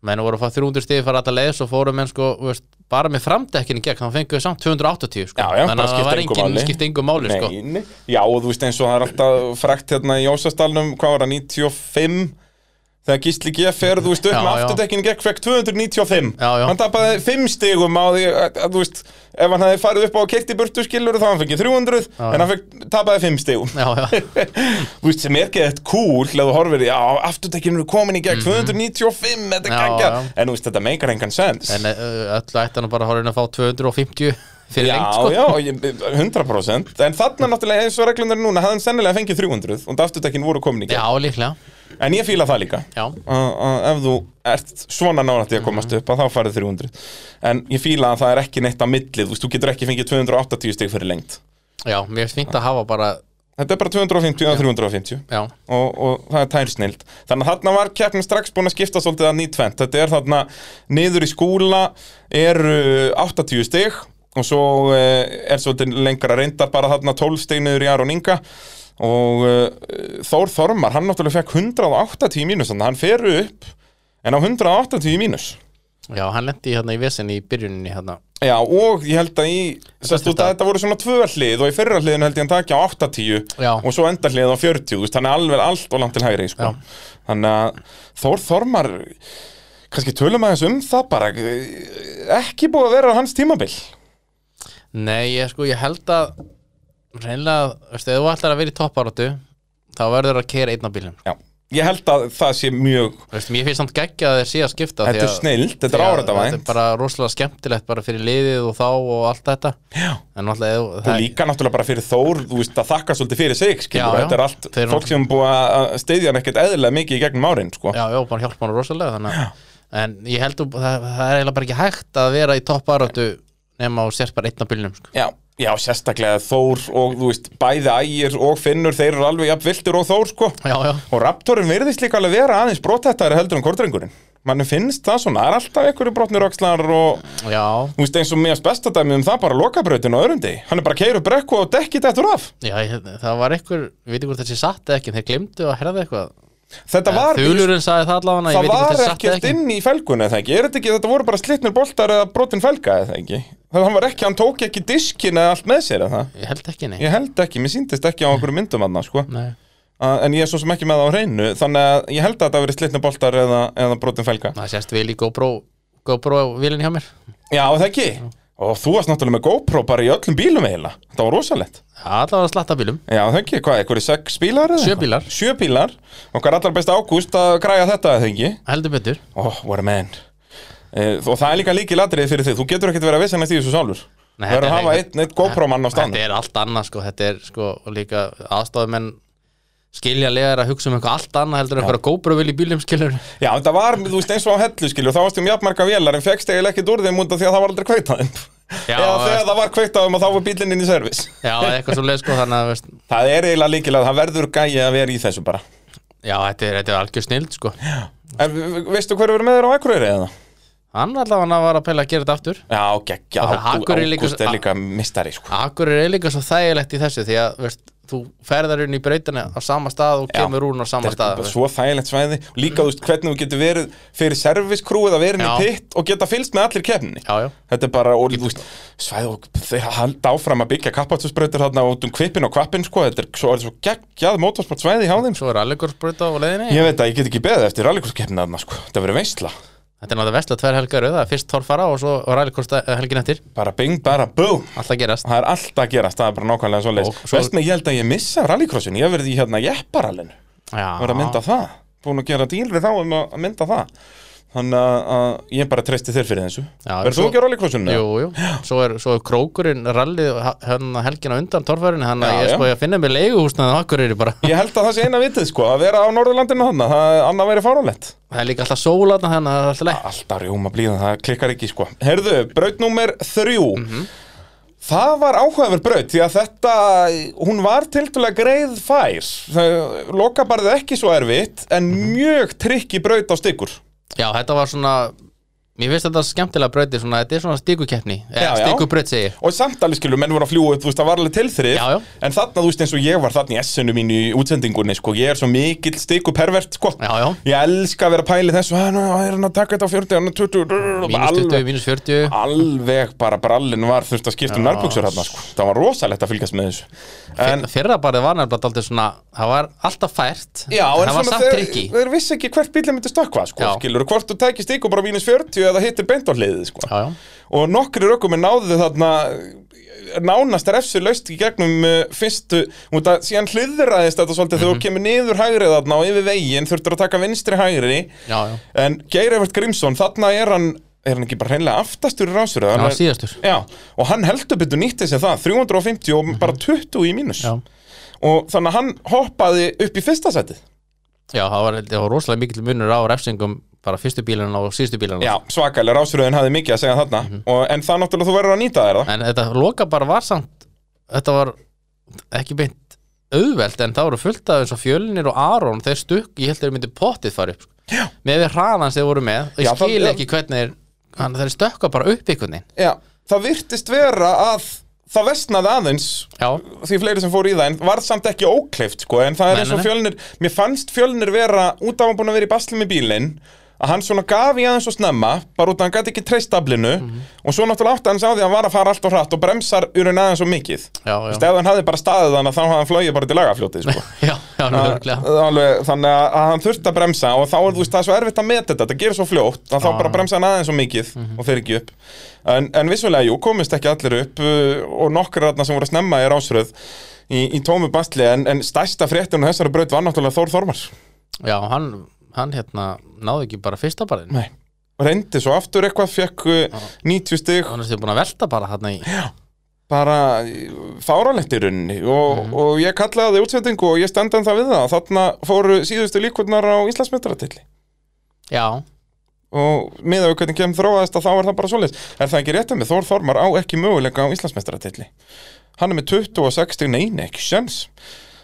Speaker 2: menn voru að fá 300 stiði fyrir alltaf leið svo fóru menn sko, þú veist, bara með framdekkinu gegn þá fengu við samt 280 sko.
Speaker 1: Já, já, bara
Speaker 2: þannig að það
Speaker 1: skipti
Speaker 2: var
Speaker 1: engu
Speaker 2: engin
Speaker 1: máli.
Speaker 2: skipt engu máli sko.
Speaker 1: Nei, nei. já, og þú veist eins og það er alltaf frekt hérna í Jósastalnum, hvað var það, 95 Þegar Gísli G fer, þú veist, upp
Speaker 2: Já,
Speaker 1: með
Speaker 2: já.
Speaker 1: afturdekkinu gekk fekk 295
Speaker 2: Já, já.
Speaker 1: Hann tapaði 5 stigum á því, að, að, þú veist, ef hann hefði farið upp á keitt í burtu skilur þá hann fengið 300
Speaker 2: Já,
Speaker 1: En
Speaker 2: já.
Speaker 1: hann fekk, tapaði 5 stigum
Speaker 2: já, já,
Speaker 1: Þú veist, sem er gett cool, ef þú horfir, já, afturdekkinu er komin í gegn 295, þetta er
Speaker 2: Mhm. Já,
Speaker 1: geggja
Speaker 2: já.
Speaker 1: En þú veist, þetta meikar engan sens
Speaker 2: en uh, öllu ætti hann bara að horfa inn að fá 250 fyrir lengt,
Speaker 1: Já,
Speaker 2: sko
Speaker 1: já, og ég- 100% En þarna náttúrulega eins og reglundar núna hafði hann sennilega fengið 300 og afturdekkin voru komin í gegn
Speaker 2: Já, líklega,
Speaker 1: En ég fíla það líka
Speaker 2: já, Mhm.
Speaker 1: að að ef þú ert svona nálætti að komast upp að þá farið 300 en ég fíla að það er ekki neitt á milli þú veist, þú getur ekki fengið 280 stig fyrir lengt
Speaker 2: já, mér finnst fínt að hafa bara,
Speaker 1: þetta er bara 250 að 350
Speaker 2: já,
Speaker 1: og, og það er tærsnild þannig að þarna var keppnum strax búin að skipta svolítið að nýtvent þetta er þarna niður í skúla eru 80 stig og svo eh, er svolítið lengra reyndar bara þarna 12 stig niður í Aron Inga og eh, Þór Þormar hann náttúrulega fekk 180 í mínus þannig að hann fer upp en á 180 í mínus
Speaker 2: já, hann lendi hérna í vesen í byrjuninni hérna
Speaker 1: Já, og ég held að í sest,
Speaker 2: þetta-
Speaker 1: þetta, þetta voru svona tvö hlið og í fyrra hliðinu held ég hann takja á 80
Speaker 2: Já.
Speaker 1: og svo enda hliðið á 40 þú veist, þannig að alveg allt og langt til hægri sko.
Speaker 2: Já.
Speaker 1: þannig að Þór Þormar kannski tölum aðeins um það bara ekki búið að vera hans tímabil
Speaker 2: Nei, ég sko, ég held að reynilega, veistu, ef þú ætlar að vera í topparóttu þá verður að keira einn á bílum
Speaker 1: Já. ég held að það sé mjög
Speaker 2: veistu, mér finnst samt geggja að þeir sé að skipta
Speaker 1: þetta er snild, þetta er
Speaker 2: Þetta er
Speaker 1: árættavænt
Speaker 2: bara rosalega skemmtilegt bara fyrir liðið og þá og allt þetta
Speaker 1: Já.
Speaker 2: En náttúrulega ef-
Speaker 1: og líka náttúrulega bara fyrir Þór þú veist, að þakka svolítið fyrir sig skilur,
Speaker 2: Já, já.
Speaker 1: þetta er allt
Speaker 2: Þeir eru
Speaker 1: fólk sem er búið að steyðja hann ekkert eðlilega mikið í gegnum árin sko.
Speaker 2: Já, já, bara hjálpa hann rosalega þannig að En ég held að það, það er eiginlega bara ekki hægt að vera í topparóttu nema og sérst bara einn á bílum sko.
Speaker 1: Já, já, sérstaklega Þór og þú veist, bæði ægir og finnur þeir eru alveg jafn viltur og Þór sko
Speaker 2: Já, já,
Speaker 1: og Raptorin virðist líka alveg vera aðeins brottættari heldur en kortrengurinn mann finnst það svona, það er alltaf einhverju brotnir öxlar og
Speaker 2: já,
Speaker 1: þú veist eins og mjög besta dæmi um það bara lokabrautin á örundi hann er bara keirur brekku og dekkið eftir af
Speaker 2: já, ég- það var einhver, við veitum hvort þessi satt eða ekki en þeir glimtu að herða eitthvað
Speaker 1: þetta var,
Speaker 2: Þulurinn sagði það allavega, ég
Speaker 1: það
Speaker 2: veit ekki hvort
Speaker 1: var
Speaker 2: þeir satt
Speaker 1: ekkert
Speaker 2: eða ekki
Speaker 1: inn í felgunni eða ekki, er þetta ekki, þetta voru bara slitnir boltar eða brotin felga eða ekki það hann var ekki, hann tók ekki diskin eða allt með sér eða það,
Speaker 2: Ég held ekki, nei,
Speaker 1: ég held ekki, mér síndist ekki á okkur myndum annars sko
Speaker 2: nei.
Speaker 1: Uh, en ég er svo sem ekki með það á hreinu þannig að ég held að þetta hafi verið slitna boltar eða, eða brotin felga
Speaker 2: Það sést vel í GoPro GoPro vilin hjá mér
Speaker 1: Já, er það ekki? Og þú varst náttúrulega með GoPro bara í öllum bílum eiginlega Þetta var rosalegt
Speaker 2: Já, Allavega að slatta bílum
Speaker 1: Já, er það ekki, hvað, einhverju sex bílar? eða
Speaker 2: Sjö
Speaker 1: eitthvað?
Speaker 2: bílar.
Speaker 1: Sjö bílar Okkar allar besta ágúst að græja þetta, er það ekki?
Speaker 2: Heldur betur
Speaker 1: Oh, what a man uh, Og það er líka líkil atriði fyrir þig Þú getur ekkert verið að vissanast í þessu sálfur
Speaker 2: Nei,
Speaker 1: Þú verður
Speaker 2: þetta
Speaker 1: að
Speaker 2: er
Speaker 1: hafa
Speaker 2: ekki-
Speaker 1: einn, einn GoPro-mann á
Speaker 2: Þetta
Speaker 1: stanum
Speaker 2: er allt annað sko Þetta er sko og líka aðstofumenn skilja legar að hugsa um eitthvað allt annað heldur en eitthvað GoPro vil í bílum skilur
Speaker 1: Já, þetta var, þú veist, eins og á hellu, skilur Þá varst um jafnmarga vélar en fekkst eiginlega ekkert úr þeim út af því að það var aldrei kveitað þeim
Speaker 2: Já,
Speaker 1: Eða þegar
Speaker 2: veist.
Speaker 1: það var kveitað þeim að þá var bílinn inn í servis
Speaker 2: Já, eða eitthvað svo leið sko þannig að veist,
Speaker 1: Það er eiginlega líkilega, það verður gæja að vera í þessu bara
Speaker 2: Já, þetta er, þetta er algjör snild sko
Speaker 1: En ve- ve- veistu hverju verður með þér á Akureyri eða?
Speaker 2: Hann allavega var að pæla að gera þetta aftur
Speaker 1: Já, geggja,
Speaker 2: Og það Akureyri er líka-
Speaker 1: ágúst er líka mistari sko.
Speaker 2: Akkur er líka svo þægilegt í þessu því að veist, þú ferðar inn í breytina á sama stað og
Speaker 1: Já.
Speaker 2: kemur úr hún á sama
Speaker 1: Þetta er
Speaker 2: stað
Speaker 1: bara
Speaker 2: veist.
Speaker 1: Svo þægilegt svæði Og Líka, þú veist, hvernig þú getur verið fyrir serviskrúið að verið í
Speaker 2: Já.
Speaker 1: pitt og geta fylst með allir keppni
Speaker 2: Já, já
Speaker 1: Þetta er bara, og, þú veist, svæði og þeir halda áfram að byggja kappatsusbrautir þarna út um kvippin og kvappin, sko, þetta er svo, er svo geggjað motorsport svæði hjá þeim, sko.
Speaker 2: Svo er allegórsbreyta á leiðinni
Speaker 1: Ég veit að ég get ekki beðið eftir rallikurskeppni þarna, sko, þetta verið veistla
Speaker 2: Þetta er náttúrulega vestla tvær helgar auða, fyrst torfara og svo rallikost helgin eftir,
Speaker 1: Bara bing, bara boom
Speaker 2: alltaf gerast
Speaker 1: Það er allt að gerast, það er bara nákvæmlega svo leist
Speaker 2: Og svo-
Speaker 1: svo... Vest með ég held að ég missa rallycrossin Ég hef verið í hérna jepparallinu
Speaker 2: Já,
Speaker 1: Verið að mynda það, búin að gera dýlri þá um að að mynda það Þannig að- að ég bara treysti þér fyrir þessu Verður þú
Speaker 2: svo-
Speaker 1: ekki á rallycrossinu?
Speaker 2: Jú, jú, svo er, svo er krókurinn rallið hérna helgina undan torfarinu þannig
Speaker 1: Já,
Speaker 2: að ég
Speaker 1: já.
Speaker 2: er sko að finna mér leiguhúsnaðið á Akureyri bara
Speaker 1: Ég held að það sé eina vitið sko, að vera á Norðurlandinu hann Það annað væri fáránlegt
Speaker 2: Það er líka alltaf sólaðna þannig að það er alltaf leið
Speaker 1: Alltaf rjóma blíðan, það klikkar ekki sko Herðu, braut númer þrjú
Speaker 2: Mhm.
Speaker 1: Það var áhugaverð braut því að þetta, hún var tildulega greið fær Það-
Speaker 2: Mhm.
Speaker 1: Lokabarðið ekki svo erfitt en mjög trikki braut á styggur
Speaker 2: Já, þetta var svona Mér finnst þetta skemmtilega brauti svona, þetta er svona stíkukeppni
Speaker 1: Já, já.
Speaker 2: Stíkubraut segi ég
Speaker 1: Og samt alveg skilur, menn voru að fljúa upp, þú veist, það var alveg tilþrif
Speaker 2: Já, já.
Speaker 1: En þarna, þú veist, eins og ég var þarna í S-unu mínu í útsendingunni, sko Ég er svo mikill stiku pervert, sko
Speaker 2: Já, já,
Speaker 1: Ég elska að vera að pæli þessu, "Ah, hann er hann að taka þetta á 40, hann er 20
Speaker 2: mínus 20,
Speaker 1: alveg,
Speaker 2: mínus 40
Speaker 1: alveg bara brallin var, þú veist, að skipta um
Speaker 2: Já.
Speaker 1: nærbuksur hann, sko Það var rosalegt að fylgjast með þessu En,
Speaker 2: en, Fyrra barið var nefnilega aldrei svona Það var alltaf fært
Speaker 1: já, en
Speaker 2: Það var samt
Speaker 1: þeir,
Speaker 2: trikki
Speaker 1: þeir vissi ekki hvert bílum myndi stökkva, sko
Speaker 2: Já.
Speaker 1: Skilur, hvort þú tækist ykkur bara mínus 40 eða hittir beint á hliðið, sko
Speaker 2: Já, já,
Speaker 1: og nokkri rökkumir náðu þarna nánast refsu laust í gegnum uh, fyrstu, út að síðan hliðraðist þetta svolítið þegar þú kemur niður hægrið þarna og yfir veginn þurftur að taka vinstri hægri
Speaker 2: já, já
Speaker 1: en Geir Evert Grímsson, þarna er hann er hann ekki bara hreinlega aftastur í rásur
Speaker 2: Það var síðastur
Speaker 1: Já, og hann heldur betur nýtti sér það 350 og bara 20 í mínus
Speaker 2: Já,
Speaker 1: og þannig að hann hoppaði upp í fyrsta setið
Speaker 2: já það, var, það var rosalega mikill munur á refsingum bara fyrstu bílun og síðustu bílun
Speaker 1: Já, Mhm. svakalega rásröðin hafði mikið að segja þarna og, en það náttúrulega þú verður að nýta þér það
Speaker 2: En þetta loka bara var samt Þetta var ekki beint auðvelt en það voru fullt af eins og fjölnir og Aron þeir stukk, ég held þeir myndi pottið fara upp sko. með við hraðan sem þeir voru með og
Speaker 1: Já,
Speaker 2: ég
Speaker 1: það-
Speaker 2: skil
Speaker 1: já.
Speaker 2: ekki hvernig þeir, hann, þeir stökka bara upp einhvern veginn
Speaker 1: Já, það virtist vera að það vestnaði aðeins
Speaker 2: já,
Speaker 1: því fleiri sem fór í það en varð samt ekki ókleift sko, en það er
Speaker 2: Nei,
Speaker 1: eins og
Speaker 2: nei, nei.
Speaker 1: fjölnir mér fannst fjölnir vera út af að búin að vera í basli með bílinn að hann svona gaf í aðeins og snemma bara út að hann gæti ekki treyst aflinu
Speaker 2: Mhm.
Speaker 1: og svo náttúrulega átti hann sá því að hann var að fara allt og hratt og bremsar úr en aðeins og mikið
Speaker 2: já,
Speaker 1: Þú veist,
Speaker 2: já,
Speaker 1: ef hann hafði bara staðið hann þá hafði hann flogið bara til lagafljótið sko.
Speaker 2: já, já, nörglega
Speaker 1: Það er alveg, þannig að, að hann þurfti að bremsa og þá er þú veist það er svo erfitt að meta þetta, þetta gerir svo fljótt að þá
Speaker 2: Já.
Speaker 1: bara bremsa hann aðeins svo mikið og fer ekki upp en, en vissulega, jú, komist ekki allir upp uh, og nokkur þarna sem voru að snemma er ásröð í, í tómu bastli en, en stærsta fréttun og þessari braut var náttúrulega Þór Þormar
Speaker 2: já, hann, hann hérna náði ekki bara fyrsta barinn
Speaker 1: Nei. reyndi svo aftur eitthvað, fekk uh, 90 stig
Speaker 2: hann er búin að velta bara hann í
Speaker 1: bara fáralegt í rauninni og, og ég kallaði það í útsendingu og ég stendan það við það, þarna fóru síðustu líkurnar á Íslandsmetratilli
Speaker 2: já,
Speaker 1: og miðað við hvernig kemur þróaðist að þá er það bara svoleiðis er það ekki rétt að mig, Þór Þormar á ekki möguleika á Íslandsmeistaratilli hann er með 26 stig, nei, nei, ekki sjens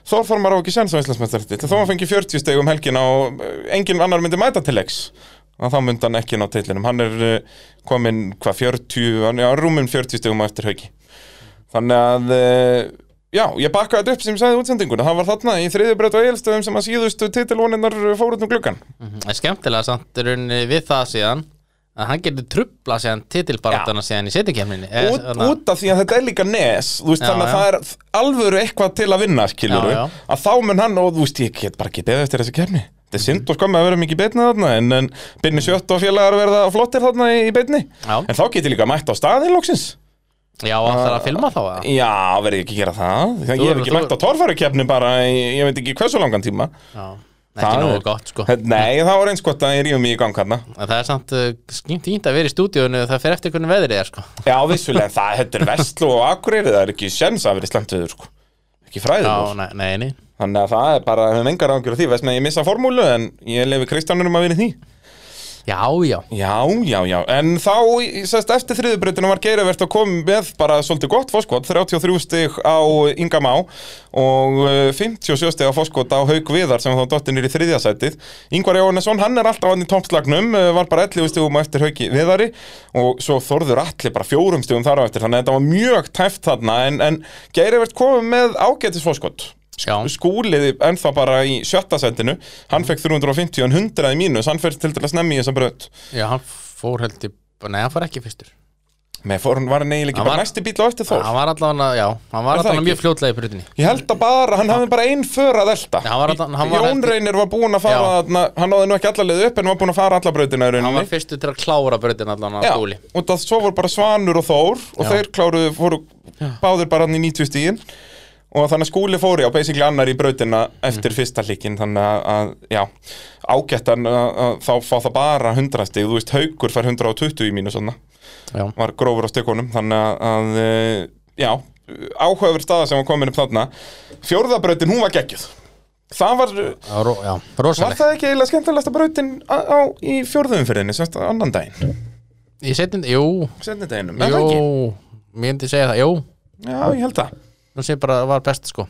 Speaker 1: Þór Þormar á ekki sjens á Íslandsmeistaratilli þó hann fengi 40 stig um helgin og eh, enginn annar myndi mæta til leiks að þá myndi hann ekki ná tillinum hann er eh, kominn, hvað, 40 hann er rúmum 40 stigum á eftir hauki þannig að eh, Já, ég bakkaði þetta upp sem ég sagði í útsendinguna, það var þarna í þriðju breytu og eilstöðum sem að síðustu titilvoninnar fóruð um gluggan.
Speaker 2: mhm. en skemmtilega samt í rauninni við það síðan að hann getur trubla síðan titilbarátana síðan í Eh, setjikemninni
Speaker 1: út, út af því að þetta er líka nes þú veist,
Speaker 2: hérna.
Speaker 1: þannig að
Speaker 2: Já, já.
Speaker 1: það er alvöru eitthvað til að vinna skilur
Speaker 2: Já, já.
Speaker 1: að þá mun hann og þú veist ég get bara ekki beðið eftir þessi kefni þetta er synd og skömmi að vera mikið í beinni þarna en, en beinni sjött og félagar verða flottir þarna í, í beinni
Speaker 2: Já.
Speaker 1: en þá get ég líka mætt á staðin loksins
Speaker 2: já, hann
Speaker 1: Ah.
Speaker 2: þarf að filma þá eða?
Speaker 1: já, verði ekki að gera það ég
Speaker 2: Þú-
Speaker 1: hef ekki
Speaker 2: þú-
Speaker 1: mætt á torfæru kefni bara í, ég veit ekki hversu langan tíma
Speaker 2: Já,
Speaker 1: Það
Speaker 2: ekki nógu
Speaker 1: er-
Speaker 2: gott sko
Speaker 1: nei, það var eins gott að ég rífum í gang hérna
Speaker 2: En það er samt uh, skýnt ínt að vera í stúdíónu það fer eftir hvernig veðrið er sko
Speaker 1: já, vissulega, það þetta er vestlú og akureyri það er ekki sens að vera slemt viður sko. ekki fræður
Speaker 2: Já, nei, nei, nei
Speaker 1: Þannig að það er bara, við höfum engar ágjur af því, veist með ég missa formúlu en ég lefi Kristjánurum að vinna í því.
Speaker 2: Já, já,
Speaker 1: Já, já, já, en þá, í- sest, eftir þriðubreytinu var Geiravert að koma með bara svolítið gott fóskot, 33 stig á Inga Má og eh, 57 stig á fóskot á Hauk Viðar sem þá dottin er í þriðjasætið. Ingvar Jóhannesson, hann er alltaf hann í toppslagnum, eh, var bara 11 stigum á eftir Hauki Viðari og svo Þorður Atli bara fjórum stigum þar á eftir, þannig að þetta var mjög tæft þarna en, en Geiravert komið með ágætis fóskot.
Speaker 2: já,
Speaker 1: Skúliði ennþá bara í sjötta sendinu Hann fekk 350 en 100 í mínus Hann fyrir til til að snemmi í þessa braut
Speaker 2: já hann fór held í Nei, hann fór ekki fyrstur
Speaker 1: Með fórn var hann eiginlega
Speaker 2: Hann
Speaker 1: ekki bara
Speaker 2: var-
Speaker 1: næsti bíl á eftir þó
Speaker 2: Hann var allavega, já, hann var
Speaker 1: Er það
Speaker 2: allavega mjög
Speaker 1: ekki?
Speaker 2: fljótlega í brutinni
Speaker 1: Ég held að bara, hann hafði bara einn för að elta
Speaker 2: Nei, hann var allan- hann var
Speaker 1: Jón
Speaker 2: held-
Speaker 1: Reynir var búinn að fara
Speaker 2: Já.
Speaker 1: þarna, Hann náði nú ekki alla leið upp en var búinn að fara alla brautina í
Speaker 2: Hann
Speaker 1: rauninni
Speaker 2: var fyrstur til að klára brutin allavega skúli
Speaker 1: Já, og það svo voru bara Svanur og Þór og
Speaker 2: Já.
Speaker 1: þeir kláruðu, fóru báðir bara hann í 90 stíin og þannig að skúli fóri á basically annar í brautina
Speaker 2: Mhm.
Speaker 1: eftir fyrsta líkin þannig að, að já, ágættan að, að þá fá það bara 100 stíð þú veist, haugur fær 120 í mínu svona
Speaker 2: Já,
Speaker 1: var grófur á stökunum þannig að, að eh, já, áhugaður staða sem var komin upp þarna fjórðabrautin, hún var geggjuð það var,
Speaker 2: já, ro, já
Speaker 1: var
Speaker 2: rosaleg
Speaker 1: það ekki eiginlega skemmtilegasta brautin á, á, í fjórðumfyrinni, semst annan daginn
Speaker 2: Ég setjum, jú,
Speaker 1: setni daginnum, er það ekki?
Speaker 2: jú Mér myndi segja það, jú
Speaker 1: Já, ég held það
Speaker 2: Nú sé bara að það var best sko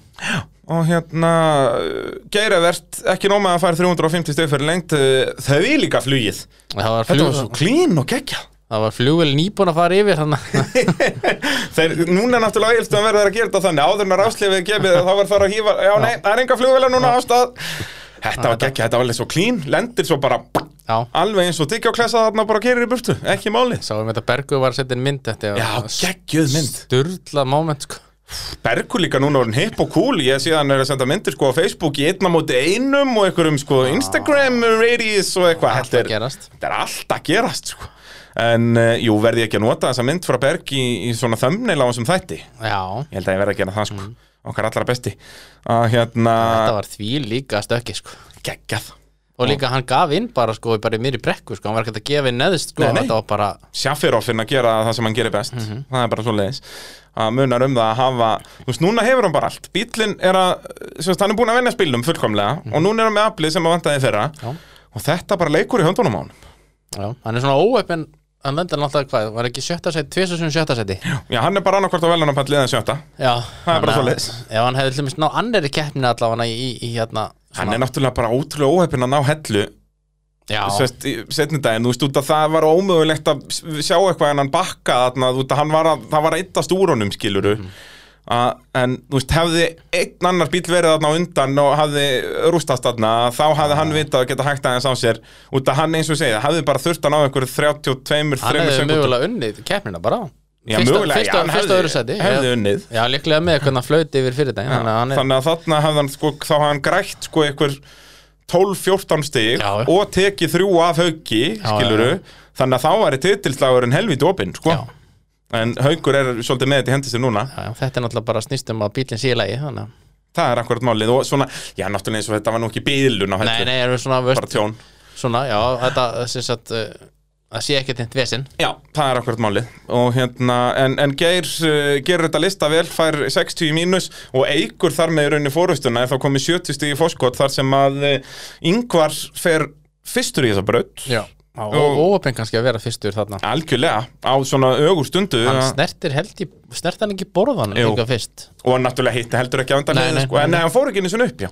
Speaker 1: og hérna Geiravert, ekki nóg með að fara 350 steg fyrir lengt, eh, þau er líka flugið
Speaker 2: Það var,
Speaker 1: Þetta
Speaker 2: flug,
Speaker 1: var svo klín og geggja
Speaker 2: það var flugvel nýbúin að fara yfir þannig að
Speaker 1: Þeir, núna náttúrulega Egilstöðum verður að gera þetta þannig áður en að ráslefið gefið þá var það að hýfa, já nei, það er enga flugvela núna á stað Þetta var geggja, þetta var alveg svo klín lendir svo bara
Speaker 2: Já,
Speaker 1: alveg eins og tyggjóklessa þarna bara gerir í burtu, ekki máli
Speaker 2: sáum þetta Bergu var að setja inn mynd Þetta
Speaker 1: Já, geggjöð mynd
Speaker 2: styrla moment sko.
Speaker 1: Bergur líka núna orðin hipp og cool ég sé að hann er að senda myndir sko á Facebook í einna móti einum og einhverjum sko Instagram radius og eitthvað
Speaker 2: Ah. Allt að
Speaker 1: þetta, er-
Speaker 2: gerast
Speaker 1: þetta er allt að gerast sko en uh, jú verði ég ekki að nota þessa mynd frá Berg í, í svona þömmneil á þessum þætti ég
Speaker 2: Já,
Speaker 1: held að ég verði að gera það sko
Speaker 2: Mm.
Speaker 1: okkar allra besti að hérna
Speaker 2: þetta var því líka stökki sko.
Speaker 1: geggjað
Speaker 2: Og líka hann gaf inn bara sko, bara í mér í brekku sko. Hann var ekkert að gefa inn neðist sko.
Speaker 1: Nei, nei.
Speaker 2: Þetta var bara
Speaker 1: Sjafiroffinn að gera það sem hann gerir best það er bara svo leiðis að munar um það að hafa þú veist, núna hefur hann bara allt bíllinn er að, sem sagt, hann er búin að venja spilnum fullkomlega og núna er hann með aflið sem að vantaði fyrra
Speaker 2: Já.
Speaker 1: og þetta bara leikur í höndunum á hann
Speaker 2: Já, hann er svona óöppin hann lendir náttúrulega hvað, var ekki sjötta seti tvisar sem sjötta seti já,
Speaker 1: já, hann er bara annarkvort á velunarpallið en sjötta Það er bara
Speaker 2: þannig að-
Speaker 1: svoleiðis.
Speaker 2: ef hann hefði hlumist ná annari keppni allavega í, í, í hérna
Speaker 1: hann er náttúrulega bara ótrúlega óheppin að ná hellu
Speaker 2: já,
Speaker 1: sest, í setni daginn, þú veist, út að það var ómögulegt að s- sjá eitthvað en hann bakka þarna, þú veist, að hann var að, það var að yttast úr honum, skiluru
Speaker 2: Mhm.
Speaker 1: að, en, þú veist, hefði einn annar bíl verið þarna á undan og hafði rústast þarna, þá hafði hann vitað að geta hægt aðeins á sér, út að hann eins og segja, hafði bara þurft að ná einhverju 32
Speaker 2: hann
Speaker 1: 3
Speaker 2: hefði
Speaker 1: sekundum.
Speaker 2: mögulega unnið keppnina bara
Speaker 1: Já,
Speaker 2: fyrsta,
Speaker 1: mögulega,
Speaker 2: fyrsta,
Speaker 1: já, hann
Speaker 2: fyrsta
Speaker 1: hefði-
Speaker 2: öðru seti
Speaker 1: hefði unnið.
Speaker 2: já, líklega með hvernig hann flöyti yfir fyrir dag þannig að hann er,
Speaker 1: þannig að þarna hafði hann sko, þá hafði hann grætt sko einhver 12-14 stig
Speaker 2: Já, já.
Speaker 1: og tekið þrjú af hauki, skiluru þannig að þá væri titilslagurinn helvítið opinn, sko
Speaker 2: já,
Speaker 1: en haukur er svolítið með þetta í hendi sér núna
Speaker 2: já, þetta er náttúrulega bara snýst um að bílinn sé í lagi þannig að
Speaker 1: það er akkurat málið og svona, já náttúrulega eins og þetta var nú ekki bílun á
Speaker 2: nei,
Speaker 1: hellu,
Speaker 2: nei, erum við svona,
Speaker 1: bara
Speaker 2: veist,
Speaker 1: tjón
Speaker 2: svona já, þetta, sem sagt uh, það sé ekkert einn vesinn
Speaker 1: Já, það er akkurat málið og hérna, en, en Geir uh, gerir þetta lista vel, fær 60 í mínus og eigur þar með í rauninni fórustuna ef þá komið 70 stig í fórskot þar sem að uh, yngvar fer fyrstur í þessa braut
Speaker 2: já, og óöppin kannski að vera fyrstur þarna
Speaker 1: Algjörlega, á svona ögur stundu
Speaker 2: hann snertir held í, snert hann ekki borðan
Speaker 1: Jú.
Speaker 2: líka fyrst
Speaker 1: og náttúrulega hitti heldur ekki á undan
Speaker 2: Nei,
Speaker 1: leiðin
Speaker 2: nei,
Speaker 1: sko, en
Speaker 2: nei.
Speaker 1: hann fór ekki einu svona upp já.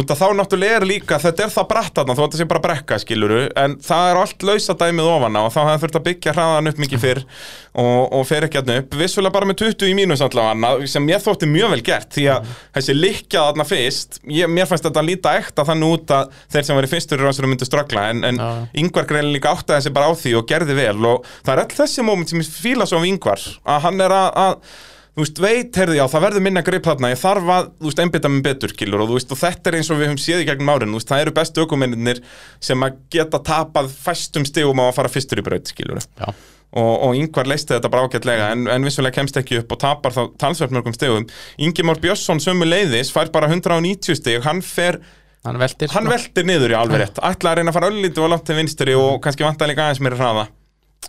Speaker 1: Út að þá náttúrulega er líka, þetta er það bratt þarna, þú þetta sé bara brekka skiluru en það er allt lausa dæmið ofana og þá hefði þurft að byggja hraðan upp mikið fyrr og, og fer ekki hann upp, vissulega bara með 20 í mínus allavega, sem ég þótti mjög vel gert því
Speaker 2: Mm.
Speaker 1: að þessi likja þarna fyrst ég, mér fannst þetta líta ekta þannig út að þeir sem verið fyrstur í rannsóru myndu ströggla en, en
Speaker 2: Já.
Speaker 1: Ingvar greinin líka áttaði sig bara á því og gerði vel og það er öll þessi moment sem ég fíla svo af Ingvar að hann er að, að þú veist, veit, heyrðu, já, það verður minna grip þarna, ég þarf að, þú veist, einbytta mér betur, kýlur, og þú veist, og þetta er eins og við höfum séð í gegnum árin, þú veist, það eru bestu ökumenninir sem að geta tapað fæstum stigum á að fara fyrstur í braut, kýlur,
Speaker 2: já,
Speaker 1: og, og yngvar leisti þetta bara ágætlega, en, en vissulega kemst ekki upp og tapar þá talsvert mörgum stigum. Ingimár Björnsson sömu leiðis, fær bara 190 stig, hann fer
Speaker 2: hann veltir
Speaker 1: Hann veltir niður í alveg rétt, ætla að reyna að fara öllítið og langt til vinstri og kannski vantar líka aðeins meira hraða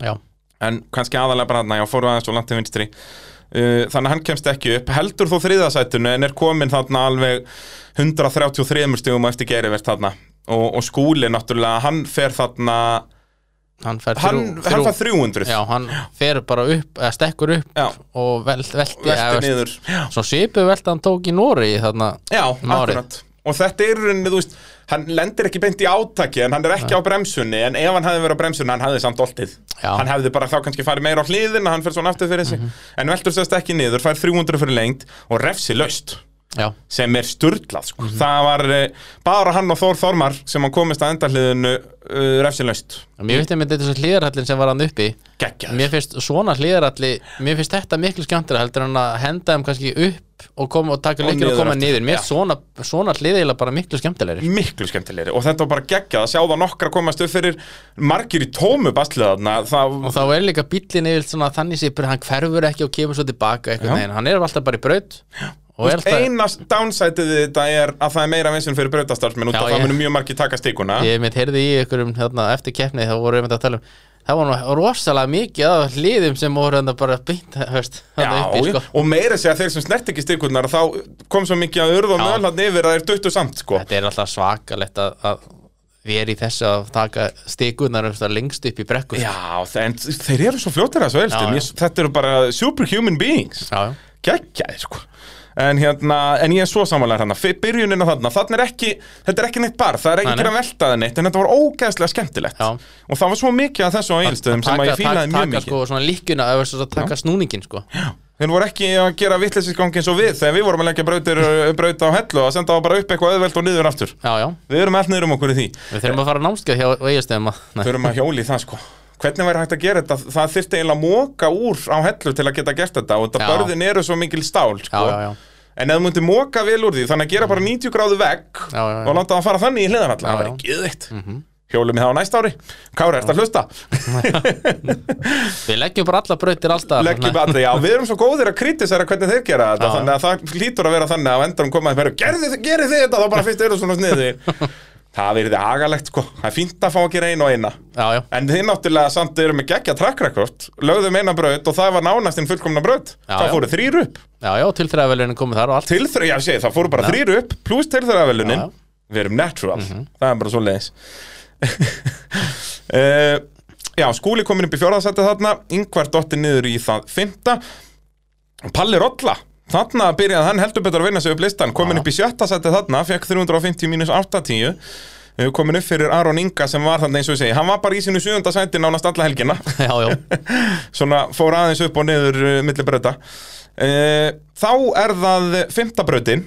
Speaker 2: já,
Speaker 1: en kannski aðalega bara hann, já, fóru aðeins og langt til vinstri uh, þannig að hann kemst ekki upp heldur þó þriðasætunu en er komin þarna alveg 133 stigum á eftir gerivert þarna og, og skúli náttúrulega, hann fer þarna
Speaker 2: hann fer
Speaker 1: hann,
Speaker 2: þrjú,
Speaker 1: hann fær 300
Speaker 2: já, hann fer bara upp, eða stekkur upp
Speaker 1: Já.
Speaker 2: og velt, velti, eða,
Speaker 1: velti
Speaker 2: veist,
Speaker 1: niður já,
Speaker 2: svo svipu velti hann tók í Nóri þarna, Nárið.
Speaker 1: akkurat og þetta er í rauninni, þú veist, hann lendir ekki beint í átaki en hann er ekki á bremsunni en ef hann hefði verið á bremsunni, hann hefði samt oltið
Speaker 2: Já. Mhm.
Speaker 1: hann hefði bara þá kannski farið meira á hliðin hann fer svona aftur fyrir sig, en veltur sérst ekki niður fær 300 fyrir lengt og refsi löst
Speaker 2: já,
Speaker 1: sem er sturdlað sko.
Speaker 2: Mhm.
Speaker 1: það var eh, bara hann og Þór Þormar sem hann komist að endahliðinu uh, refsilaust
Speaker 2: mér veitum með þetta hlýðarallin sem var hann uppi
Speaker 1: geggjað
Speaker 2: mér finnst svona hlýðaralli mér finnst þetta miklu skemmtilega heldur en að henda þeim kannski upp og, kom, og taka
Speaker 1: Og
Speaker 2: leikir og
Speaker 1: niður
Speaker 2: koma
Speaker 1: aftur.
Speaker 2: niður, mér
Speaker 1: Já.
Speaker 2: finnst svona, svona hlýðilega bara miklu skemmtilegri
Speaker 1: miklu skemmtilegri og þetta var bara geggjað að sjá það nokkra komast upp fyrir margir í tómu basliðarna það,
Speaker 2: og þá er líka bíllinn yfir svona þannig sýpur hann hverfur ekki og kemur svo tilbaka
Speaker 1: Já.
Speaker 2: einhvern veginn, hann er alltaf bara í braut og er alltaf,
Speaker 1: eina downsætið við þetta er að það er meira vinsun fyrir brautastarfsmenn út
Speaker 2: Já,
Speaker 1: af það
Speaker 2: ég-
Speaker 1: munum mjög margir taka stíkuna
Speaker 2: ég mitt heyrði í einhverjum hérna, eftir keppni þá voru við að tala um það var nú rosalega mikið af hliðum sem voru hérna bara beint höst,
Speaker 1: Já,
Speaker 2: hérna uppi, sko.
Speaker 1: já, og meira segja þeir sem snert ekki stíkunar þá kom svo mikið að urða og
Speaker 2: Já.
Speaker 1: möðlarni yfir að þeir duttu samt sko.
Speaker 2: þetta er alltaf svakalegt að, að vera í þessu að taka stikunar um það lengst upp í brekku já,
Speaker 1: Já, þe- en þeir eru svo fljótir að þessu
Speaker 2: Já, já.
Speaker 1: elstum, þetta eru bara superhuman beings
Speaker 2: já,
Speaker 1: geggjaði sko En, hérna, en ég er svo samanlega hérna, Fi- byrjunin á þarna, þarna er ekki, þetta er ekki neitt bar, það er
Speaker 2: Nei,
Speaker 1: ekki
Speaker 2: nei.
Speaker 1: að velta það neitt, en þetta var ógeðslega skemmtilegt.
Speaker 2: Já.
Speaker 1: Og það var svo mikið af þessu á eilstöðum sem að ég fílaði mjög
Speaker 2: Taka
Speaker 1: mikið.
Speaker 2: sko svona líkjuna, eða þess að taka snúningin sko
Speaker 1: Þeir voru ekki að gera vittlisisgang eins og við þegar við vorum að leggja brautir, brauta á hellu og senda það bara upp eitthvað auðvelt og niður aftur.
Speaker 2: Já, já,
Speaker 1: Við erum allt niður um okkur í því.
Speaker 2: við þurfum að fara námskeið hjá eigastöðum
Speaker 1: Við erum að hjóli það sko. Hvernig væri hægt að gera þetta? Það þyrfti eiginlega að móka úr á hellu til að geta gert þetta og þetta
Speaker 2: Já.
Speaker 1: börðin eru svo mikil stál sko.
Speaker 2: Já, já, já.
Speaker 1: En ef þú myndir móka vel úr því, þannig að gera bara 90 gráðu vegg
Speaker 2: Já, já, já.
Speaker 1: og láta það fara þannig í hliðan
Speaker 2: Já,
Speaker 1: Það væri
Speaker 2: já. Mhm.
Speaker 1: geðvitt. Hjólum í það á næsta ári. Kári, ertu að hlusta?
Speaker 2: Við leggjum bara alla brautir alltaf
Speaker 1: leggjum bara já, við erum svo góðir að kritisera hvernig þeir gera þetta,
Speaker 2: Já.
Speaker 1: þannig að það hlýtur að vera þannig að á endanum koma þeir, gerði, gerði þið þetta þá bara fyrst eru svona sniði það verði agalegt sko, það er fínt að fá ekki reyn og eina
Speaker 2: Já, já,
Speaker 1: en þið náttúrulega samt eru með geggja trakkrakort lögðum eina braut og það var nánast en fullkomna braut,
Speaker 2: Já,
Speaker 1: það
Speaker 2: já.
Speaker 1: fóru þrýr upp
Speaker 2: já, já, tilþræðavelunin komið þar og allt
Speaker 1: til þrjá, já sé, það fóru bara þrýr upp pluss til þeirra velunin,
Speaker 2: Já, já.
Speaker 1: við erum natural það er bara svo leiðis uh, já, skúli komin upp í fjórðasætti þarna yngvar dotti niður í það fymta Palli Rolla þarna byrjaði hann heldur betur að vinna sig upp listan komin upp í sjötta sætti þarna, fekk 350 mínus 80 eh, komin upp fyrir Aron Inga sem var þarna eins og ég segi hann var bara í sinu sjöunda sætti nánast alla helgina
Speaker 2: Já, já,
Speaker 1: svona fór aðeins upp og niður uh, milli brauta uh, þá er það fymta brautin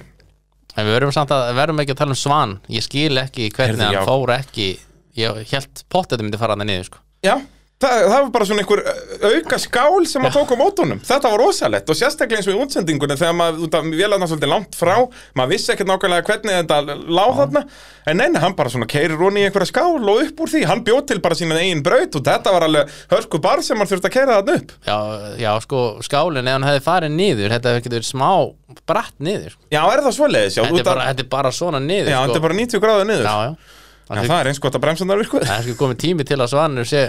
Speaker 2: en við verðum samt að verðum ekki að tala um Svan Ég skil ekki hvernig
Speaker 1: Heyrðu,
Speaker 2: hann
Speaker 1: já.
Speaker 2: fór ekki Ég held pottið myndi fara hann niður sko
Speaker 1: Já, það, það var bara svona einhver ö, auka skál sem að tók á mótunum Þetta var rosalegt og sérstaklega eins og í útsendingunni þegar maður, út af vélarnar svolítið langt frá maður vissi ekkert nákvæmlega hvernig þetta láð þarna en neina, hann bara svona keirir hún í einhverja skál og upp úr því, hann bjóð til bara sína eigin braut og þetta var alveg hörku bar sem hann þurfti að keira þarna upp
Speaker 2: Já, já, sko, skálinn, ef hann hefði farið niður Þetta hefði getið verið smá bratt niður
Speaker 1: Já, er það svoleiðis? Já,
Speaker 2: Þetta
Speaker 1: út
Speaker 2: er
Speaker 1: af-
Speaker 2: bara, þetta er bara svona niður
Speaker 1: já,
Speaker 2: sko.
Speaker 1: þetta er bara 90 gráða niður
Speaker 2: Já,
Speaker 1: Já,
Speaker 2: já Það
Speaker 1: það er eins gott að bremsanar virkuð
Speaker 2: það er sko komið tími til að Svanur sé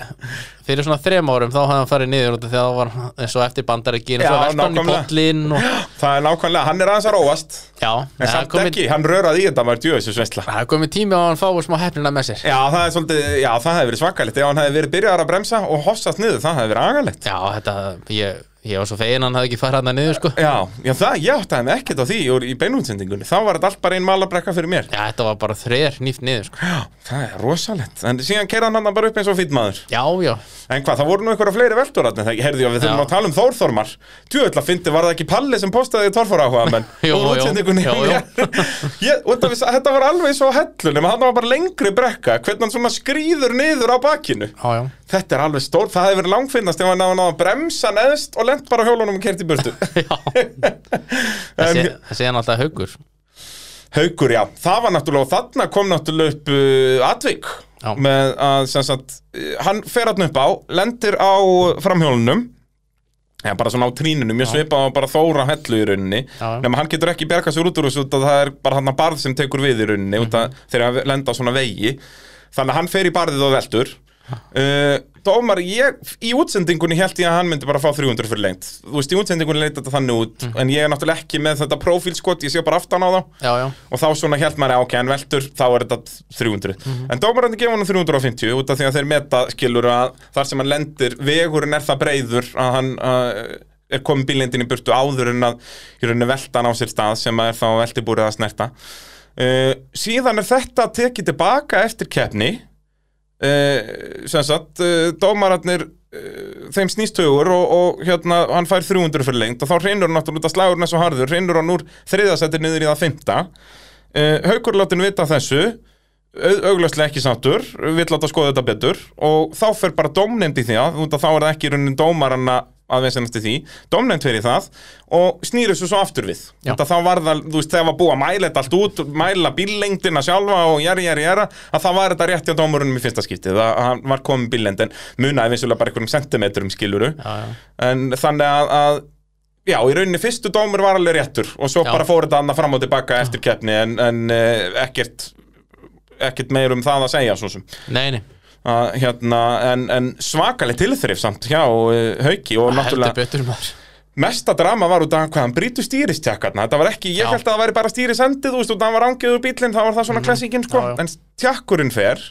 Speaker 2: fyrir svona þrem árum þá hafði hann farið niður út af því að það var eins og eftir bandaríkin og
Speaker 1: Já,
Speaker 2: svo vestan í
Speaker 1: nákvæmlega.
Speaker 2: bollin og
Speaker 1: Það er nákvæmlega, hann er aðeins að róast
Speaker 2: já,
Speaker 1: En
Speaker 2: það er
Speaker 1: samt
Speaker 2: komið,
Speaker 1: ekki, hann röraði í þetta maður djöðis veistla
Speaker 2: það er komið tími á að hann fái smá hefnina með sér
Speaker 1: Já, það er svolítið, já, það hefði verið svakalegt Ef hann hefði verið byrjaðar að bremsa og hossast niður, það hefði verið agalegt
Speaker 2: já, þetta, ég, ég var svo fegin hann hafði ekki farið hann niður sko já,
Speaker 1: Já, já, það, ég áttaði mig ekkert á því úr, í beinútsendingunni Þá var þetta allt bara einn malabrekka fyrir mér
Speaker 2: þetta var bara þreir nýft niður sko
Speaker 1: Já, það er rosalegt En síðan keira hann hann bara upp eins og fýtt maður
Speaker 2: já, já,
Speaker 1: En hvað, það voru nú einhverja fleiri veldur þarna Þegar heyrði ég að við þurfum
Speaker 2: Já.
Speaker 1: að tala um Þórþormar Tjóðvöld að fyndi, var það ekki Palli sem postaði Þórfóra áhuga menn
Speaker 2: Jú, jú, jú, jú.
Speaker 1: ég, út af þess að Þetta var alveg svo hellun En hann var bara lengri brekka Hvernig hann svona skrýður niður á bakinu
Speaker 2: já, já
Speaker 1: Þetta er alveg stór, það hefði verið langfinnast ef hann hefði náða að bremsa neðst og lent bara á hjólunum og kert í burtu
Speaker 2: já, það
Speaker 1: En
Speaker 2: sé- það sé hann alltaf haugur
Speaker 1: haukur, já, það var náttúrulega og þarna kom náttúrulega upp uh, atvik
Speaker 2: Já.
Speaker 1: með að, sem sagt, uh, hann fer hann upp á, lendir á framhjólunum Já, bara svona á trínunum, mjög svipað á bara þóra hellu í rauninni
Speaker 2: Já.
Speaker 1: Nefnum hann getur ekki bergað sér út úr þessu út að það er bara hann að barð sem tekur við í rauninni út
Speaker 2: Mhm.
Speaker 1: að þegar hann lenda á svona vegi Þannig að hann fer í barðið og veltur uh, Dómar, ég, í útsendingunni held ég að hann myndi bara fá 300 fyrir lengt Þú veist, í útsendingunni leit þetta þannig út
Speaker 2: Mhm.
Speaker 1: En ég er náttúrulega ekki með þetta profílskot, ég sé bara aftan á þá
Speaker 2: já, já,
Speaker 1: og þá svona held maður að ok, en veldur þá er þetta 300, en dómarandi gefa hann 350 út af því að þeir meta skilur að þar sem hann lendir, vegurinn er það breyður að hann uh, er komið bílendin í burtu áður en að í rauninni velta hann á sér stað sem að er þá veltibúrið að snerta uh, síðan er þetta tekið tilbaka eftir keppni uh, sem sagt uh, dómararnir uh, þeim snýst hugur og, og hérna hann fær 300 fyrir lengt og þá reynur hann náttúrulega út að slagurinn er svo harður, reynur hann úr þriðasætti niður í það fymta uh, Haukur látin vita af þessu auglöslega ekki sáttur, vill láta skoða þetta betur og þá fer bara dómnefnd í því að, út að þá er það ekki raunin dómaranna að veinsanast í því, dómnefnd fyrir það og snýr þessu svo aftur við
Speaker 2: Já.
Speaker 1: út að þá var það, þú veist, þegar var búið að mæla þetta allt út, mæla bíllengdina sjálfa og jæri, jæri, jæra, að það var þetta rétt hjá dómurunum í fyrsta skiptið, að að hann var komin bíllengd en munaði vissulega bara einhverjum sentimetrum skiluru,
Speaker 2: já, já.
Speaker 1: en þannig að, að Já, í rauninni fyrstu dómur var alveg réttur og svo
Speaker 2: Já.
Speaker 1: bara fór þetta annað fram og tilbaka eftir keppni en, en eh, ekkert, ekkert meir um það að segja svo sem
Speaker 2: nei, nei,
Speaker 1: að, hérna, en, en svakaleg tilþrif samt hjá eh, Hauki og
Speaker 2: heldur
Speaker 1: náttúrulega
Speaker 2: betur maður
Speaker 1: mesta drama var út af hvað hann brýtu stýristjakkarna þetta var ekki, ég
Speaker 2: Já. Mhm.
Speaker 1: held að það væri bara stýrisendið þú veist, út af hann var ángiður bílinn, þá var það svona klassíkinn sko,
Speaker 2: Já, já.
Speaker 1: en tjakkurinn fer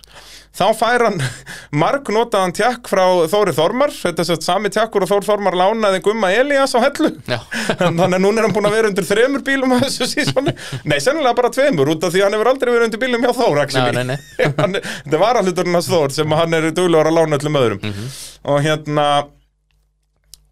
Speaker 1: þá fær hann marg notaðan tjakk frá Þóri Þormar þetta er svo sami tjakkur og Þór Þormar lánaði Gumma Elías á hellu
Speaker 2: Já,
Speaker 1: þannig að núna er hann búin að vera undir þremur bílum að þessu sísoni, nei sennilega bara tveimur út af því að hann hefur aldrei verið undir bílum hjá Þór actually.
Speaker 2: Nei, nei,
Speaker 1: Hann er- þetta var alluturinn hans Þór sem hann er duglegur að lána öllum öðrum
Speaker 2: Mhm.
Speaker 1: og hérna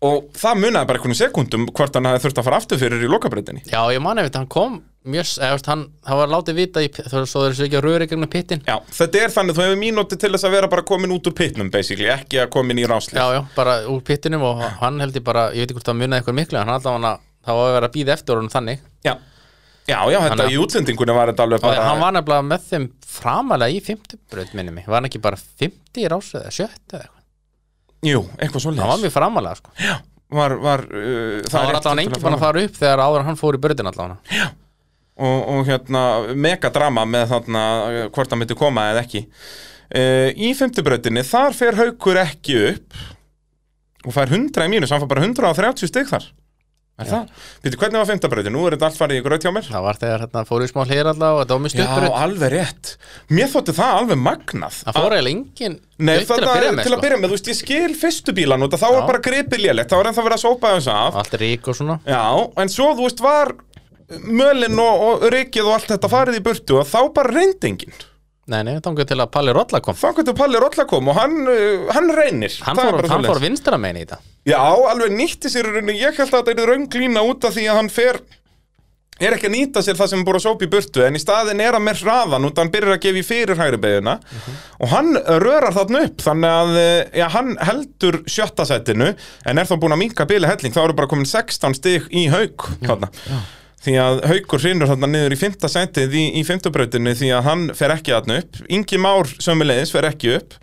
Speaker 1: og það munaði bara einhvern sekundum hvort hann hefði þurft að fara aftur fyrir í lokabreytinni
Speaker 2: já ég man eftir, hann kom mjög, s- eða, þú veist, hann, hann var látið vita í, þú veist, svo þeir séu ekki að röra í gegnum pittin
Speaker 1: Já, þetta er þannig, þú hefur mínúti til þess að vera bara komin út úr pitnum basically, ekki að komin í rásli
Speaker 2: Já, já, bara úr pittinum og hann held ég bara, ég veit ekki hvort það munaði eitthvað miklu en hann alltaf hann að, það var að vera að býða eftir honum þannig
Speaker 1: já, já, já, þetta
Speaker 2: Þannig að-
Speaker 1: í útlendingunni var þetta alveg
Speaker 2: og
Speaker 1: bara
Speaker 2: hann var nefnilega með þeim framalega í 50 braut minni mig, var hann ekki bara 50 í rásu eða 70 eða eitthvað,
Speaker 1: Jú, eitthvað svo
Speaker 2: hann var
Speaker 1: leys
Speaker 2: mjög framalega sko. það,
Speaker 1: Var, var, uh, það
Speaker 2: var
Speaker 1: er
Speaker 2: alltaf hann
Speaker 1: rétt
Speaker 2: engin
Speaker 1: til
Speaker 2: bara að
Speaker 1: fara.
Speaker 2: fara upp þegar áður en hann fór í brautin allavega
Speaker 1: og, og hérna, megadrama með þarna eh, hvort það myndi koma eða ekki uh, Í fymtubrautinni, þar fer haukur ekki upp og fær 100 í mínus, hann fær bara 130 stig þar Er það? Býttu, hvernig var fymtabrautin? Nú er þetta allt farið í gröð hjá mér
Speaker 2: það var þegar hérna, fór í smá hlýr allavega og þetta var mjög
Speaker 1: Já,
Speaker 2: stutt braut
Speaker 1: alveg rétt Mér þótti það alveg magnað
Speaker 2: það fór eiginlega engin
Speaker 1: Nei,
Speaker 2: braut
Speaker 1: þetta er til að
Speaker 2: sko.
Speaker 1: byrja með, þú veist, ég skil fyrstu bílan og þá
Speaker 2: Já.
Speaker 1: er bara gripið lélegt, þá er ennþá verið að sópa þess af
Speaker 2: allt rík og svona
Speaker 1: Já, en svo, þú veist, var mölin og, og rikið og allt þetta farið í burtu og þá bara reyndingin
Speaker 2: nei, nei, þangur til að Palli Rolla kom
Speaker 1: Þá hvernig Palli Rolla kom og hann, uh, hann reynir
Speaker 2: hann
Speaker 1: Það er
Speaker 2: fór,
Speaker 1: bara
Speaker 2: hann
Speaker 1: svoleiðis.
Speaker 2: fór vinstra megin í þetta
Speaker 1: Já, alveg nýtti sér í rauninni Ég held að þetta er raunglína út af því að hann fer Er ekki að nýta sér það sem er búið að sópa í burtu En í staðin er hann með hraðan Út að hann byrjar að gefa í fyrir hægri beðuna Og hann rörar þarna upp Þannig að eh, já, hann heldur sjötta sætinu En er þá búin að minka bíli helling Þá eru bara komin 16 stig í haug þarna Því að haukur hrinur þarna niður í fymta sætið í, í fymtubrautinu Því að hann fer ekki þarna upp Ingi Már sömulegis fer ekki upp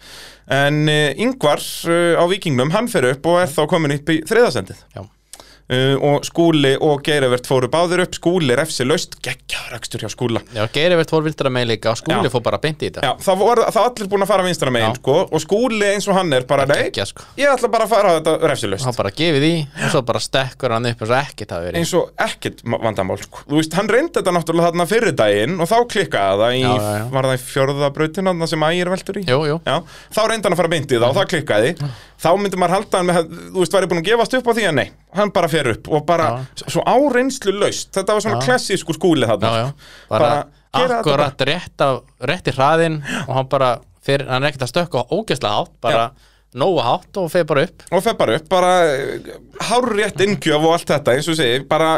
Speaker 1: En uh, Ingvar uh, á vikingnum, hann fer upp og er þá komin upp í þriðasendið
Speaker 2: já,
Speaker 1: uh, og Skúli og Geirivert fóru báður upp, Skúli refsi laust, geggjaðrakstur hjá Skúla
Speaker 2: já Geirivert fór vinstra megin líka og skúli
Speaker 1: Já.
Speaker 2: fór bara beint í þetta
Speaker 1: Já, það voru það allir búin að fara vinstra megin,
Speaker 2: Já.
Speaker 1: sko og Skúli eins og hann er bara, nei,
Speaker 2: Gekkja, sko.
Speaker 1: ég ætla bara að fara þetta refsi laust
Speaker 2: hann bara gefið í og svo bara stekkur hann upp og svo ekkert hafi verið
Speaker 1: eins og ekkert ma- vandamál sko. þú veist, hann reyndi þetta náttúrulega þarna fyrir daginn og þá klikkaði það í,
Speaker 2: Já, já, já.
Speaker 1: var það í fjörðabrautin þarna sem ægir veldur í
Speaker 2: Jú, jú.
Speaker 1: Já, þá reyndi hann að fara beint í það og það klikkaði þá myndi maður halda hann með, þú veist, væri búin að gefast upp á því að nei, hann bara fer upp og bara, svo áreynslu laust þetta var svona
Speaker 2: Já.
Speaker 1: klassískur skúli þarna
Speaker 2: já, já.
Speaker 1: Bara
Speaker 2: bara,
Speaker 1: gera þetta
Speaker 2: akkurat rétt, af, rétt í hraðin og hann bara fyrir, hann er ekkert að stökka ógeðslega hátt, bara nógu hátt og fer bara upp
Speaker 1: og fer bara upp, bara eh, hárrétt inngjöf og allt þetta, eins og ég segi bara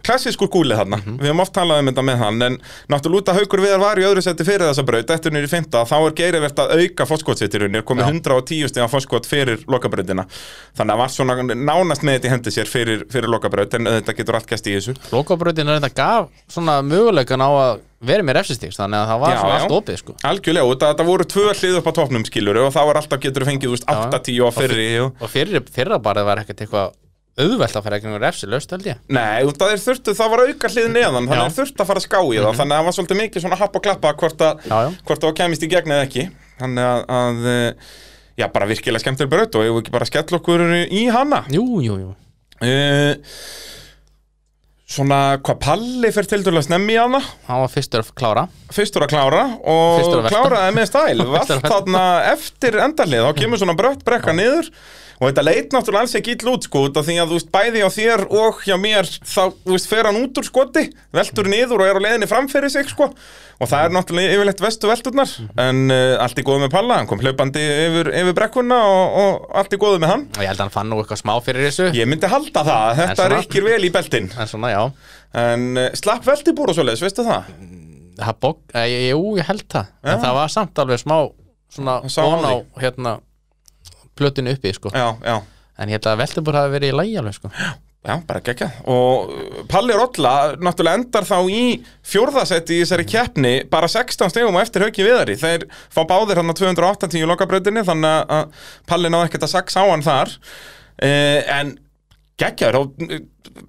Speaker 1: klassískur gúlið þarna við höfum oft talað um þetta með hann en náttúrulega út að haukur viðar var í öðru seti fyrir þessa braut eftir nýri fymta, þá er geirivert að auka fórskotsittirunni, er komið
Speaker 2: Já.
Speaker 1: 110 stiga fórskot fyrir lokabrautina þannig að var svona nánast með þetta í hendi sér fyrir, fyrir lokabraut, en þetta getur allt gæst í þessu
Speaker 2: lokabröðin er þetta gaf svona möguleikan á að vera með refsistíks þannig að það var
Speaker 1: Já,
Speaker 2: svona
Speaker 1: já.
Speaker 2: allt opið sko.
Speaker 1: algjörlega, út að þetta voru tvö hlið upp á topnum skilur og þá er alltaf getur fengið þú veist, 8-10
Speaker 2: já.
Speaker 1: á fyrri og...
Speaker 2: og fyrir, fyrra bara var ekkert eitthvað auðvelt að fara eitthvað refsilöst held ég
Speaker 1: Nei, út að þeir þurftu, það var auka hlið neðan þannig
Speaker 2: Já. Mhm.
Speaker 1: að þeir þurftu að fara að ská í það þannig að það var svolítið mikið svona happ og klappa hvort, að,
Speaker 2: Já, já.
Speaker 1: hvort það kemist í gegn eða ekki þannig að, að eh, já, bara virkilega skemmtileg braut og ég vil ekki bara skella okkur í hana
Speaker 2: jú, jú, jú,
Speaker 1: uh, Svona, hvað Palli fer til dæla snemmi í hana
Speaker 2: hann var fyrstur að klára
Speaker 1: fyrstur að klára og
Speaker 2: Fyrstur að velta.
Speaker 1: kláraði með stæl valt
Speaker 2: Fyrstur að velta.
Speaker 1: þarna eftir endarlið þá kemur svona brött brekka niður og þetta leit náttúrulega alls ekki ill út sko út af því að þú veist bæði á þér og hjá mér þá þú veist fer hann út úr skoti veltur niður og er á leiðinni framfyrir sig sko og það er náttúrulega yfirleitt vestu velturnar
Speaker 2: Mhm.
Speaker 1: en uh, allt í góðu með Palla hann kom hlaupandi yfir, yfir brekkuna og, og allt í góðu með hann
Speaker 2: og ég held að hann fann nú eitthvað smá fyrir þessu
Speaker 1: ég myndi halda það að þetta
Speaker 2: svona-
Speaker 1: reykir vel í beltin
Speaker 2: en svona já
Speaker 1: en uh, slapp veltibúr og svoleiðis, veistu það?
Speaker 2: Mm. það bók, e, jú, ég held það en það var samt alveg smá svona
Speaker 1: sá á
Speaker 2: von á hérna plötinu uppi sko
Speaker 1: Já, já
Speaker 2: en ég held að Veltebúr hafi verið í lægi alveg sko
Speaker 1: Já, bara geggjað og uh, Palli Rolla náttúrulega endar þá í fjórðasetti í þessari keppni bara 16 stegum á eftir hauki viðari þeir fá báðir hann á 280 í lokabrautinni þannig að Palli náði ekkert að sax á hann þar uh, en geggjaður og eh,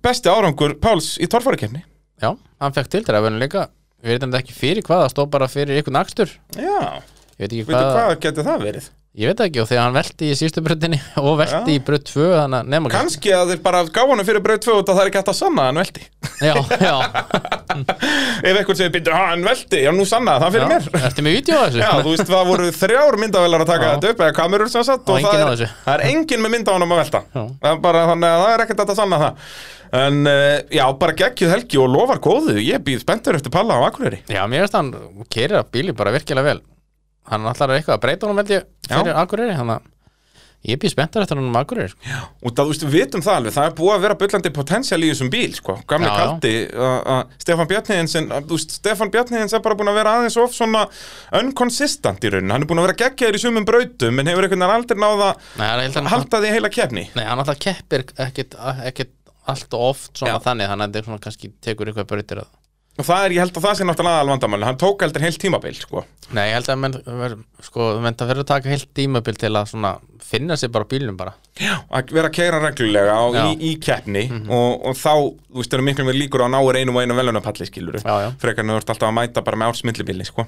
Speaker 1: besti árangur Páls í torfárikeppni
Speaker 2: já, hann fekk til þeirra verðin líka við veitum þetta ekki fyrir hvað, það stóð bara fyrir einhvern akstur
Speaker 1: Já,
Speaker 2: ég veit ekki
Speaker 1: veitu
Speaker 2: hvað,
Speaker 1: hvað geti það verið?
Speaker 2: Ég veit það ekki og þegar hann velti í sístu bruttinni og velti
Speaker 1: Já.
Speaker 2: í brutt 2 þannig að nema
Speaker 1: Kanski að þeir bara gáðu hann fyrir braut 2 út að það er ekki hægt að sanna að hann velti
Speaker 2: Já, já,
Speaker 1: Ef einhvern segir, "Bíddu, ha, hann velti, já nú sanna það fyrir
Speaker 2: já.
Speaker 1: mér
Speaker 2: Ertu með vídeo af þessu?
Speaker 1: Já, þú veist, það voru þrjár myndavelar að taka
Speaker 2: Já.
Speaker 1: þetta upp eða kamerur sem sagt
Speaker 2: Og
Speaker 1: og það
Speaker 2: enginn
Speaker 1: er,
Speaker 2: á þessu.
Speaker 1: það er engin með mynda honum að velta
Speaker 2: Já.
Speaker 1: Það er bara, þannig að það er ekkert hægt að sanna það en eh, já, bara geggjuð helgi og lofar góðu ég býð spenntur eftir palla á Akureyri
Speaker 2: Já, mér finnst hann keirir að bíli bara virkilega vel Hann allar eitthvað að breyta honum held ég fyrir Akureyri þannig að ég býð spenntur eftir honum Akureyri sko.
Speaker 1: og það, þú veist, við vitum það alveg, það er búið að vera bullandi potensial í þessum bíl, sko, gamli
Speaker 2: Já, já.
Speaker 1: kaldi uh, uh, Stefan Bjarniðins þú veist, Stefan Bjarniðins er bara búin að vera aðeins of svona unconsistent í rauninu, hann er búin að vera geggjaður í sumum brautum en hefur einhvern veginn aldrei náða
Speaker 2: Nei, hann, er- hann,
Speaker 1: halda því heila kefni
Speaker 2: nei, hann alltaf keppir ekkit, ekkit allt og oft svona
Speaker 1: Já.
Speaker 2: þannig þannig að þetta er svona kannski tekur eitthvað breytir að
Speaker 1: og það er, ég held að það sé náttúrulega aðal vandamálin hann tók heldur heilt tímabil, sko
Speaker 2: Nei, ég held að menn, ver, sko, menn það fyrir að taka heilt tímabil til að svona finna sér bara á bílnum bara
Speaker 1: að vera að keira reglulega og í,
Speaker 2: Já. Mhm.
Speaker 1: í keppni og, og þá, þú veist, eru miklu mér líkur á að náir einum og einum velunapalli skilur
Speaker 2: Já, já.
Speaker 1: frekar en þú ert alltaf að mæta bara með ársmillibili sko.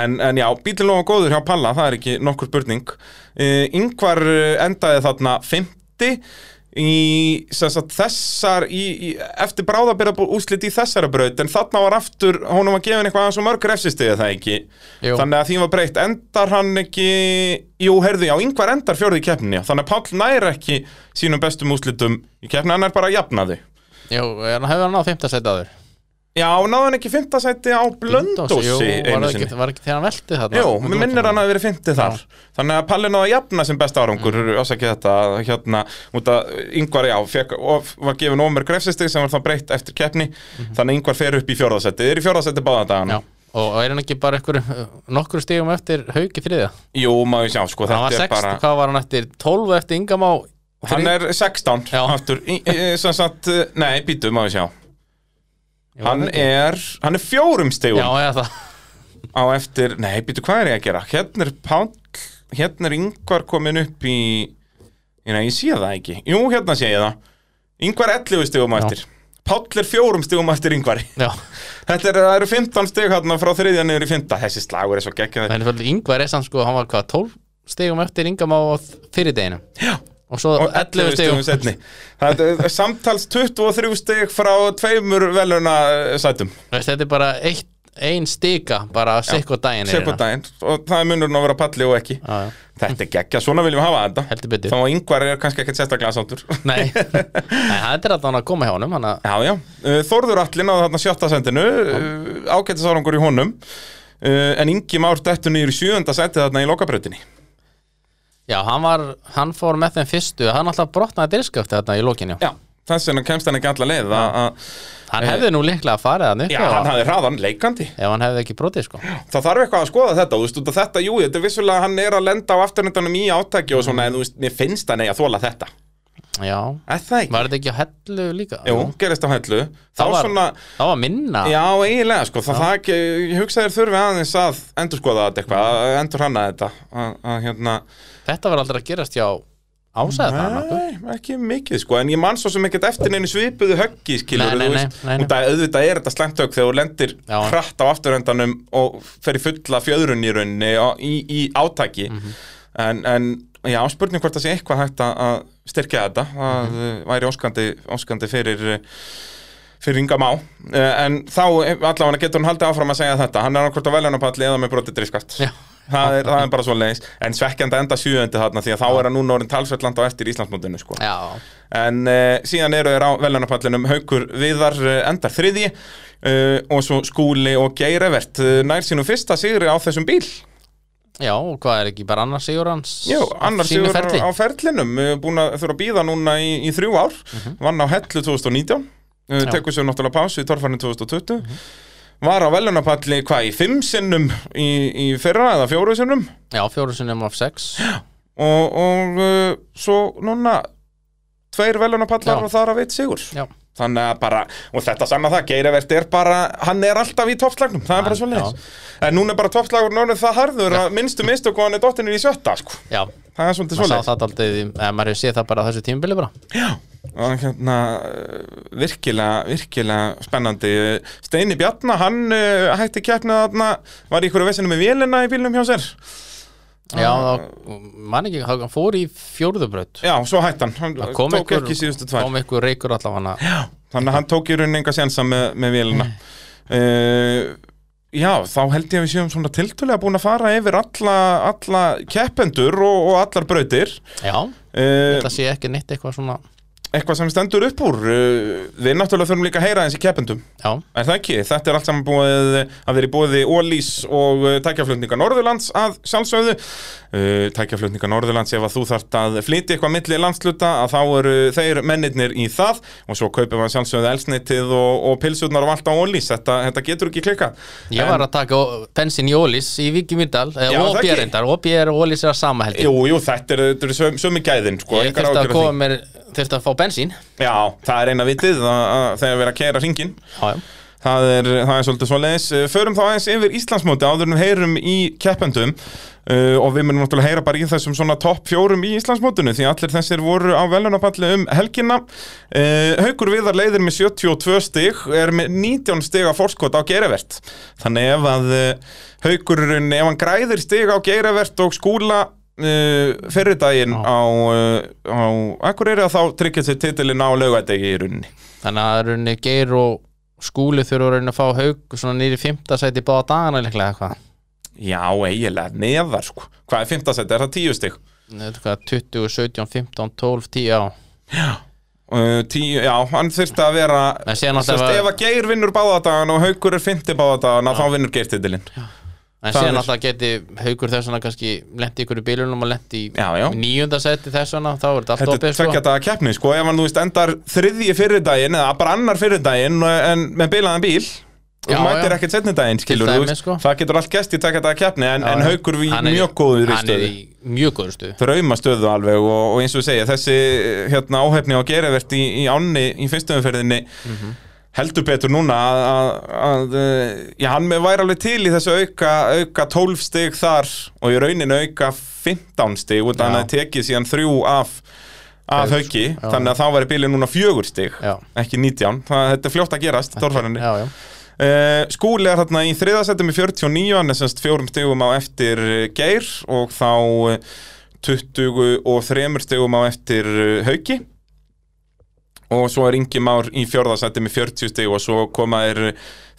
Speaker 1: en, en já, bílinn lofa góður hjá Palla það er ekki nokkur spurning uh, yngvar eh, endaði þarna 50 í sem sagt, þessar í, í, eftir bráðabera úslit í þessara braut en þarna var aftur, honum var gefin eitthvað aðeins og mörg refsistegið það ekki
Speaker 2: Jú.
Speaker 1: þannig að því var breytt, endar hann ekki jú, herðu, já, yngvar endar fjórði í keppninni þannig að Páll nær ekki sínum bestum úslitum í keppni, hann er bara að jafna þau
Speaker 2: Jú, hann hefur hann á fimmta sæti áður
Speaker 1: Já, náði hann ekki fimmtasæti á Blöndósi
Speaker 2: jú, var,
Speaker 1: einu
Speaker 2: það
Speaker 1: sinni
Speaker 2: ekki, var ekki þegar hann velti þarna
Speaker 1: Jú, mér minnir hann að verið fymtið þar Þannig að Palli náði að jafna sem besta árangur mm. Ásækja þetta, hérna Út að Ingvar, já, fekk, of, var gefin ómer grefsistig sem var það breytt eftir keppni Þannig að Ingvar fer upp í fjórðasæti Þeir eru í fjórðasæti báða
Speaker 2: Mhm. Já,
Speaker 1: dagana
Speaker 2: og, og er hann ekki bara einhver, nokkur stigum eftir haug í þriðja?
Speaker 1: Jú, maður sjá, sko,
Speaker 2: Hann var
Speaker 1: þetta
Speaker 2: 16,
Speaker 1: er bara
Speaker 2: hvað var hann eftir? 12 eftir Ingamá
Speaker 1: Hann er 16
Speaker 2: Já.
Speaker 1: aftur í, í, Sem sagt, eh, nei, býtu, maður sjá Hann er, hann er fjórum stigum
Speaker 2: Já, eða það
Speaker 1: á eftir, nei, býtu, hvað er ég að gera? Hérna er Páll, hérna er yngvar komin upp í, ég, nei, ég sé það ekki. Jú, hérna sé ég það. Yngvar 11 stigum á
Speaker 2: Já.
Speaker 1: eftir. Páll er fjórum stigum á eftir yngvari.
Speaker 2: Já,
Speaker 1: Þetta er, það eru 15 stig hérna frá þriðja niður í fymta. Þessi slagur er svo geggjum þetta.
Speaker 2: en fyrir Ingvar er sann sko, hann var hvað, 12 stigum eftir Ingamá á fyrir deginu
Speaker 1: Já.
Speaker 2: Og svo
Speaker 1: Og 11 stigum setni. Það er eh, samtals 23 stig frá tveimur veluna sætum.
Speaker 2: Veist, Þetta er bara eitt, ein stiga, bara sikk og daginn er
Speaker 1: Sér på
Speaker 2: hérna.
Speaker 1: daginn. Og það er munurinn að vera palli og ekki.
Speaker 2: Já, já,
Speaker 1: Þetta er geggja, svona viljum við hafa þetta.
Speaker 2: heldur betur
Speaker 1: Þá að yngvar er kannski ekkert sérstaklega sáttur.
Speaker 2: Nei, Nei, þetta er alltaf hann að koma hjá honum hann að,
Speaker 1: Já, já. Uh, Þórður Atli náði þarna sjötta sendinu, uh, ágættis árangur í honum, uh, en Ingi Már dettur niður í sjöunda sendi þarna í lokabrautinni.
Speaker 2: Já, hann var, hann fór með þeim fyrstu Hann alltaf brotnaði dirskafti þarna í lókinu
Speaker 1: Já. Þess vegna kemst hann ekki alla leið að, að,
Speaker 2: Hann hefði nú líklega farið hann upp
Speaker 1: já,
Speaker 2: á-
Speaker 1: hann hafði hraðan leikandi.
Speaker 2: Ef hann hefði ekki brotið sko
Speaker 1: Það þarf eitthvað að skoða þetta, þú veist, út af þetta, jú, þetta er vissulega að hann er að lenda á afturhendanum í átæki og svona, en þú veist, mér finnst hann eigi að þóla þetta.
Speaker 2: Já,
Speaker 1: Er það ekki?
Speaker 2: var þetta ekki á hellu líka?
Speaker 1: Jú, gerist á hellu. Þá
Speaker 2: það var,
Speaker 1: svona,
Speaker 2: það var minna
Speaker 1: Já, eiginlega, sko, það, það ekki, ég hugsa þér þurfi aðeins að endur skoða þetta eitthvað, að endur hanna þetta, að, að hérna,
Speaker 2: Þetta var aldrei að gerast hjá ásæða það nokkuð
Speaker 1: Nei, ekki mikið sko, en ég man svo sem ekkert eftir neinu svipuðu höggi skilur
Speaker 2: Nei, nei, nei, nei, nei.
Speaker 1: og það auðvitað er þetta slæmt högg þegar þú lendir
Speaker 2: Já.
Speaker 1: hratt á afturhendanum og fer í fulla fjöðrun í rauninni á- í, í átaki
Speaker 2: Mhm.
Speaker 1: en, en já, spurning hvort það sé eitthvað hægt að- að styrkja þetta það mm
Speaker 2: Mhm.
Speaker 1: væri óskandi, óskandi fyrir eh, fyrir Inga Má Eh, en þá allavega getur hann haldið áfram að segja þetta hann er annarkvort á veljónapalli eða með brotið driskart
Speaker 2: Já.
Speaker 1: það, er, það er bara svo leiðis en svekkjandi að enda sjöundi þarna því að þá er hann núna orðin talsveitland á eftir Íslandsmótinu sko.
Speaker 2: Já,
Speaker 1: en uh, síðan eru þeir á veljónapallinum haukur viðar uh, endar þriði uh, og svo skúli og geirevert uh, nær sínum fyrsta sigri á þessum bíl
Speaker 2: já, og hvað er ekki bara annar sigur hans
Speaker 1: Jú, annars
Speaker 2: Sínu
Speaker 1: sigur
Speaker 2: ferli?
Speaker 1: á ferlinum eh, búin að þurfa að býða núna í, í þrjú ár vann á hellu 2019 uh,
Speaker 2: Mhm. Já. Mhm.
Speaker 1: tekur sér náttúrulega pásu í torfarni 2020 var á velunapalli hvað í fimm sinnum í, í fyrra eða fjóru sinnum
Speaker 2: Já, fjóru sinnum af sex
Speaker 1: og, og uh, svo núna tveir velunapallar
Speaker 2: Já.
Speaker 1: og þar af eitt sigur
Speaker 2: Já.
Speaker 1: þannig að bara, og þetta sanna það Geirivert er bara, hann er alltaf í toppslagnum það er bara
Speaker 2: Hann-
Speaker 1: svo en núna er bara toppslagur orðið það harður að minnstu mistu hvað hann er dottinir í sjötta sko.
Speaker 2: Já,
Speaker 1: það er svolítið
Speaker 2: maður
Speaker 1: svo
Speaker 2: sá það aldrei eða maður hefur séð það bara á þessu tímabili bara
Speaker 1: og hérna uh, virkilega, virkilega spennandi Steini Bjarnar, hann uh, hætti keppnið þarna, var í hverju vesinu með vélina í bílnum hjá sér
Speaker 2: Já, þá, man ekki, hann fór í fjórðubraut
Speaker 1: Já, svo hætti hann, hann
Speaker 2: Það
Speaker 1: tók
Speaker 2: kom einhver-
Speaker 1: ekki síðustu tvær
Speaker 2: Kom ykkur reykur allavega
Speaker 1: Þannig að hann tók í raunin enga sénsa með, með vélina uh, Já, þá held ég að við séum svona tiltölega búin að fara yfir alla, alla keppendur og, og allar brautir
Speaker 2: Já,
Speaker 1: uh,
Speaker 2: þetta sé ekki neitt eitthvað svona
Speaker 1: Eitthvað sem stendur upp úr uh, Við náttúrulega þurfum líka að heyra eins í keppendum
Speaker 2: Já,
Speaker 1: Er það ekki? Þetta er allt saman búið eh, að vera í bóði Ólís og uh, tækjaflutninga Norðurlands að sjálfsögðu. Uh, Tækjaflutninga Norðurlands ef að þú þart að flytja eitthvað milli landsluta að þá eru þeir mennirnir í það og svo kaupir maður sjálfsögðu elsnitið og, og pilsurnar og allt á Ólís. Þetta, þetta getur ekki klikkað.
Speaker 2: ég var að taka bensin í Ólís í Viki Myrdal
Speaker 1: Já, það
Speaker 2: og
Speaker 1: ekki.
Speaker 2: Bérindar, og Bér og Ólís er að sama held ég
Speaker 1: Jú, jú, þetta eru er söm, sömu gæðin, sko.
Speaker 2: Ég
Speaker 1: engar
Speaker 2: þurfti að
Speaker 1: áhyggjur af
Speaker 2: koma
Speaker 1: því.
Speaker 2: mér, þurfti að fá bensín
Speaker 1: Já, það er eina vitið að, að þegar við erum að kæra ringin.
Speaker 2: Já, já
Speaker 1: Það er, það er svolítið svo leiðis. Förum þá aðeins yfir Íslandsmóti áður en við heyrum í keppendum uh, og við munum náttúrulega heyra bara í þessum svona topp fjórum í Íslandsmótinu því allir þessir voru á velunapalli um helgina. Uh, Haukur Viðar leiðir með 72 stig, er með 19 stig að fórskot á geirivert. Þannig ef að uh, Haukurinn, ef hann græðir stig á geirivert og skúla uh, fyrir daginn á, uh, á Akureyri að þá tryggja sér titilin á laugadegi í runni.
Speaker 2: Þannig að rauninni Geir og Skúli þurfa að rauninni að fá haug svona nýri fymta sæti báða dagana líklega eitthvað
Speaker 1: Já, eiginlega, neðar sko Hvað er fimmtasætt, er það tíu stig?
Speaker 2: Þetta er hvað, 20, 17, 15, 12, 10 á
Speaker 1: Uh, tíu, já, hann þurfti að vera
Speaker 2: En síðan
Speaker 1: Sest,
Speaker 2: alltaf
Speaker 1: Ef að Geir vinnur báðadagan og Haukur er fimmti báðadagan þá vinnur Geir titilinn
Speaker 2: En
Speaker 1: það
Speaker 2: síðan
Speaker 1: er-
Speaker 2: alltaf geti haugur þess vegna kannski lent í ykkur í bílunum og lent í
Speaker 1: Já, já.
Speaker 2: níunda seti þess vegna þá er þetta allt
Speaker 1: Þetta er
Speaker 2: opið sko.
Speaker 1: tvekja daga keppni sko Ef hann þú veist endar þriðji fyrir daginn eða bara annar fyrir daginn eh, en með bilaðan bíl og
Speaker 2: Já,
Speaker 1: mætir
Speaker 2: já.
Speaker 1: ekkert setni daginn skilur
Speaker 2: dæmis,
Speaker 1: þú veist,
Speaker 2: sko.
Speaker 1: Það getur allt gæst í tvekja daga keppni en,
Speaker 2: Já,
Speaker 1: en
Speaker 2: já.
Speaker 1: Haukur við
Speaker 2: Hann er í-
Speaker 1: mjög góður í
Speaker 2: Hann er
Speaker 1: stöðu
Speaker 2: í mjög góður stöðu
Speaker 1: draumastöðu alveg og, og eins og ég segja þessi hérna áhefni á gerivert í, í ánni í fyrstumferðinni
Speaker 2: Mhm.
Speaker 1: heldur betur núna að, að, að eh, já, hann með væri alveg til í þessu auka, auka 12 stig þar og í rauninu auka 15 stig út af
Speaker 2: Já.
Speaker 1: hann að tekið síðan þrjú af af
Speaker 2: Hauks,
Speaker 1: hauki,
Speaker 2: já.
Speaker 1: þannig að þá væri bílið núna fjögur stig,
Speaker 2: Já.
Speaker 1: ekki 19 það, þetta er fljótt að gerast, dórfærinni
Speaker 2: Já, já
Speaker 1: Uh, skúli er þarna í þriðasettum í 49, hann er semst fjórum stegum á eftir eh, Geir og þá eh, 23 stegum á eftir eh, Hauki og svo er Ingi Már í fjórðasettum í 40 steg og svo koma er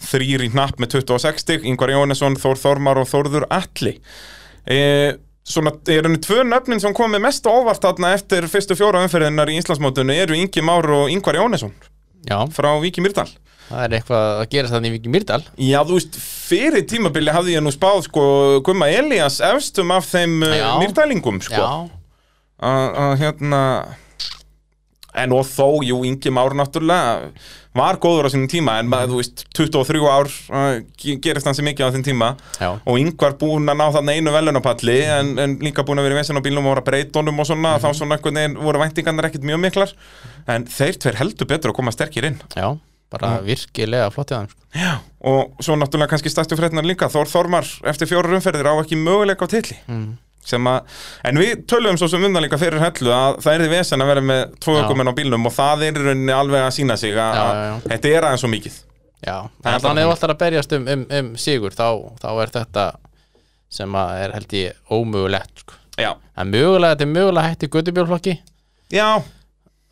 Speaker 1: þrýr í hnapp með 26 steg, Ingvar Jónesson, Þór Þormar og Þórður Alli uh, Svona, er henni tvö nöfnin sem komið mest á óvart þarna eftir fyrstu fjóra umferðinar í Íslandsmótinu eru Ingi Már og Ingvar Jónesson
Speaker 2: Já,
Speaker 1: frá Víki Mýrdal
Speaker 2: það er eitthvað að gera þannig í Viki Myrdal
Speaker 1: Já, þú veist, fyrir tímabili hafði ég nú spáð, sko, Gumma Elías efstum af þeim uh,
Speaker 2: Já.
Speaker 1: mýrdælingum, sko.
Speaker 2: Já,
Speaker 1: Að, að, hérna, en og þó, jú, Ingi Már náttúrulega var góður á sínum tíma, en maður, þú veist, 23 ár uh, ge- gerist hann sem mikið á þeim tíma.
Speaker 2: já
Speaker 1: Og Ingvar búinn að ná þarna einu velunapalli, en, en líka búinn að vera í vesen á bílum og voru að breyta honum og svona, þá
Speaker 2: Mhm.
Speaker 1: svona einhvern veginn voru væntingarnar ekkit mjög miklar. En þeir tver heldur betur að koma sterkir inn.
Speaker 2: Já, bara virkilega flott í þannig sko.
Speaker 1: og svo náttúrulega kannski stættu frétnar líka Þór Þormar eftir fjórar umferðir á ekki möguleika á tilli
Speaker 2: Mm.
Speaker 1: sem að, en við töluðum svo sem um það líka fyrir hellu að það er því vesen að vera með tvo
Speaker 2: Já.
Speaker 1: ökumenn á bílnum og það er í rauninni alveg að sína sig að
Speaker 2: Já,
Speaker 1: að
Speaker 2: já, já.
Speaker 1: þetta er aðeins svo mikið
Speaker 2: Já,
Speaker 1: er
Speaker 2: þannig
Speaker 1: bara
Speaker 2: að ef
Speaker 1: þannig.
Speaker 2: alltaf er að berjast um, um, um sigur þá, þá er þetta sem að er held ég ómögulegt sko.
Speaker 1: Já,
Speaker 2: en mögulega, þetta er mögulega hætti guttubjólflokki
Speaker 1: já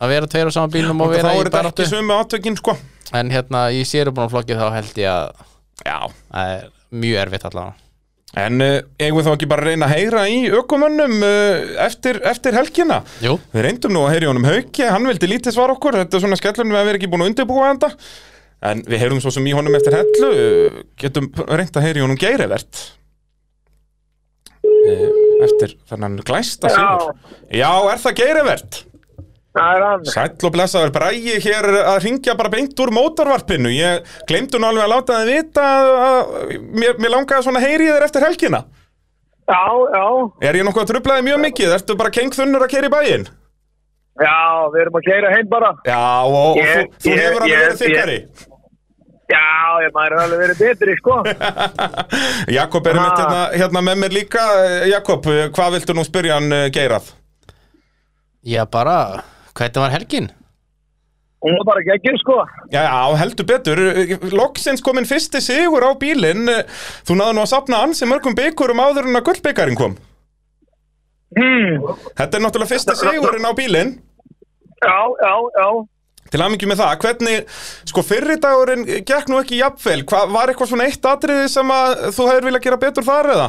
Speaker 2: að vera tveir á sama bílnum og
Speaker 1: og þá
Speaker 2: vera
Speaker 1: er
Speaker 2: í
Speaker 1: þetta ekki
Speaker 2: baráttu
Speaker 1: sömu átökin sko
Speaker 2: en hérna í sérubunumflokki þá held ég að
Speaker 1: Já,
Speaker 2: það er mjög erfitt allavega
Speaker 1: en uh, eigum við þá ekki bara að reyna að heyra í ökumennum uh, eftir, eftir helgina
Speaker 2: Jú,
Speaker 1: Við reyndum nú að heyri honum Hauki, hann vildi lítið svara okkur, þetta er svona skellum við að vera ekki búin að undirbúa þetta En við heyrum svo sem í honum eftir hellu, getum reynd að heyri honum geirivert Eh, Eftir þennan glæsta sigur Já, er það geirivert?
Speaker 3: Það er hann.
Speaker 1: Sæll og blessaður bræði hér að ringja bara beint úr mótorvarpinu Ég glemdu nú alveg að láta þið vita að, að mér, mér langaði svona að heyri þér eftir helgina
Speaker 3: Já, já,
Speaker 1: Er ég nokkuð að trubla þig mjög mikið? Ertu bara kengþunnur að keira í bæinn?
Speaker 3: já, við erum að keira heim bara.
Speaker 1: Já, og, og
Speaker 3: Ég-
Speaker 1: þú, þú
Speaker 3: ég-
Speaker 1: hefur alveg
Speaker 3: ég-
Speaker 1: verið þykkari
Speaker 3: Já, ég maður er alveg verið betri, sko.
Speaker 1: Jakob er
Speaker 3: Ha.
Speaker 1: mitt hérna, hérna með mér líka Eh, Jakob, eh, hvað viltu nú spyrja hann eh, Geirað?
Speaker 2: ég bara hvernig var helgin?
Speaker 3: Hún var bara geggjur, sko.
Speaker 1: Já, já, heldur betur Eh, Loksins kominn fyrsti sigur á bílinn Eh, Þú náðu nú að sapna ansi mörgum byggurum áður en að gullbyggarinn kom
Speaker 4: Hmm.
Speaker 1: Þetta er náttúrulega fyrsta sigurinn á bílinn
Speaker 4: Já, já, já.
Speaker 1: Til aðmyggju með það, hvernig, sko fyrri dagurinn gekk nú ekki jafnvel, Hva, var eitthvað svona eitt atriði sem að þú hefur viljað gera betur þar eða?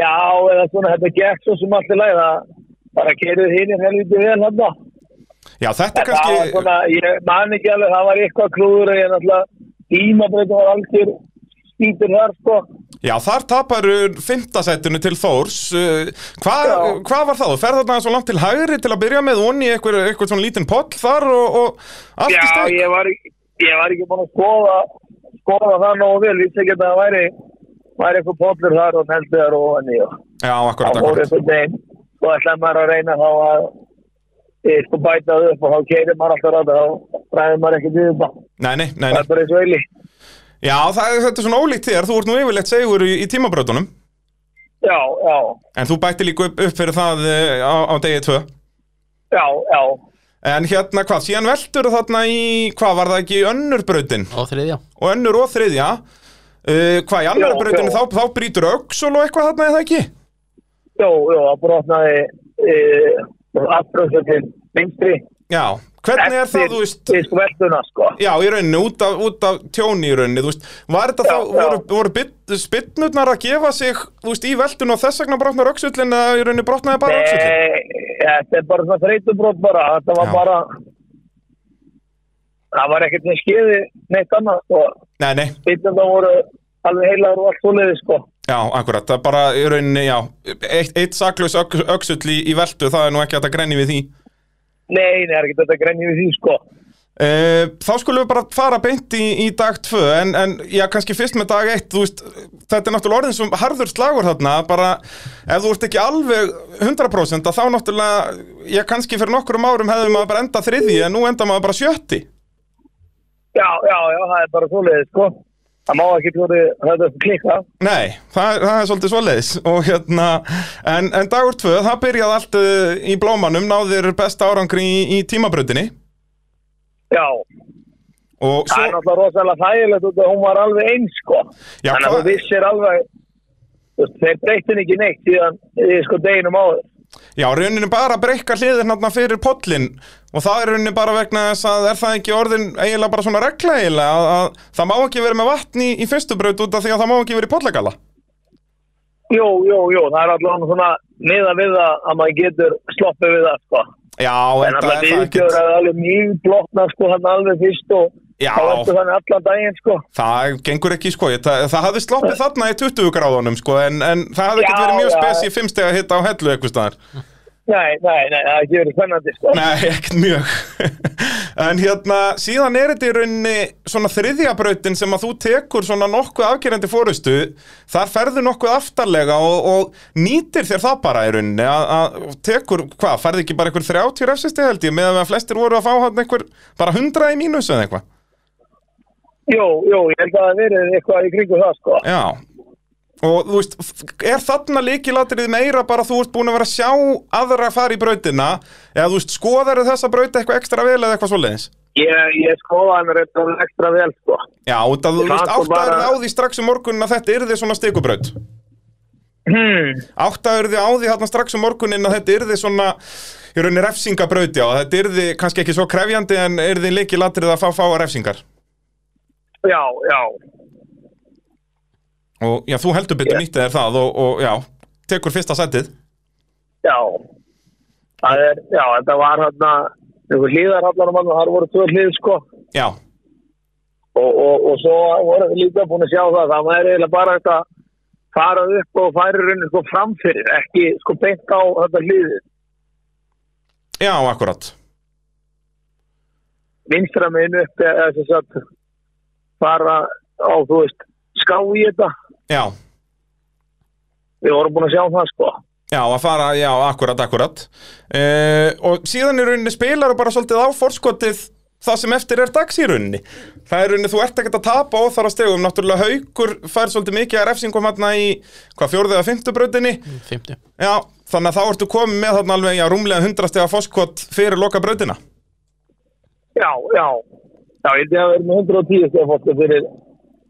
Speaker 4: Já, eða svona, þetta gekk svo sem allir læða. Bara kerið hinn í helviti vel hann það.
Speaker 1: Já, þetta
Speaker 4: Það var
Speaker 1: kannski,
Speaker 4: svona, ég man ekki alveg, það var eitthvað klúður og ég náttúrulega tímabreytum var algjör skýtur þar, sko.
Speaker 1: já þar tapar fymtasættinu til Þórs, Uh, hvað
Speaker 4: Já.
Speaker 1: hva var það? Þú ferð þarna svo langt til hægri til að byrja með onni í eitthvað, eitthvað svona lítinn poll þar og, og allt
Speaker 4: Já,
Speaker 1: í steg?
Speaker 4: ég var, ekki- ég var ekki búin að skoða, skoða það nógu vel, vissi ekki að það væri, væri eitthvað pollur þar og neldur þar og hann í og
Speaker 1: Já, akkurat,
Speaker 4: það voru
Speaker 1: akkurat.
Speaker 4: eitthvað neginn og ætlaði maður að reyna þá að ég sko bæta það upp og þá keirir maður alltaf ráða þá ræðir maður ekkert við upp
Speaker 1: Nei, nei, nei,
Speaker 4: það
Speaker 1: nei.
Speaker 4: er bara eins og eili
Speaker 1: Já, það, þetta er svona ólíkt þér, þú ert nú yfirleitt segur í, í tímabröðunum,
Speaker 4: já, já,
Speaker 1: en þú bætti líka upp, upp fyrir það uh, á, á degi tvö.
Speaker 4: já, já
Speaker 1: En hérna hvað, síðan veldur þarna í, hvað var það ekki, í önnur brautin
Speaker 2: og þriðja
Speaker 1: og önnur og þriðja uh, hvað í annar
Speaker 4: Já,
Speaker 1: brautinu
Speaker 4: já.
Speaker 1: þá, þá brýtur öxul og eitthvað þarna eða ekki?
Speaker 4: jú, jú, það brotnaði e, afbröðsum til vinstri
Speaker 1: Já, hvernig er það, þú veist,
Speaker 4: í sko velduna sko
Speaker 1: já í rauninni, út af, út af tjóni í rauninni, þú veist, var þetta
Speaker 4: Já,
Speaker 1: þá,
Speaker 4: já.
Speaker 1: voru, voru bytt- spinnurnar að gefa sig, þú veist, í veldun og þess vegna brotnar öxullin eða í rauninni brotnaði bara öxullin?
Speaker 4: Nei, þetta er bara svona þreytubrót bara, þetta var
Speaker 1: Já.
Speaker 4: bara það var ekkert með skeiði neitt annað sko,
Speaker 1: Nei, nei,
Speaker 4: þetta voru alveg heilagur og allt svoleiði sko
Speaker 1: já, akkurat, það er bara í rauninni, já, eitt, eitt saklaus öx, öxull í, í veldu, það er nú ekki hægt að þetta grenni við því.
Speaker 4: Nei, nei, það er ekki þetta grænni við því, sko.
Speaker 1: Uh, þá skulum við bara fara beint í, í dag 2 en, en já, kannski fyrst með dag 1 veist, þetta er náttúrulega orðin sem harður slagur þarna bara ef þú ert ekki alveg 100% að þá náttúrulega já, kannski fyrir nokkrum árum hefðum maður bara enda þriði en nú enda maður bara sjötti
Speaker 4: Já, já, já, það er bara svoleiðið, sko. Það má ekki tjóri, það er klikka.
Speaker 1: Nei, það, það er svolítið svoleiðis og hérna, en, en dagur 2 það byrjaði allt uh, í blómanum náðir besta árangri í, í tímabröndinni
Speaker 4: Já,
Speaker 1: og
Speaker 4: það er
Speaker 1: svo,
Speaker 4: náttúrulega rosalega þægilegt út að hún var alveg eins, sko.
Speaker 1: Já,
Speaker 4: Þannig að
Speaker 1: hvað-
Speaker 4: þú vissir alveg, þú veist, þeir breytin ekki neitt síðan, eh, sko, deginum áður.
Speaker 1: Já, rauninni bara að breyka hliðir hérna fyrir pollin og það er rauninni bara vegna þess að er það ekki orðin eiginlega bara svona regla eiginlega að, að það má ekki vera með vatni í fyrstu braut út af því að það má ekki vera í pollagalla.
Speaker 4: Jú, jú, jú, það er allavega svona miða við það að maður getur sloppið við það, sko.
Speaker 1: Já,
Speaker 4: En
Speaker 1: en það er
Speaker 4: alltaf
Speaker 1: það ekki.
Speaker 4: viðgjör að alveg mjög blotna, sko, hann alveg fyrst og
Speaker 1: Já.
Speaker 4: þá ertu þannig allan daginn, sko.
Speaker 1: Það gengur ekki, sko, ég, það, það hafði sloppið þarna í 20 gráðunum, sko, en, en það hafði ekki
Speaker 4: Já,
Speaker 1: verið mjög
Speaker 4: já.
Speaker 1: spes í fimmstega hitta á hellu eitthvað staðar.
Speaker 4: Nei, nei, nei, það er ekki verið spennandi, sko.
Speaker 1: Nei, ekkert mjög. en hérna, síðan er þetta í rauninni svona þriðja brautin sem að þú tekur svona nokkuð afgerandi fórustu, þar ferðu nokkuð aftarlega og, og nýtir þér það bara í rauninni að, að tekur, hvað, ferðu ekki bara einhver 30 refsisti held ég, meðan að flestir voru að fá hann einhver bara 100 í mínus eða eitthvað.
Speaker 4: Jú, jú, ég held að það verið eitthvað í kringu það, sko.
Speaker 1: Já. Og þú veist, f- er þarna líkilatrið meira bara þú ert búin að vera að sjá aðra fara í brautina eða þú veist, skoðar þessa brauti eitthvað ekstra vel eða eitthvað svoleiðis?
Speaker 4: Ég, ég skoða hann reyndar ekstra vel, sko.
Speaker 1: Já, út að þú
Speaker 4: Ég
Speaker 1: veist,
Speaker 4: gat og
Speaker 1: áttaður
Speaker 4: bara-
Speaker 1: á því strax um morgunin að þetta yrði svona stikubraut
Speaker 4: Hmm.
Speaker 1: Áttaður því á því hérna strax um morgunin að þetta yrði svona í rauninni refsingabrauti og þetta yrði kannski ekki svo krefjandi en yrði leikið latrið að fá fáa refsingar
Speaker 4: Já, já,
Speaker 1: og já, þú heldur betur
Speaker 4: Ég-
Speaker 1: nýttið þér það og, og já, tekur fyrsta setið
Speaker 4: já. Það er, já, þetta var hann að, einhver hlýðar hann að mann, þar voru tvö hlýð, sko.
Speaker 1: Já,
Speaker 4: Og, og, og svo voru við líka búin að sjá það, það var eiginlega bara þetta fara upp og færi raunin sko framfyrir, ekki sko beint á þetta hlýðið.
Speaker 1: já, akkurat
Speaker 4: Vinstra megin upp, eða þess að fara á, þú veist, ská í þetta.
Speaker 1: Já,
Speaker 4: Við vorum búin að sjá það, sko.
Speaker 1: já, að fara, já, akkurat, akkurat uh, Og síðan í rauninni spilar bara svolítið á forskotið það sem eftir er dags í rauninni það er rauninni, þú ert ekkert að tapa og þar að stegum náttúrulega haukur fær svolítið mikið að refsingum hérna í hvað fjórðu eða fimmtu brautinni
Speaker 2: 50
Speaker 1: já, þannig að þá ertu komið með þarna alveg já, rúmlega 100 stega foskot fyrir loka brautina
Speaker 4: Já, já. Já, ég held ég að vera með 110 stefn fólk fyrir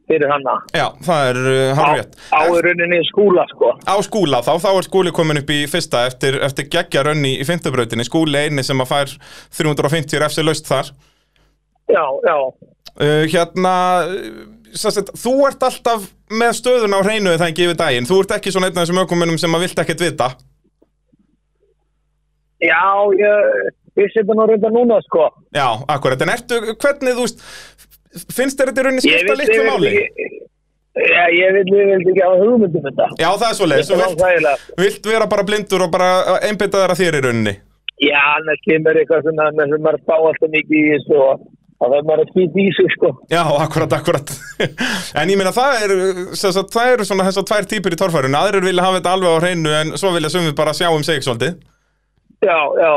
Speaker 4: fyrir hanna
Speaker 1: Já, það er uh,
Speaker 4: á,
Speaker 1: hann rétt.
Speaker 4: á í rauninni skúla sko
Speaker 1: Á skúla þá, þá er skúli komin upp í fyrsta eftir, eftir geggja rönni í fymtubrautinni. Skúli eini sem að fær 350 FC laust þar.
Speaker 4: já, já,
Speaker 1: Uh, hérna, uh, sem sagt, þú ert alltaf með stöðun á hreinu þegar það ekki yfir daginn. Þú ert ekki svona einn af þessum ökumunum sem að vilt ekkert vita.
Speaker 4: já ég, ég setja nú reynda núna sko
Speaker 1: Já, akkurat. En ertu, hvernig, þú veist, finnst þér þetta í rauninni
Speaker 4: ég
Speaker 1: skipta litlu máli?
Speaker 4: já, ég vil, ég vil ekki hafa hugmyndum þetta
Speaker 1: Já, það er svo leið. Þú
Speaker 4: Þetta er
Speaker 1: vilt,
Speaker 4: óþægilegt.
Speaker 1: vilt vera bara blindur og bara einbytta þér að þér í rauninni.
Speaker 4: já, annars kemur eitthvað svona annars er maður að spá alltaf mikið í þessu og og það er maður að kýta í sig sko
Speaker 1: Já, akkurat, akkurat. en ég meina, það er, sem sagt, það eru svona þessar tvær típur í torfærun. Aðrir vilja hafa þetta alveg á hreinu en svo vilja sumið bara sjá um sig svolítið.
Speaker 4: já, já,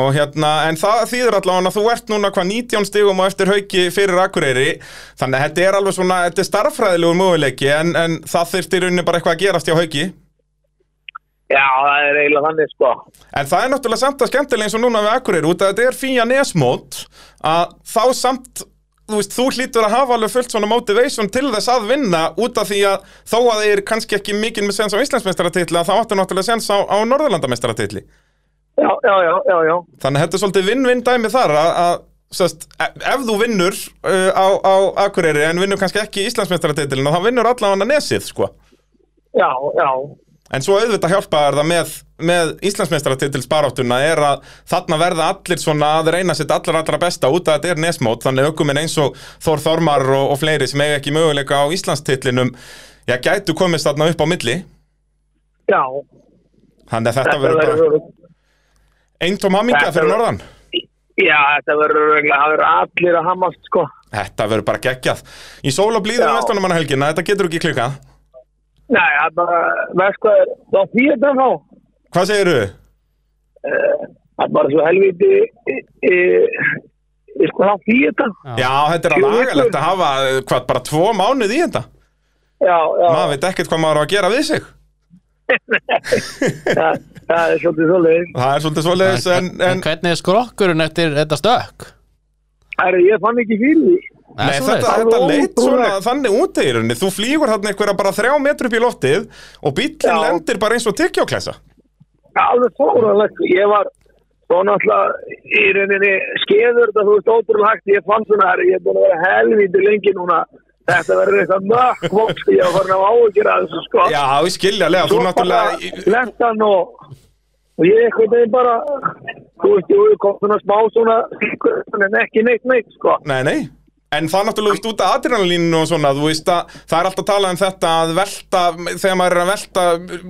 Speaker 1: Og hérna, en það þýður allavega að þú ert núna hvað 19 stigum og eftir hauki fyrir Akureyri. Þannig að þetta er alveg svona, þetta er starffræðilegur möguleiki en, en það þyrfti í rauninni bara eitthvað að gerast hjá hauki.
Speaker 4: já, það er eiginlega þannig sko
Speaker 1: En það er náttúrulega samt að skemmtilega eins og núna við Akureyri út að þetta er fíja nesmót að þá samt, þú veist, þú hlýtur að hafa alveg fullt svona motivation til þess að vinna út af því að þó að það er kannski ekki mikið með sens á Íslandsmeistaratitli að þá áttu náttúrulega sens á, á Norðurlandameistaratitli.
Speaker 4: já, já, já, já, já
Speaker 1: Þannig að þetta er svolítið vinn-vinn dæmi þar að, að sest, ef þú vinnur uh, á, á Akureyri en vinnur kannski ekki Íslandsmeistaratitlin þá vinnur allavega nesið, sko.
Speaker 4: já, já,
Speaker 1: En svo auðvitað hjálpaðar það með, með Íslandsmeistaratitils baráttuna er að þarna verða allir svona að reyna sitt allar allra besta út að þetta er nesmót þannig aukuminn eins og Þór Þormar og, og fleiri sem eiga ekki möguleika á Íslandstitlinum já, gætu komist þarna upp á milli
Speaker 4: já
Speaker 1: þannig að þetta
Speaker 4: Þetta
Speaker 1: verður bara
Speaker 4: verður
Speaker 1: eintóm hamingja
Speaker 4: Þetta
Speaker 1: fyrir
Speaker 4: verður-
Speaker 1: norðan
Speaker 4: já, þetta verður eiginlega- það verður allir að hamast sko
Speaker 1: Þetta verður bara geggjað Í sól og blíður
Speaker 4: Já.
Speaker 1: vestanum hann helgina, þetta getur ekki klikað
Speaker 4: Nei, það er bara, veist hvað er, þá því þetta þá.
Speaker 1: Hvað segirðu?
Speaker 4: Það er bara svo helviti, e, e, e, sko þá því þetta.
Speaker 1: Já, þetta er
Speaker 4: Jú,
Speaker 1: alveg agalegt
Speaker 4: ykkur.
Speaker 1: að hafa eh, hvað, bara tvo mánuð í þetta
Speaker 4: Já, já,
Speaker 1: maður veit ekkert hvað maður á að gera við sig
Speaker 4: það, það er svolítið svolítið.
Speaker 1: Það er svolítið svoleiðis en, en
Speaker 2: hvernig er skrokkurinn eftir þetta stökk?
Speaker 4: Það er, ég fann ekki fyrir því.
Speaker 2: Er
Speaker 1: Nei,
Speaker 2: það
Speaker 1: þetta,
Speaker 2: svoleiðis?
Speaker 4: er
Speaker 1: þetta
Speaker 4: alveg
Speaker 1: leit svona
Speaker 4: ótrúlegt.
Speaker 1: þannig út í rauninni Þú flýgur þarna einhverja bara þrjá metru upp í loftið og bíllinn
Speaker 4: Já.
Speaker 1: lendir bara eins og tyggjóklessa
Speaker 4: Það er alveg fóranlegt. Ég var, þá náttúrulega, í rauninni skeður þetta, þú veist, ótrúlega hægt. Ég fann svona, herri, ég er búin að vera helviti lengi núna. Þetta verður eitthvað mökk, vokk, sko, ég var farin að áhugjur að þessu, sko.
Speaker 1: Já, ég skilja lega, þú
Speaker 4: Svo
Speaker 1: náttúrulega
Speaker 4: bara lenti hann og, og ég eitthvað þeim bara þú veist, jú, ég kom svona smá svona slíkur, en ekki neitt neitt sko.
Speaker 1: Nei, nei En það náttúrulega veist, út af adrenalínu og svona, þú veist að það er alltaf talað um þetta að velta, þegar maður er að velta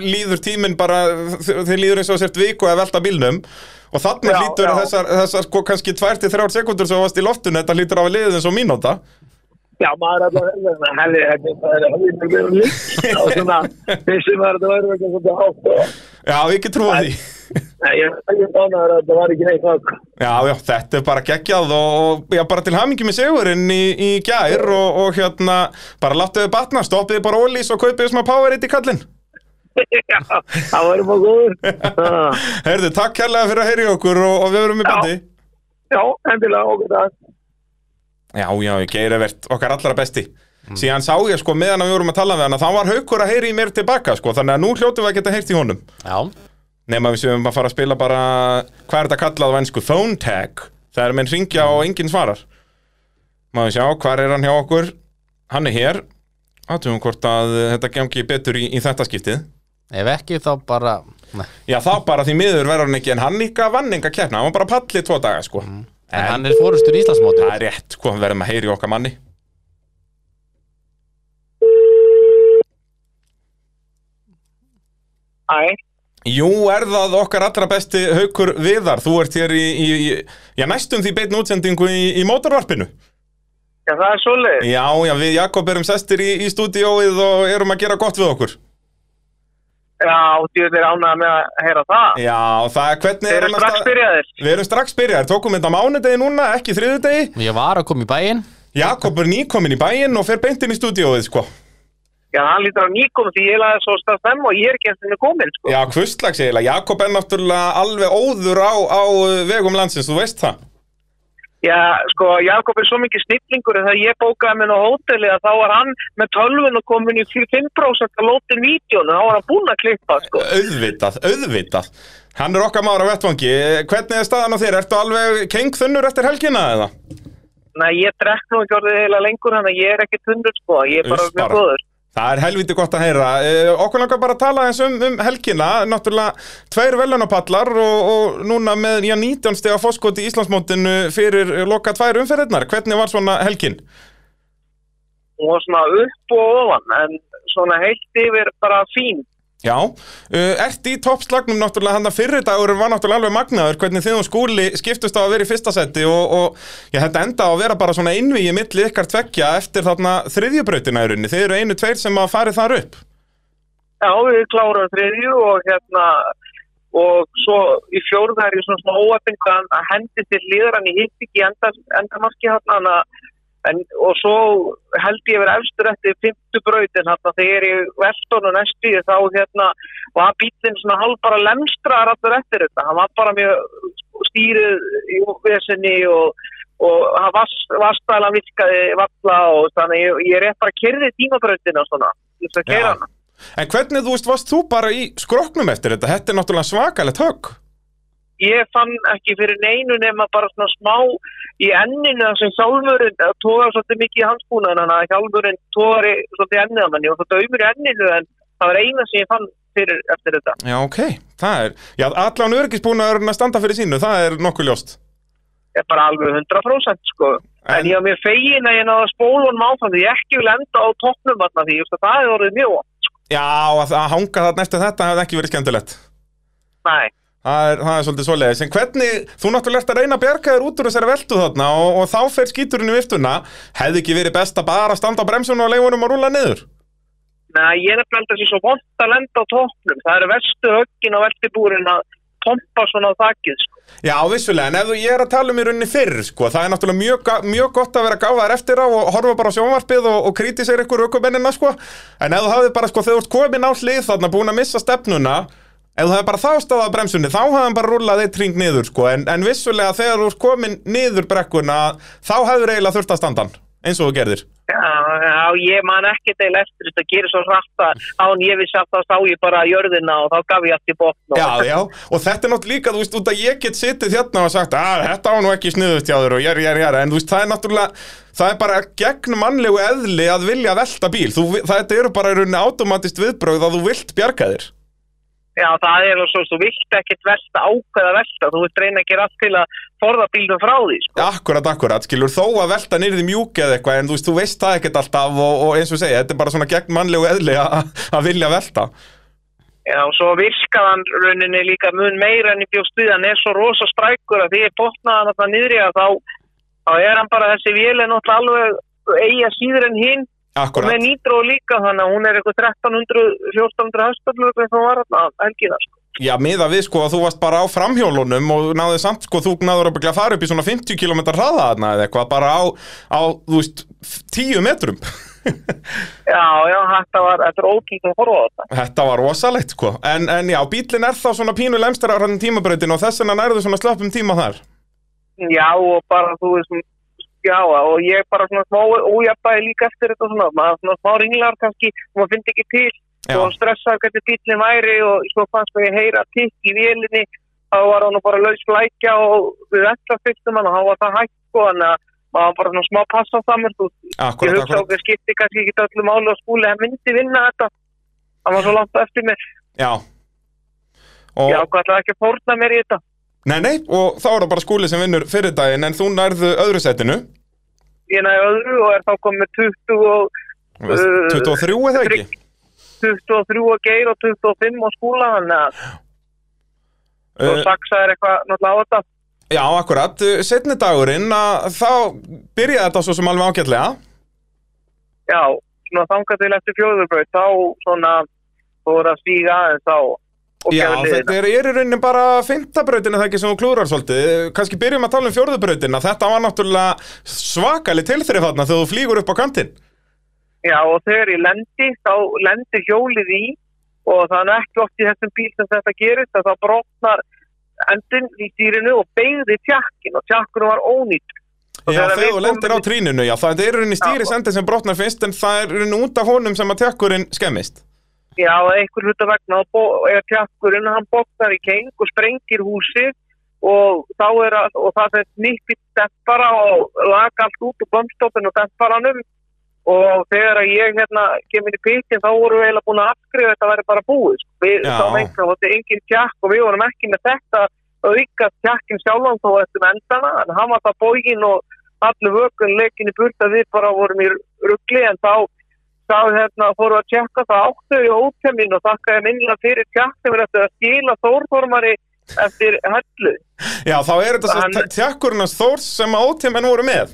Speaker 1: líður tíminn bara, þeir líður eins og sért viku að velta bílnum og þarna
Speaker 4: Já,
Speaker 1: hlýtur
Speaker 4: já.
Speaker 1: þessar, þessar sko, kannski 2-3 sekundur sem þú varst í loftinu, þetta hlýtur á að liðið eins og mínúta.
Speaker 4: Já, maður er alltaf hefði, hefði, hefði, hefði, hefði, hefði og svona, vissi maður að það væri eitthvað svona hátt og
Speaker 1: Já, ég ekki trúa því.
Speaker 4: Nei, ég er ekki bánaður að það var ekki neitt sko. nokk.
Speaker 1: Já, já, þetta er bara geggjað og já, bara til hamingi með segurinn í, í gær og, og hérna, bara láttu þau batna, stoppiði bara ólís og kaupiði smá powerade í kallinn.
Speaker 4: Já, það var bara góður. Ah.
Speaker 1: Herðu, takk kærlega fyrir að heyri okkur og, og við verum í
Speaker 4: Já.
Speaker 1: bandi.
Speaker 4: Já, endilega, okkur það.
Speaker 1: Já, já, ég geir evert okkar allra besti. Síðan sá ég sko meðan að við vorum að tala við hann að þá var haukur að heyri í mér tilbaka sko, þannig að nú hljótum við að geta heyrt í honum.
Speaker 2: Já,
Speaker 1: Nefn að við séum að fara að spila bara, hvað er þetta kallað á ennsku? Phone tag. Það er menn ringja og enginn svarar. Má við sjá, hvar er hann hjá okkur? Hann er hér. Áttum við hvort að eh, þetta gengi betur í, í þetta skiptið.
Speaker 2: ef ekki þá bara Nei.
Speaker 1: Já, þá bara því miður verður hann ekki, en hann líka vann enga keppna. Hann var bara pallið tvo daga, sko.
Speaker 2: En hann er fórustur í Íslandsmóti
Speaker 1: Það er rétt, sko, við verðum að heyri okkar manni.
Speaker 4: Æ,
Speaker 1: Jú, er það okkar allra besti haukur viðar. Þú ert hér í, í, í já, næstum því beitn útsendingu í, í mótorvarpinu.
Speaker 4: já, það er svolítið.
Speaker 1: Já, já, við Jakob erum sestir í, í stúdíóið og erum að gera gott við okkur.
Speaker 4: Já, djúðir ánægða með að heyra það.
Speaker 1: Já, það, hvernig er
Speaker 4: Þeir eru
Speaker 1: annars
Speaker 4: strax
Speaker 1: stað-
Speaker 4: byrjaðir.
Speaker 1: Við erum strax byrjaðir, tókum þetta á mánudegi núna, ekki þriðudegi
Speaker 2: Ég var að koma í bæinn
Speaker 1: Jakob er nýkomin í bæinn og fer beint inn í stúdíóið, sko
Speaker 4: Já, hann lítur á nýkom því ég laði svo stað stemma og ég er ekki eins og henni komin, sko.
Speaker 1: Já, hvustlags eiginlega, Jakob er náttúrulega alveg óður á, á uh, vegum landsins, þú veist það
Speaker 4: Já, sko, Jakob er svo mikið snillingur en þegar ég bókaði mér á hóteli að þá var hann með tölvun og komin í 5% að lótin vítjón og þá var hann búinn að klippa, sko.
Speaker 1: Eh, Auðvitað, auðvitað Hann er okkar maður á vettvangi Hvernig er staðan á þér? Ertu alveg kengþunnur eftir helgina eða?
Speaker 4: Næ, ég drekk nú ekki orðið heila lengur hann að ég er ekki tundur, sko, ég er bara
Speaker 1: Uss, bara.
Speaker 4: mjög góður.
Speaker 1: Það er helviti gott að heyra Eh, Okkur langar bara að tala eins um, um helgina Náttúrulega tveir velunapallar og, og núna með já, 19 steg að fóskoti í Íslandsmótinu fyrir eh, loka tvær umferðirnar Hvernig var svona helgin?
Speaker 4: Hún var svona upp og ofan, en svona heilt yfir bara fín.
Speaker 1: Já, Eh, ert í toppslagnum náttúrulega hann að fyrri dagur var náttúrulega alveg magnaður hvernig þið og skúli skiptust á að vera í fyrsta seti og, og já, þetta enda á að vera bara svona einvíi milli ykkar tveggja eftir þarna þriðjubrautina í rauninni, þið eru einu tveir sem að farið þar upp
Speaker 4: Já, við klárum þriðju og hérna, og svo í fjórðu er ég svona svona óöfning hvað hann að hendi til liðar hann í hitt ekki enda, endamarki hann, hann að, en, og svo held ég verið efstur eftir fymtu brautin hann að þegar ég velton og næstu ég þá hérna var bílinn svona hálf bara lemstraðar allur eftir þetta, hann var bara mjög stýrið í útvesinni og og hann vast, vastælan virkaði valla og þannig ég, ég er rétt bara kyrði tímabrautina og svona, ég ætla að
Speaker 1: Já.
Speaker 4: kera hana.
Speaker 1: En hvernig þú veist, varst þú bara í skroknum eftir þetta? Þetta er náttúrulega svakalegt högg
Speaker 4: ég fann ekki fyrir neinu nema bara svona smá í enninu þar sem hjálmurinn það tóðar svolítið mikið í hansbúnaðin þannig að hjálmurinn tóðar í- svolítið í ennið á manni og það dömur í enninu en það var eina sem ég fann fyrir eftir þetta.
Speaker 1: Já, ok, það er, já, allan örgisbúnaðurinn að standa fyrir sínu, það er nokkuð ljóst
Speaker 4: Ég er bara alveg 100% sko. En,
Speaker 1: En-
Speaker 4: ég var mér fegin að ég náða spólunum áfram því ég ekki vil enda á toppnum þarna því ég veist að það hefur orðið mjög vont. sko.
Speaker 1: Já, að, að hanga þarna eftir þetta hefði ekki verið skemmtilegt
Speaker 4: Nei.
Speaker 1: Það er, það er svolítið svoleiðis, en hvernig, þú náttúrulega ert að reyna að bjarga þér út úr þessari veltu þarna og, og þá fer skíturinn í viftuna, hefði ekki verið best að bara standa á bremsunum og leifunum og rúla niður?
Speaker 4: Nei, ég er nefnilega þessi svo vont að lenda á toppnum. Það eru verstu höggin á veltibúrin að pompa svona á þakkið sko.
Speaker 1: Já, vissulega, en ef þú, ég er að tala um í rauninni fyrr, sko, það er náttúrulega mjög, ga- mjög gott að vera gáðar eftir á og horfa bara á sjónvarpið og, og krítisir ykkur aukumennina, sko, en ef þú hafði bara, sko, þegar þú ert komin á hlið þarna, búin að missa stefnuna, ef þú hafði bara þá staðað á bremsunni, þá hafði hann bara rúlað eitt ring niður, sko, en, en vissulega þegar þú ert komin niður brekkuna, þá hefur eiginlega þurft að standa hann, eins og þú gerðir.
Speaker 4: Já, já, ég man ekki deil eftir þetta gerir svo hratt að án ég vissi að þá sá ég bara jörðina og þá gaf ég allt í botn og
Speaker 1: Já, já, og þetta er náttúrulega líka, þú veist, út að ég get sittið hérna og sagt, að þetta á nú ekki sniðust hjá þér og jæri, jæri, jæri, en þú veist, það er náttúrulega, það er bara gegn mannlegu eðli að vilja velta bíl, þú, þetta eru bara í rauninni automatist viðbrögð að þú vilt bjarga þér.
Speaker 4: já, það er nú svo, þú vilt ekkit velta ákveða velta, þú vilt reyna að gera allt til að forða bílnum frá því, sko.
Speaker 1: Akkurat, akkurat, skilur, þó að velta nýrði mjúk eða eitthvað, en þú veist, þú veist það ekkert alltaf og, og eins og segja, þetta er bara svona gegn mannlegu eðli að að vilja velta.
Speaker 4: Já, og svo virkaði hann rauninni líka mun meira enn í bjóst við, hann er svo rosa strækur að því ég botnaði hann þarna niðri að þá, þá er hann bara þessi vél er náttúrulega alveg eiga síður en hinn og með
Speaker 1: Akkurat,
Speaker 4: nýtró líka þannig að hún er eitthvað 1300, 1400 höstöflur hvernig hún var hann helgina, sko.
Speaker 1: já, miða við sko að þú varst bara á framhjólunum og náðið samt sko, þú náður að byggja að fara upp í svona 50 km hraða þarna eða eitthvað, bara á, á þú veist, 10 metrum.
Speaker 4: Já, já, þetta var, þetta er ókýrt að horfa á þetta.
Speaker 1: Þetta var rosalegt sko En, en já, bílinn er þá svona pínu lemstar á hann tímabrautin og þess vegna nærðu svona slöppum tíma þar
Speaker 4: Já, og bara, þú veist, já, og ég bara svona smá ójafnbæði líka eftir þetta svona, maður svona smá ringlar kannski, og maður fyndi ekki til,
Speaker 1: Já.
Speaker 4: og stressaði hvernig bílinn væri, og svo fannst mér ég heyra tikk í vélinni, þá var hann nú bara laus flækja og við þetta fyrstum hann, og hann var það hægt, sko, en að maður var bara svona smá passa saman, þú veist, ég
Speaker 1: Akkurat,
Speaker 4: hugsa
Speaker 1: akkurat
Speaker 4: okkur skipti kannski ekki öllu máli og skúli, hann myndi vinna þetta, hann var svo langt á eftir mér,
Speaker 1: Já og,
Speaker 4: ég ákvæðlega ekki að fórna mér í þetta.
Speaker 1: Nei, nei, og þá er það bara skúli sem vinnur fyrir daginn en þú nærðu öðru setinu
Speaker 4: ég næði öðru og er þá komið 20 og, Uh,
Speaker 1: 23 eða ekki?
Speaker 4: 23 og geir og 25 og skúla þannig að og
Speaker 1: Uh,
Speaker 4: saksa er eitthvað náttúrulega á þetta
Speaker 1: já, akkurat, uh, setni dagurinn að þá byrjaði þetta svo sem alveg ágætlega
Speaker 4: já, svona þangað til eftir fjóðurbröð þá svona fór að stíga aðeins á og
Speaker 1: Já,
Speaker 4: gefa liðina.
Speaker 1: þetta er í rauninni bara fymtabrautin það ekki sem þú klúrar svolítið Kanski byrjum að tala um fjórðubrautin þetta var náttúrulega svakali tilþrif þarna þegar þú flýgur upp á kantinn
Speaker 4: Já, og þegar ég lendi, þá lendir hjólið í og það er ekki oft í þessum bíl sem þetta gerist að það brotnar endin í dýrinu og beigði tjakkin og tjakkunum var ónýtt
Speaker 1: Já,
Speaker 4: þegar
Speaker 1: þegar
Speaker 4: við
Speaker 1: þú lendir á
Speaker 4: komum-
Speaker 1: trínunu, já, það er rauninni stýri sendið sem brotnar fyrst en það er rauninni út af honum sem að tekkurinn skemmist.
Speaker 4: Já, einhver hluta vegna og bó- er tjakkurinn, hann bóknar í keng og sprengir húsið og þá er að, og það er nýtt í dempara og laga allt út úr bömmstoppin og demparanum og þegar að ég hérna kem inn í pittin þá vorum við eiginlega búin að afskrifa þetta að vera bara búið sko. við
Speaker 1: Já.
Speaker 4: þá meintum þetta er engin tjakk og við vorum ekki með þetta auka tjakkin sjálfan þó eftir endana en hann var það bógin og allir vökun leikin í burta við bara vorum í ruggli en þá þá hérna fóru að tjekka það áttu í ótemmin og þakka ég minnilega fyrir tjakk sem er eftir að skila þórformari eftir hellu.
Speaker 1: Já, þá er þetta
Speaker 4: Hann-
Speaker 1: svo tekkurinn hans Þórs sem að ótímenn voru með.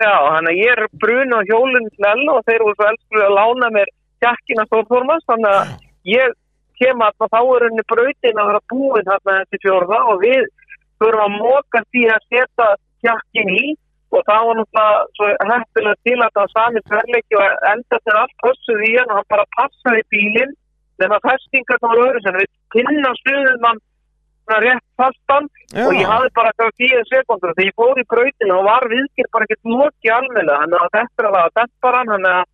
Speaker 4: Já, hann að ég er brun á hjólinn snell og þeir voru svo elskulega að lána mér tjakkina þórformans þannig að ég kem að þá er henni brautin að vera búin þarna þessi fjórða og við þurfum að móka því að setja tjakkin í og það var náttúrulega svo heftilega til að það var sami tverleiki og enda til allt hössuð í hann og hann bara passaði bílinn nema festingar það voru öðru sem við kynna stuðum hann svona rétt fastan
Speaker 1: Já.
Speaker 4: og ég hafði bara þá 10 sekundur þegar ég fór í brautina og var viðkir bara ekkert loki almenna þannig að þetta er að það var hann þannig að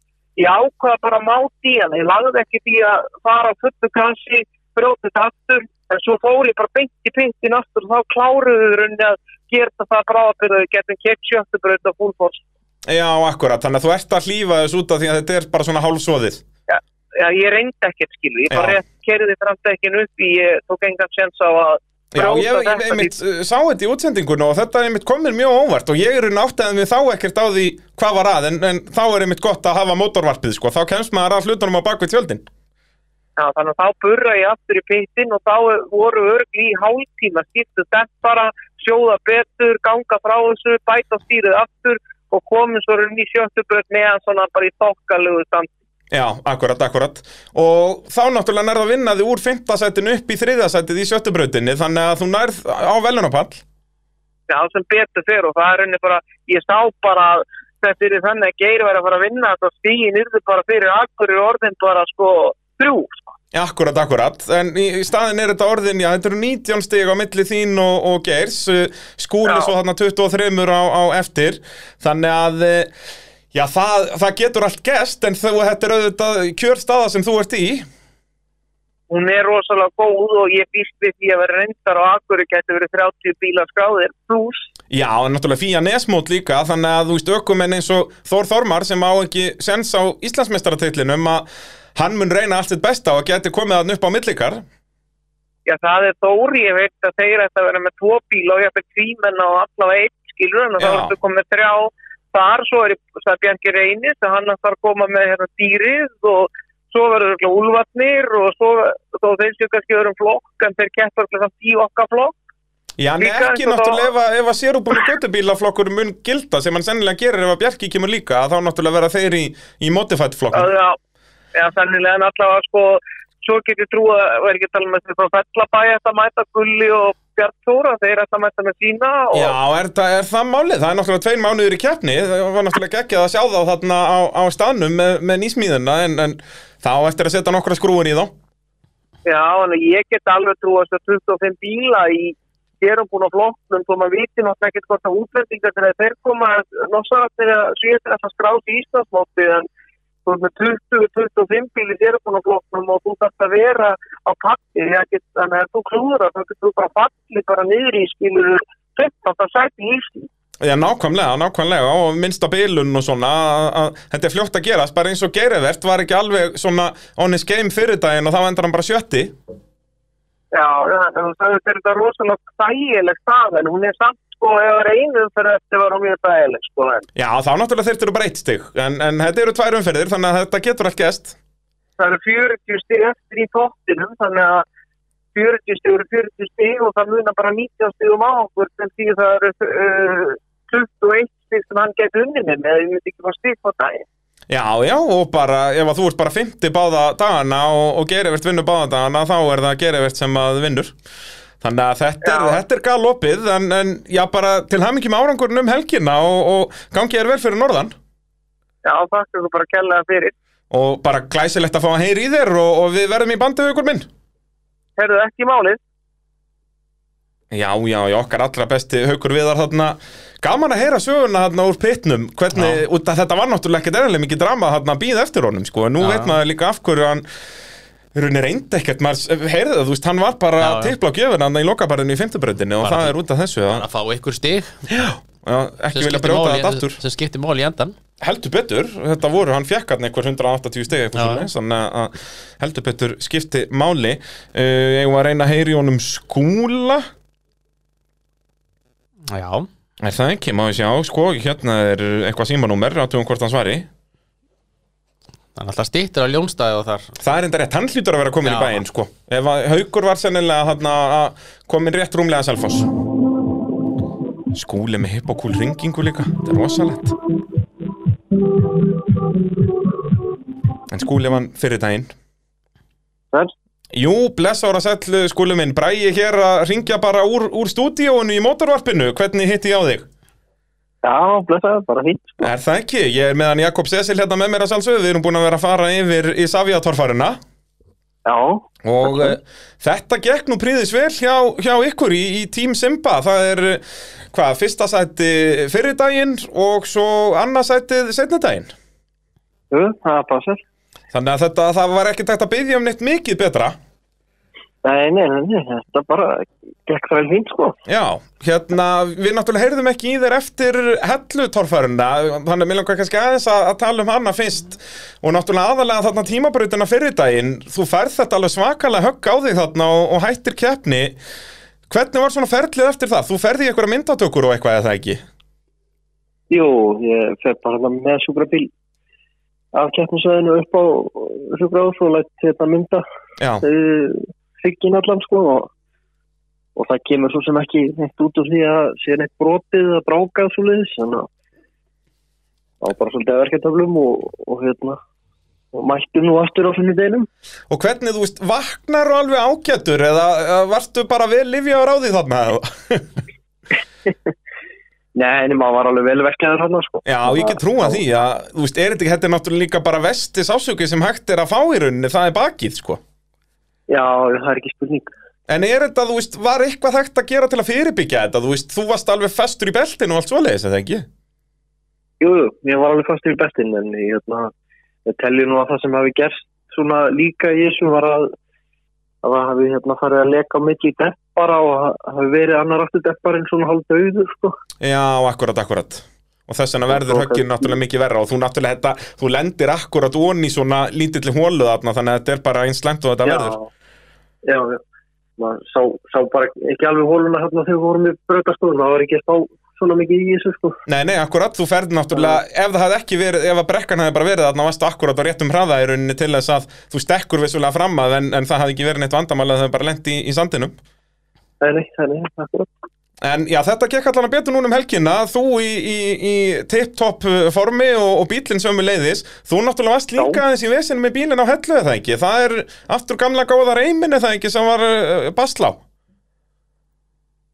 Speaker 4: ég ákvaða bara að máti í hann ég lagði ekki því að fara á fullu kassi brjóti þetta aftur en svo fór ég bara beint í pintin aftur og þá kláruðu þau rauninni að gera það bráðabyrðu getum ketchup brauta fúlfors
Speaker 1: Já, akkurat, þannig að þú ert að hlýfa þess út af því að þetta er bara svona hálfsvoðið.
Speaker 4: Já, ég reyndi ekkert skilu, ég
Speaker 1: Já.
Speaker 4: bara rétt kerði framstækkin upp í, ég tók engan sjens á að
Speaker 1: Já,
Speaker 4: brjóta
Speaker 1: ég, ég
Speaker 4: þetta
Speaker 1: einmitt uh, sá þetta í útsendingunum og þetta er einmitt komin mjög óvart og ég er einn áttið mig þá ekkert á því hvað var að en, en þá er einmitt gott að hafa mótorvarpið sko, þá kemst maður að hlutunum á bakvið tjöldin.
Speaker 4: Já, þannig að þá burra ég aftur í pittin og þá voru örgl í hálftíma, skiptu dempara, sjóða betur, ganga frá þessu, bæta stýrið aftur og komum svo runni í sjöttu bröð meðan svona bara í þokkalegu samt.
Speaker 1: Já, akkurat, akkurat og þá náttúrulega nærða að vinna þig úr fymtasætinu upp í þriðasætið í sjöttubrautinni þannig að þú nærð á velunapall
Speaker 4: Já, sem betur fyrir og það er runni bara, ég sá bara að þetta er þannig að geir væri að fara að vinna þetta stíin yrðu bara fyrir akkurir orðin bara sko þrjú, sko.
Speaker 1: Akkurat, akkurat, en í í staðinn er þetta orðin, já, þetta eru 19 stig á milli þín og, og geirs, uh, skúli
Speaker 4: Já.
Speaker 1: svo þarna 23 á, á eftir, þannig að, eh, já, það, það getur allt gest, en þú, þetta er auðvitað kjörstaða sem þú ert í,
Speaker 4: hún er rosalega góð og ég býst við því að vera reyndar og akkurir getur verið 30 bíla skráðir pluss
Speaker 1: já, en náttúrulega fíja nesmót líka, þannig að þú veist ökumenn eins og Þór Þormar sem á ekki sens á Íslandsmeistaratitlinum að hann mun reyna allt sitt besta og geti komið hann upp á millikar,
Speaker 4: Já, það er Þóri, ég veit að þeir ætti að vera með tvo bíla og ég ætti tvímenna og allavega eitt skilur en þá
Speaker 1: Já.
Speaker 4: ertu komið með þrjá þar, svo er það Bjarki Reynis að hann ætti að koma með hérna dýrið og svo verður örugglega úlfarnir og svo, þó þeir séu kannski öðrum flokk en þeir keppar samt í okkar flokk
Speaker 1: Já, en
Speaker 4: Líka
Speaker 1: ekki
Speaker 4: eins og
Speaker 1: náttúrulega ef, að- ef að sérúbúinu göttubílaflokkur mun gilda sem hann sennilega gerir ef að Bjarki kemur líka að þá náttúrulega vera þeir í, í modified flokkum
Speaker 4: Já, já, sannilega en allavega sko, svo get ég trú að verður ekki að tala með þessi frá Fellabæja að mæta Gulli og Bjart Þóra, þeir ætti að mæta með sína og
Speaker 1: Já, er, það- er það málið? Það er náttúrulega tveir mánuður í keppni það var náttúrulega geggjað að sjá þá þarna á, á staðnum með, með nýsmíðina en, en þá eftir að setja nokkra skrúin í þá
Speaker 4: Já, þannig að ég get alveg trú að þessu 25 bíla í sérumbúna flokknum þó maður viti náttúrulega ekkert hvort að útlendingar þegar þeir koma nossar þegar síðan þess að skrási í Íslandsmóti en þú ert með 20-25 bíl í sérumbúna flokknum og þú þarft að vera á pakti þannig að þú klúður að þú getur bara fallið bara niður í skilur 15. sæti í Ísland
Speaker 1: Já, nákvæmlega, nákvæmlega og minnsta bilun og svona að- að- þetta er fljótt að gerast, bara eins og geirivert var ekki alveg svona on his game fyrir daginn og þá endar hann bara sjötti
Speaker 4: Já, já, þú sagði þetta er þetta rosalega þægileg stað en hún er samt sko ef reynum fyrir þetta var hún mjög þægileg sko en
Speaker 1: Já, þá náttúrulega þeir eru bara eitt stig en, en þetta eru tvær umferðir, þannig að þetta getur allt gæst
Speaker 4: það eru 40 stig eftir í tóttinum þannig að 40 stig eru 40 stig og það munar bara 90 stigum á okkur sem því það eru uh, 21 stig sem hann gæti unni með með ég myndi ekki fá stig á daginn
Speaker 1: Já, já, og bara, ef að þú ert bara 50 báða dagana og, og gerivert vinnur báða dagana þá er það gerivert sem að vinnur Þannig að þetta er,
Speaker 4: Já.
Speaker 1: þetta er galopið en, en já, bara til hamingi með árangurinn um helgina og, og gangi er vel fyrir norðan
Speaker 4: Já, þakka þú bara kellaða fyrir
Speaker 1: og bara glæsilegt að fá að heyri í þér og, og við verðum í bandið við ykkur minn
Speaker 4: Herðu ekki málið
Speaker 1: Já, já, já, okkar allra besti haukur viðar þarna Gaman að heyra söguna þarna úr pitnum Hvernig, út að þetta var náttúrulega ekkert erfilega mikið drama þarna að býða eftir honum sko. En Nú
Speaker 2: Já.
Speaker 1: veit maður líka af hverju hann Runni reyndi ekkert, maður heyrði það, þú veist, hann var bara
Speaker 2: Já,
Speaker 1: að
Speaker 2: já.
Speaker 1: tipla á gjöfuna hann í lokabarðinu í fymtubröndinu og
Speaker 2: Bara
Speaker 1: það
Speaker 2: til-
Speaker 1: er út af þessu að,
Speaker 2: að fá ykkur stig
Speaker 1: já, ekki vilja brjóta þetta aftur
Speaker 2: sem skiptir mál í endan
Speaker 1: heldur betur, þetta voru, hann fekk hann einhver 180 stegi
Speaker 2: Já.
Speaker 1: eitthvað svona, þannig að heldur betur skipti máli uh, ég var að reyna að heyri honum skúla
Speaker 2: já,
Speaker 1: er það ekki, má ég sjá, sko hérna er eitthvað símanúmer, átugum hvort hann svari
Speaker 2: þannig alltaf stýttir á ljónstæði og þar
Speaker 1: það er enda rétt, hann hlýtur að vera komin
Speaker 2: Já.
Speaker 1: í bæinn sko, ef að haukur var sennilega hann að komin rétt rúmlega að Selfoss skúli með hippokúl ringingu líka þetta er rosalegt en skúli vann fyrir daginn
Speaker 4: En?
Speaker 1: Jú, blessaður að sæll skúlu minn, bræði hér að ringja bara úr, úr stúdíóinu í mótorvarpinu, hvernig hitti ég á þig?
Speaker 4: Já, blessaður, bara fínt.
Speaker 1: Er það ekki? Ég er meðan Jakob Sesil hérna með mér að sjálfsögðu, við erum búin að vera að fara yfir í Saviatorfarina
Speaker 4: Já,
Speaker 1: og uh, þetta gekk nú príðis vel hjá, hjá ykkur í, í Team Simba, það er eh, hvað, fyrsta sætti fyrir daginn og svo annað sættið setna daginn.
Speaker 4: jú, það er bara sér.
Speaker 1: Þannig að þetta, það var ekki tægt að byggja um neitt mikið betra.
Speaker 4: Nei, nei, nei, nei, þetta bara gekk það vel fínt, sko.
Speaker 1: Já, hérna, við náttúrulega heyrðum ekki í þér eftir hellutorfaruna, þannig að mér langar kannski aðeins að, að tala um hana fyrst og náttúrulega aðalega þarna tímabrautina fyrir daginn, þú færð þetta alveg svakalega högg á þig þarna og, og hættir keppni. Hvernig var svona ferlið eftir það? Þú ferði í einhverja myndatökur og eitthvað eða það ekki?
Speaker 4: Jú, ég fer bara þarna með sjúkrabíl af keppnisveðinu upp á sjúkrabíl og lætt þetta mynda
Speaker 1: Já,
Speaker 4: hryggin eh, allan, sko, og, og það kemur svo sem ekki neitt út úr því að sé neitt brotið að brákað svo leiðis, þannig að það var bara svolítið að verka töflum og, og hérna, og mættum nú aftur á finni deinum.
Speaker 1: og hvernig, þú veist, vaknar og alveg ágætur eða, eða varstu bara vel lifja á ráði þarna?
Speaker 4: Nei, en maður var alveg vel verkaður hann, sko.
Speaker 1: Já, ég get trúa því að, þú veist, er þetta ekki, þetta er náttúrulega líka bara vesti sásöki sem hægt er að fá í rauninni, það er bakið, sko.
Speaker 4: Já, það er ekki spurning.
Speaker 1: En er þetta, þú veist, var eitthvað hægt að gera til að fyrirbyggja þetta? Þú veist, þú varst alveg festur í beltinu og allt svoleiðis, eða ekki?
Speaker 4: Jú, jú, ég var alveg fastur í bestin, en ég, hérna, ég telji nú að það sem hafi gerst svona líka í þessu var að að það hafi hérna farið að leka á milli deppara og ha- hafi verið annar aftur depparinn svona hálf döður, sko.
Speaker 1: Já, akkurat, akkurat. Og þess vegna verður
Speaker 4: Ok.
Speaker 1: höggin náttúrulega mikið verra og þú náttúrulega þetta, þú lendir akkurat onni svona lítilli hólu þarna, þannig að þetta er bara eins lengt og þetta verður.
Speaker 4: Já, já. Maður sá, sá bara ekki alveg hóluna hérna þegar við vorum í bröðastofun, það var ekki að spá svona mikið í þessu, sko.
Speaker 1: Nei, nei, akkurat, þú ferð náttúrulega, ef það hafði ekki verið, ef að brekkan hafði bara verið þarna, varstu akkurat á réttum hraða í rauninni til þess að þú stekkur vissulega fram að, en, en það hafði ekki verið neitt vandamál að það bara lendi í, í sandinum.
Speaker 4: Nei, nei, nei, nei, akkurat.
Speaker 1: En já, þetta gekk allan að betur núna um helgina, þú í, í, í tip-top uh, formi og, og bílinn sömu leiðis, þú náttúrulega varst líka
Speaker 4: Já.
Speaker 1: aðeins í vesinu með bílinn á hellu eða ekki, það er aftur gamla góða reymin eða ekki sem var uh, baslá.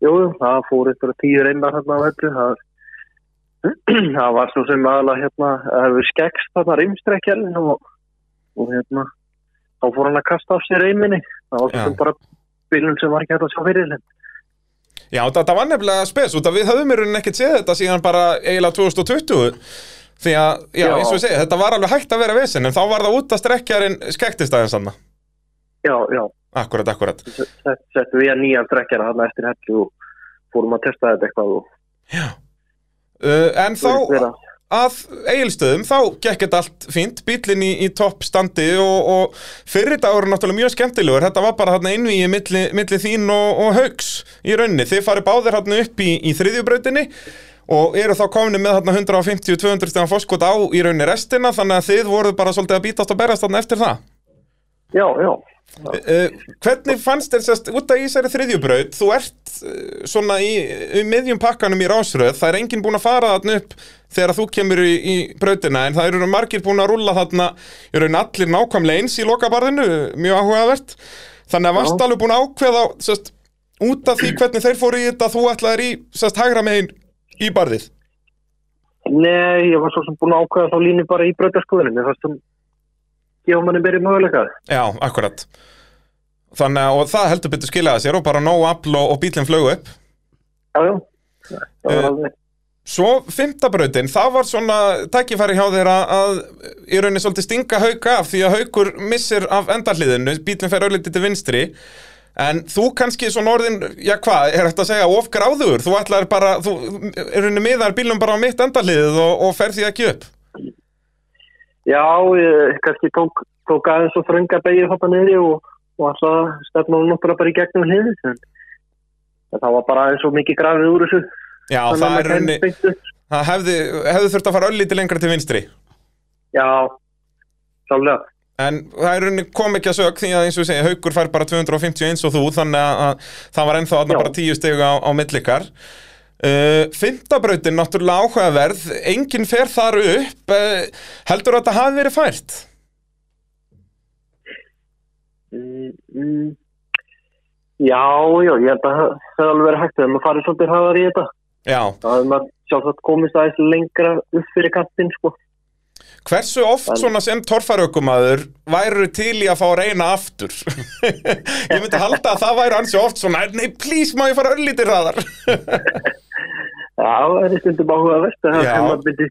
Speaker 4: Jú, jú, það fór eitthvað tíu reyndar hérna á öllu. Það, það var svo sem aðalega hérna, það hefur skekkst þarna rimstrekkjarinn og, og hérna, þá fór hann að kasta af sér reyminni. Það var svo
Speaker 1: Já.
Speaker 4: sem bara bílun sem var ekki hægt að sjá fyrir þeim.
Speaker 1: Já, þetta, þetta var nefnilega spes út að við höfum í rauninni ekkert séð þetta síðan bara eiginlega 2020 því að, já,
Speaker 4: Já.
Speaker 1: eins og ég segi, þetta var alveg hægt að vera vesin en þá var það út að strekkjarinn skektist aðeins hann.
Speaker 4: Já, já,
Speaker 1: Akkurat, akkurat.
Speaker 4: sett, settum við að nýjan strekkjara hérna eftir hellu og fórum að testa þetta eitthvað og
Speaker 1: Uh, en
Speaker 4: og
Speaker 1: þá,
Speaker 4: vera-
Speaker 1: að eigilstöðum þá gekk þetta allt fínt, bílinn í, í topp standi og, og fyrri dagur er náttúrulega mjög skemmtilegur, þetta var bara þarna innvíi milli, milli þín og, og haugs í raunni, þið farið báðir þarna upp í, í þriðjubrautinni og eru þá komni með þarna 150-200 stegan fórskot á í raunni restina þannig að þið voruð bara svolítið að bítast og berast þarna eftir það.
Speaker 4: Já, já.
Speaker 1: Uh, hvernig fannst þér sérst út af Ísæri þriðjubraut þú ert uh, svona í, í miðjum pakkanum í rásröð það er enginn búin að fara þarna upp þegar þú kemur í, í brautina en það eru margir búin að rulla þarna í raun allir nákvæmlega eins í lokabarðinu mjög áhugavert þannig að varst
Speaker 4: Já.
Speaker 1: alveg búin að ákveða sérst, út af því hvernig þeir fóru í þetta þú ætlaðir í sérst hægra megin í barðið
Speaker 4: Nei, ég var svo sem búin að ákveða þá línu bara í bröðarskoðunum. Ég fannst um gefa manni meiri möguleikað.
Speaker 1: já, akkurat Þannig að og það heldur betur skiljaði sér og bara nóg afl og, og bílinn flög upp.
Speaker 4: já, já. Það var
Speaker 1: Eh,
Speaker 4: alveg-
Speaker 1: Svo fymtabrautin, það var svona tækifæri hjá þeir að, að í rauninni svolítið stinga hauka af því að haukur missir af endarhliðinu, bílinn fer öllítið til vinstri. En þú kannski svona orðin, já hvað, er þetta að segja of gráður? Þú ætlar bara, þú í rauninni miðar bílum bara á mitt endarhliðið og, og fer því ekki upp.
Speaker 4: Já, ég kannski tók, tók aðeins og frönga beigir þarna niðri og, og alltaf stefna hún náttúrulega bara í gegnum hliðið. En, en það var bara aðeins og mikið grafið úr þessu.
Speaker 1: Já,
Speaker 4: Þannig
Speaker 1: það er
Speaker 4: að maður
Speaker 1: raunni,
Speaker 4: kemst beint upp.
Speaker 1: það hefði, hefði þurft að fara öllítið lengra til vinstri.
Speaker 4: Já, sálega.
Speaker 1: En það er rauninni kom ekki að sög því að eins og ég segi, Haukur fær bara 251 og þú, þannig að- að það var ennþá þarna
Speaker 4: Já.
Speaker 1: bara 10 stegu á, á millikar. Uh, Fymtabrautin, náttúrulega áhugaverð, enginn fer þar upp, uh, heldur að þetta hafi verið fært?
Speaker 4: Mm, mm. Já, já, ég held að það hefði alveg verið hægt að maður farið svolítið hraðar í þetta.
Speaker 1: Já,
Speaker 4: Það hefði maður sjálfsagt komist aðeins lengra upp fyrir kantinn, sko.
Speaker 1: hversu oft
Speaker 4: En-
Speaker 1: svona sem torfaraukumaður væru til í að fá að reyna aftur? ég myndi halda að það væri ansi oft svona, nei, please, má ég fara öllítir hraðar?
Speaker 4: Já, það er stundum áhugavert að það
Speaker 1: Já.
Speaker 4: sem maður myndi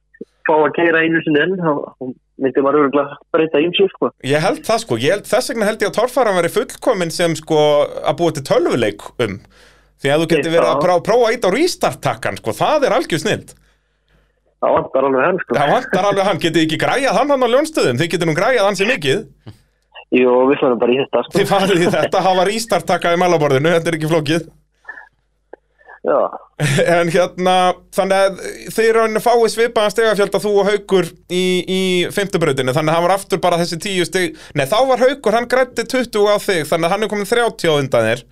Speaker 4: fá að keira einu sinni enn, þá- þá myndi maður örgulega breyta ímsu, sko.
Speaker 1: Ég held það sko, ég held, þess vegna held ég að torfæran veri fullkomin sem sko að búa til tölvuleik um Því að þú getur verið að
Speaker 4: Já.
Speaker 1: prá, prófa ít á restart-takkan sko, það er algjör snild
Speaker 4: Það vantar alveg hann, sko.
Speaker 1: Það vantar alveg hann, getið þið ekki græjað hann hann á ljónstöðum, þið getur nú græjað hann sem mikið
Speaker 4: Jú, við fannum bara í þetta, sko.
Speaker 1: Þið farið í þetta, hafa restart-takka í malaborðinu, þetta er ekki flókið
Speaker 4: Já,
Speaker 1: En hérna, þannig að þið eru hann fáið svipaðan stegafjölda þú og Haukur í, í fymtubrautinu Þannig að hann var aftur bara þessi tíu steg Nei, þá var Haukur, hann grætti 20 á þig Þannig að hann er komin 30 á undan þér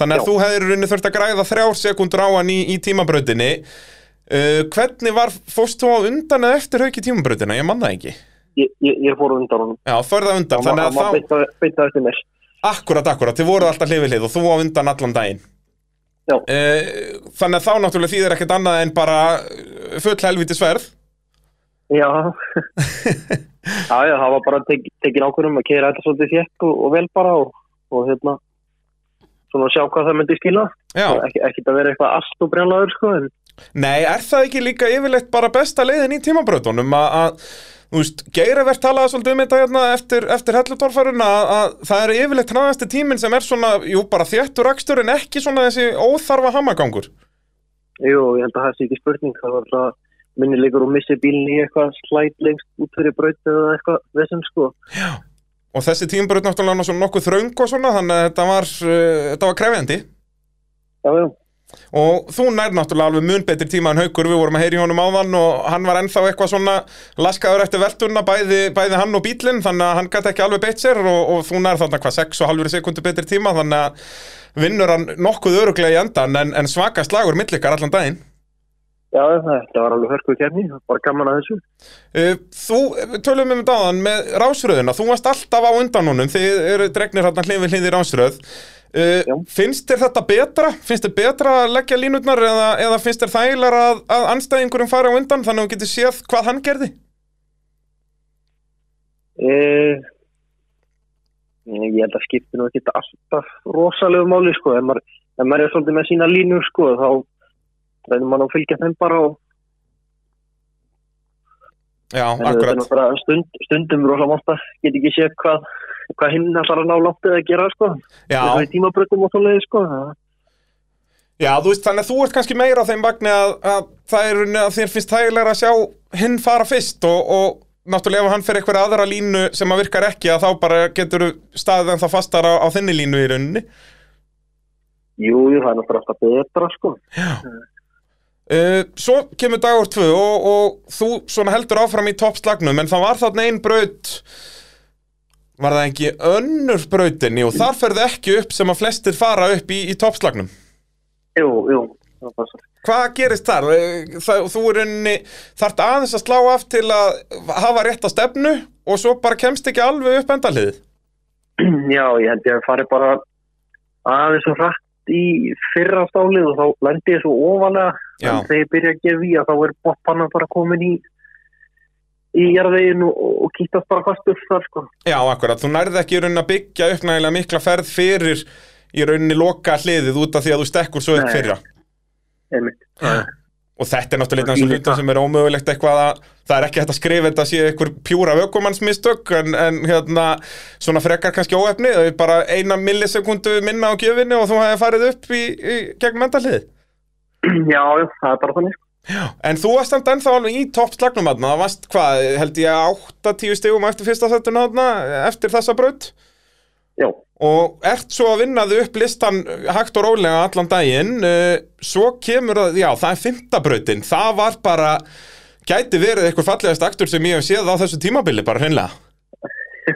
Speaker 1: Þannig að
Speaker 4: Já.
Speaker 1: þú hefðir í rauninni þurft að græða þrjár sekundur á hann í, í tímabrautinni uh, Hvernig var, fórst þú á undan eða eftir Hauk í tímabrautina? Ég man það ekki
Speaker 4: ég, ég, ég fór undan honum.
Speaker 1: Já, förða undan,
Speaker 4: Þannig að
Speaker 1: þannig að þá,
Speaker 4: það... Beitt eftir mér.
Speaker 1: akkurat, akkurat, þið voruð alltaf hlifið hlið og þú á undan allan daginn
Speaker 4: Já.
Speaker 1: uh, Þannig að þá náttúrulega þýðir ekkert annað en bara eh, full helviti sverð
Speaker 4: Já. já, já, það var bara tek, tekin ákvörðum að keira þetta svolítið þétt og, og vel bara og, og hérna, svona að sjá hvað það myndi skila.
Speaker 1: Já,
Speaker 4: Ekki, ekki að vera eitthvað allt og brjálagur, sko, en
Speaker 1: nei, er það ekki líka yfirleitt bara besta leiðin í tímabröðunum að, að, þú veist, Geiravert talaði svolítið um þetta hérna eftir, eftir hellutorfaruna að, að það er yfirleitt hraðasti tíminn sem er svona, jú, bara þéttur akstur en ekki svona þessi óþarfa hamagangur.
Speaker 4: jú, ég held að það sé ekki spurning. Það var það minnilegur og missi bílinn í eitthvað slæt lengst út fyrir braut eða eitthvað vissum, sko.
Speaker 1: Og þessi tímabröð náttúrulega svona nokkuð þröng og svona, þannig að þetta var, uh, þetta var krefjandi.
Speaker 4: Já, já.
Speaker 1: Og þú nær náttúrulega alveg mun betri tíma en haukur, við vorum að heyri honum áðan og hann var ennþá eitthvað svona laskaður eftir veltuna, bæði, bæði hann og bílinn, þannig að hann gæti ekki alveg beitt sér og, og þú nær þarna hvað 6,5 sekundu betri tíma, þannig að vinnur hann nokkuð öruglega í endan en, en svaka slagur millikar allan daginn.
Speaker 4: Já, þetta var alveg hörkuð kefni, bara gaman að þessu.
Speaker 1: Uh, Þú, við tölum um þetta áðan með rásröðuna, þú varst alltaf á undan honum, þið eru dregnir hann hlifin hlið í rásröð. Uh,
Speaker 4: Já.
Speaker 1: finnst þér þetta betra? Finnst þér betra að leggja línutnar eða, eða finnst þér þægilega að, að anstæðingurum fari á undan þannig að hún getur séð hvað hann gerði?
Speaker 4: Eh, ég held að skipti nú ekki alltaf rosalegu máli sko, en maður, ef maður er svolítið með sína línur sko, þá reynir maður að fylgja þeim bara og
Speaker 1: Já,
Speaker 4: en auðvitað
Speaker 1: akkurat.
Speaker 4: náttúrulega stund, stundum rosa mátt að geta ekki séð hvað, hvað hinn ætlar að ná langt eða að gera sko,
Speaker 1: Já,
Speaker 4: það er tímabrökkum og svoleiði sko,
Speaker 1: já, þú veist, þannig að þú ert kannski meira á þeim vagni að, að það er að þér finnst þægilega að sjá hinn fara fyrst og, og náttúrulega ef hann fer einhverja aðra línu sem að virkar ekki að þá bara getur staðið en það fastar á, á þinni línu í rauninni.
Speaker 4: jú, jú, það er náttúrulega alltaf betra sko,
Speaker 1: Uh, svo kemur dagur tvö og, og þú svona heldur áfram í toppslagnum en það var þarna ein braut var það ekki önnur brautinni og þar ferðu ekki upp sem að flestir fara upp í, í toppslagnum
Speaker 4: jú, jú, það passar.
Speaker 1: Hvað gerist þar? Eh, Það, þú er unni, þarft aðeins að slá af til að hafa rétt að stefnu og svo bara kemst ekki alveg upp endalið
Speaker 4: Já, ég held ég að fari bara aðeins og hratt í fyrra stálið og þá lendi ég svo ofalega
Speaker 1: Já.
Speaker 4: en þegar ég byrja að gefa í að þá er boppanna bara komin í í
Speaker 5: í jarðvegin og, og, og kýtast bara fastur þar sko.
Speaker 1: Já, akkurat, þú nærði ekki í rauninni að byggja upp nægilega mikla ferð fyrir í rauninni loka hliðið út af því að þú stekkur svo upp
Speaker 5: Nei.
Speaker 1: fyrra
Speaker 5: einmitt.
Speaker 1: Og þetta er náttúrulega eins og
Speaker 5: Ég-
Speaker 1: hlutum sem er ómögulegt eitthvað að það er ekki hægt að skrifa þetta sé einhver pjúra vökumannsmistök en, en hérna svona frekar kannski óefni þau bara eina millisekundu minna á gjöfinni og þú hefði farið upp í, í gegn mendalið.
Speaker 5: Já, já, það er bara þannig sko.
Speaker 1: En þú varst samt ennþá alveg í toppslagnum aðna, það varst hvað, held ég 8-10 stigum eftir fyrsta setuna aðna, eftir þessa braut
Speaker 5: Já,
Speaker 1: og ert svo að vinnaðu upp listan hægt og rólega allan daginn eh, svo kemur að, já, það er fymtabrautin, það var bara gæti verið eitthvað fallegast aktur sem ég hef séð á þessu tímabili bara hreinlega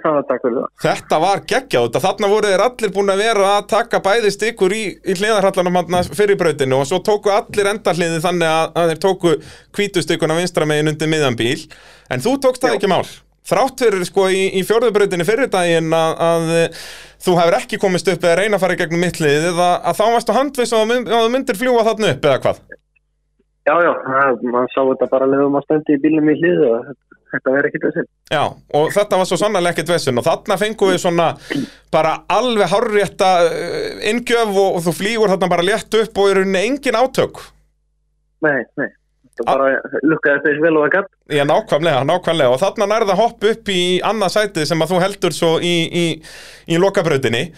Speaker 5: það er takk fyrir það.
Speaker 1: þetta var geggjað þetta þarna voru þeir allir búin að vera að taka bæði stikkur í, í hliðarhallanum hann fyrir brautinu og svo tóku allir endarhliði þannig að, að þeir tóku kvítustikkuna vinstra megin undir miðan bíl en þú tókst það ekki mál þrátt fyrir sko í, í fjórðubrautinu fyrir daginn að, að eh, þú hefur ekki komist upp eða reyna að fara í gegnum mittliðið að, að þá varstu handvis og að þú myndir fljúa þarna upp eða hvað
Speaker 5: Já, já, það- maður sá þetta bara leðum að standi í bílum í hliðu og þetta- þetta verður ekkert þessi.
Speaker 1: Já, og þetta var svo sannarlega ekkert vesinn og þarna fengum við svona bara alveg hárrétta eh, inngjöf og, og þú flýgur þarna bara létt upp og í rauninni engin átök.
Speaker 5: Nei, nei,
Speaker 1: Ah.
Speaker 5: þetta bara lukkaði þess vel og að gatt.
Speaker 1: Já, nákvæmlega, nákvæmlega og þarna nærða hopp upp í annað sætið sem að þú heldur svo í, í, í lokabrautinni.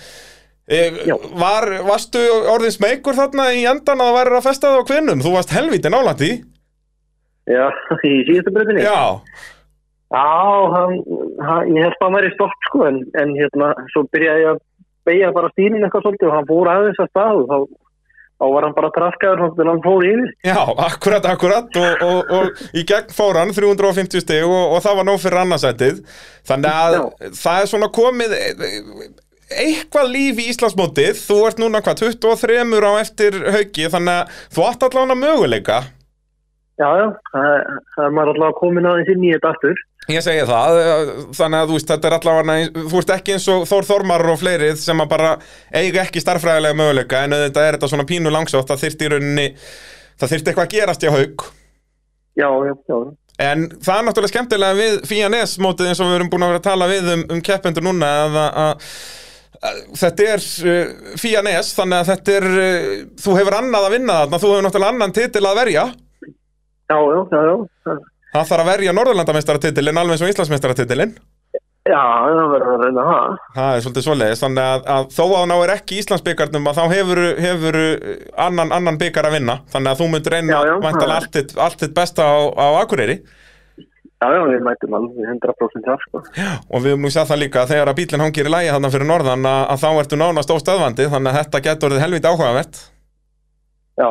Speaker 1: Eh,
Speaker 5: Já.
Speaker 1: Var, varstu orðin smeykur þarna í endan að það væri að festa það á kvinnum? Þú varst helviti nálætt í.
Speaker 5: Já, í síðustu breytinni.
Speaker 1: Já,
Speaker 5: Já, hann, hann, ég held að hann væri stopp sko en, en hérna, svo byrjaði ég að beigja bara stýrin eitthvað svolítið og hann fór aðeins að stað og þá, þá var hann bara traskaður þangað til hann fór yfir.
Speaker 1: Já, akkurat, akkurat og, og, og í gegn fór hann 350 stig og, og það var nóg fyrir annarsætið þannig að
Speaker 5: Já.
Speaker 1: það er svona komið e- e- eitthvað líf í Íslandsmótið þú ert núna hvað, 23 á eftir hauki þannig að þú átt allan að möguleika
Speaker 5: Já, já, það, það er maður allavega komin aðeins inn í þetta aftur.
Speaker 1: Ég segi það, eh, þannig að þú veist þetta er allavega, þú veist ekki eins og Þór Þormar og fleirið sem að bara eiga ekki starffræðilega möguleika en auðvitað er þetta svona pínu langsótt, það þyrfti í rauninni það þyrfti eitthvað að gerast í hauk
Speaker 5: Já, já, já.
Speaker 1: En það er náttúrulega skemmtilega við Fía Nes mótið eins og við erum búin að vera að tala við um, um keppendur núna að, að, að þetta er uh, Fía Nes þannig að þetta er uh, þú hefur annað að vinna þarna, þú hefur náttúrulega annan titil að verja
Speaker 5: Já, já, já, já. það-
Speaker 1: það þarf að verja Norðurlandamestaratitilin alveg eins og Íslandsmestaratitilin
Speaker 5: Já, það verður að reyna það.
Speaker 1: það er svolítið svoleiðis þannig að, að þó að hún náir ekki Íslandsbyggarnum að þá hefur, hefur eh, annan, annan byggar að vinna þannig að þú myndir reyna
Speaker 5: Já, já,
Speaker 1: væntanlega
Speaker 5: það er-
Speaker 1: allt, þitt- allt þitt besta á, á Akureyri
Speaker 5: Já, já, við mætum alveg 100% þar sko.
Speaker 1: og við höfum nú séð það líka að þegar að bílinn hangir í lægi þarna fyrir norðan að, að þá ertu nánast óstöðvandi þannig að þetta getur orðið helviti áhugavert
Speaker 5: Já,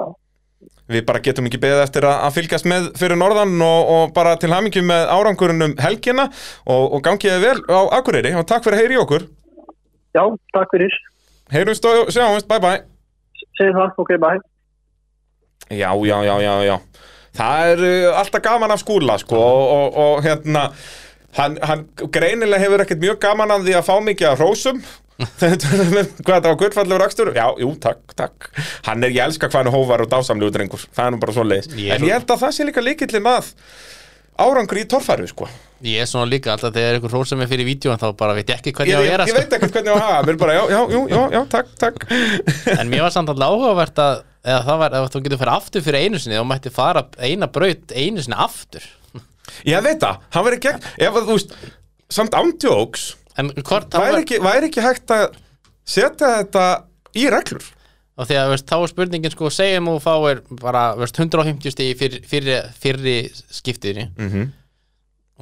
Speaker 1: við bara getum ekki beðið eftir að, að fylgjast með fyrir norðan og, og bara til hamingi með árangurinn um helgina og, og gangiði vel á Akureyri og takk fyrir að heyri okkur
Speaker 5: já, takk fyrir.
Speaker 1: heyrumst og sjáumst, bye bye
Speaker 5: Segð það, ok, bye.
Speaker 1: já, já, já, já, já það er uh, alltaf gaman af skúla sko og, og, og hérna hann, hann greinilega hefur ekkert mjög gaman af því að fá mikið af hrósum Þegar við tölum um hvað þetta var gullfallur akstur já, jú, takk, takk hann er, ég elska hvað hann er hóvar og dásamlegu drengur það er nú bara svoleiðis,
Speaker 2: Ég er
Speaker 1: en ég held að það sé líka líkillin að árangri í torfæru sko
Speaker 2: Ég er svona líka alltaf þegar einhver hrósar mig fyrir vídeo en þá bara veit ég
Speaker 1: ég,
Speaker 2: ekki hvernig
Speaker 1: ég,
Speaker 2: ég á að sko. gera
Speaker 1: ég veit ekkert hvernig á að hafa, mér bara já, já, jú, já, já, takk, takk
Speaker 2: En mér var samt alltaf áhugavert að eða það var, ef þú getur fyrir aftur fyrir einu sinni þá mætti fara eina braut einu sinni aftur
Speaker 1: ég veit það, hann verið gegn ef að þú veist, samt ándjóks
Speaker 2: En hvort það
Speaker 1: væri
Speaker 2: var,
Speaker 1: ekki, væri ekki hægt að setja þetta í reglur
Speaker 2: og því að veist, þá er spurningin sko, segjum og fáir bara veist, 150 stíði fyrir, fyrir, fyrir skiptiðinni
Speaker 1: Mhm.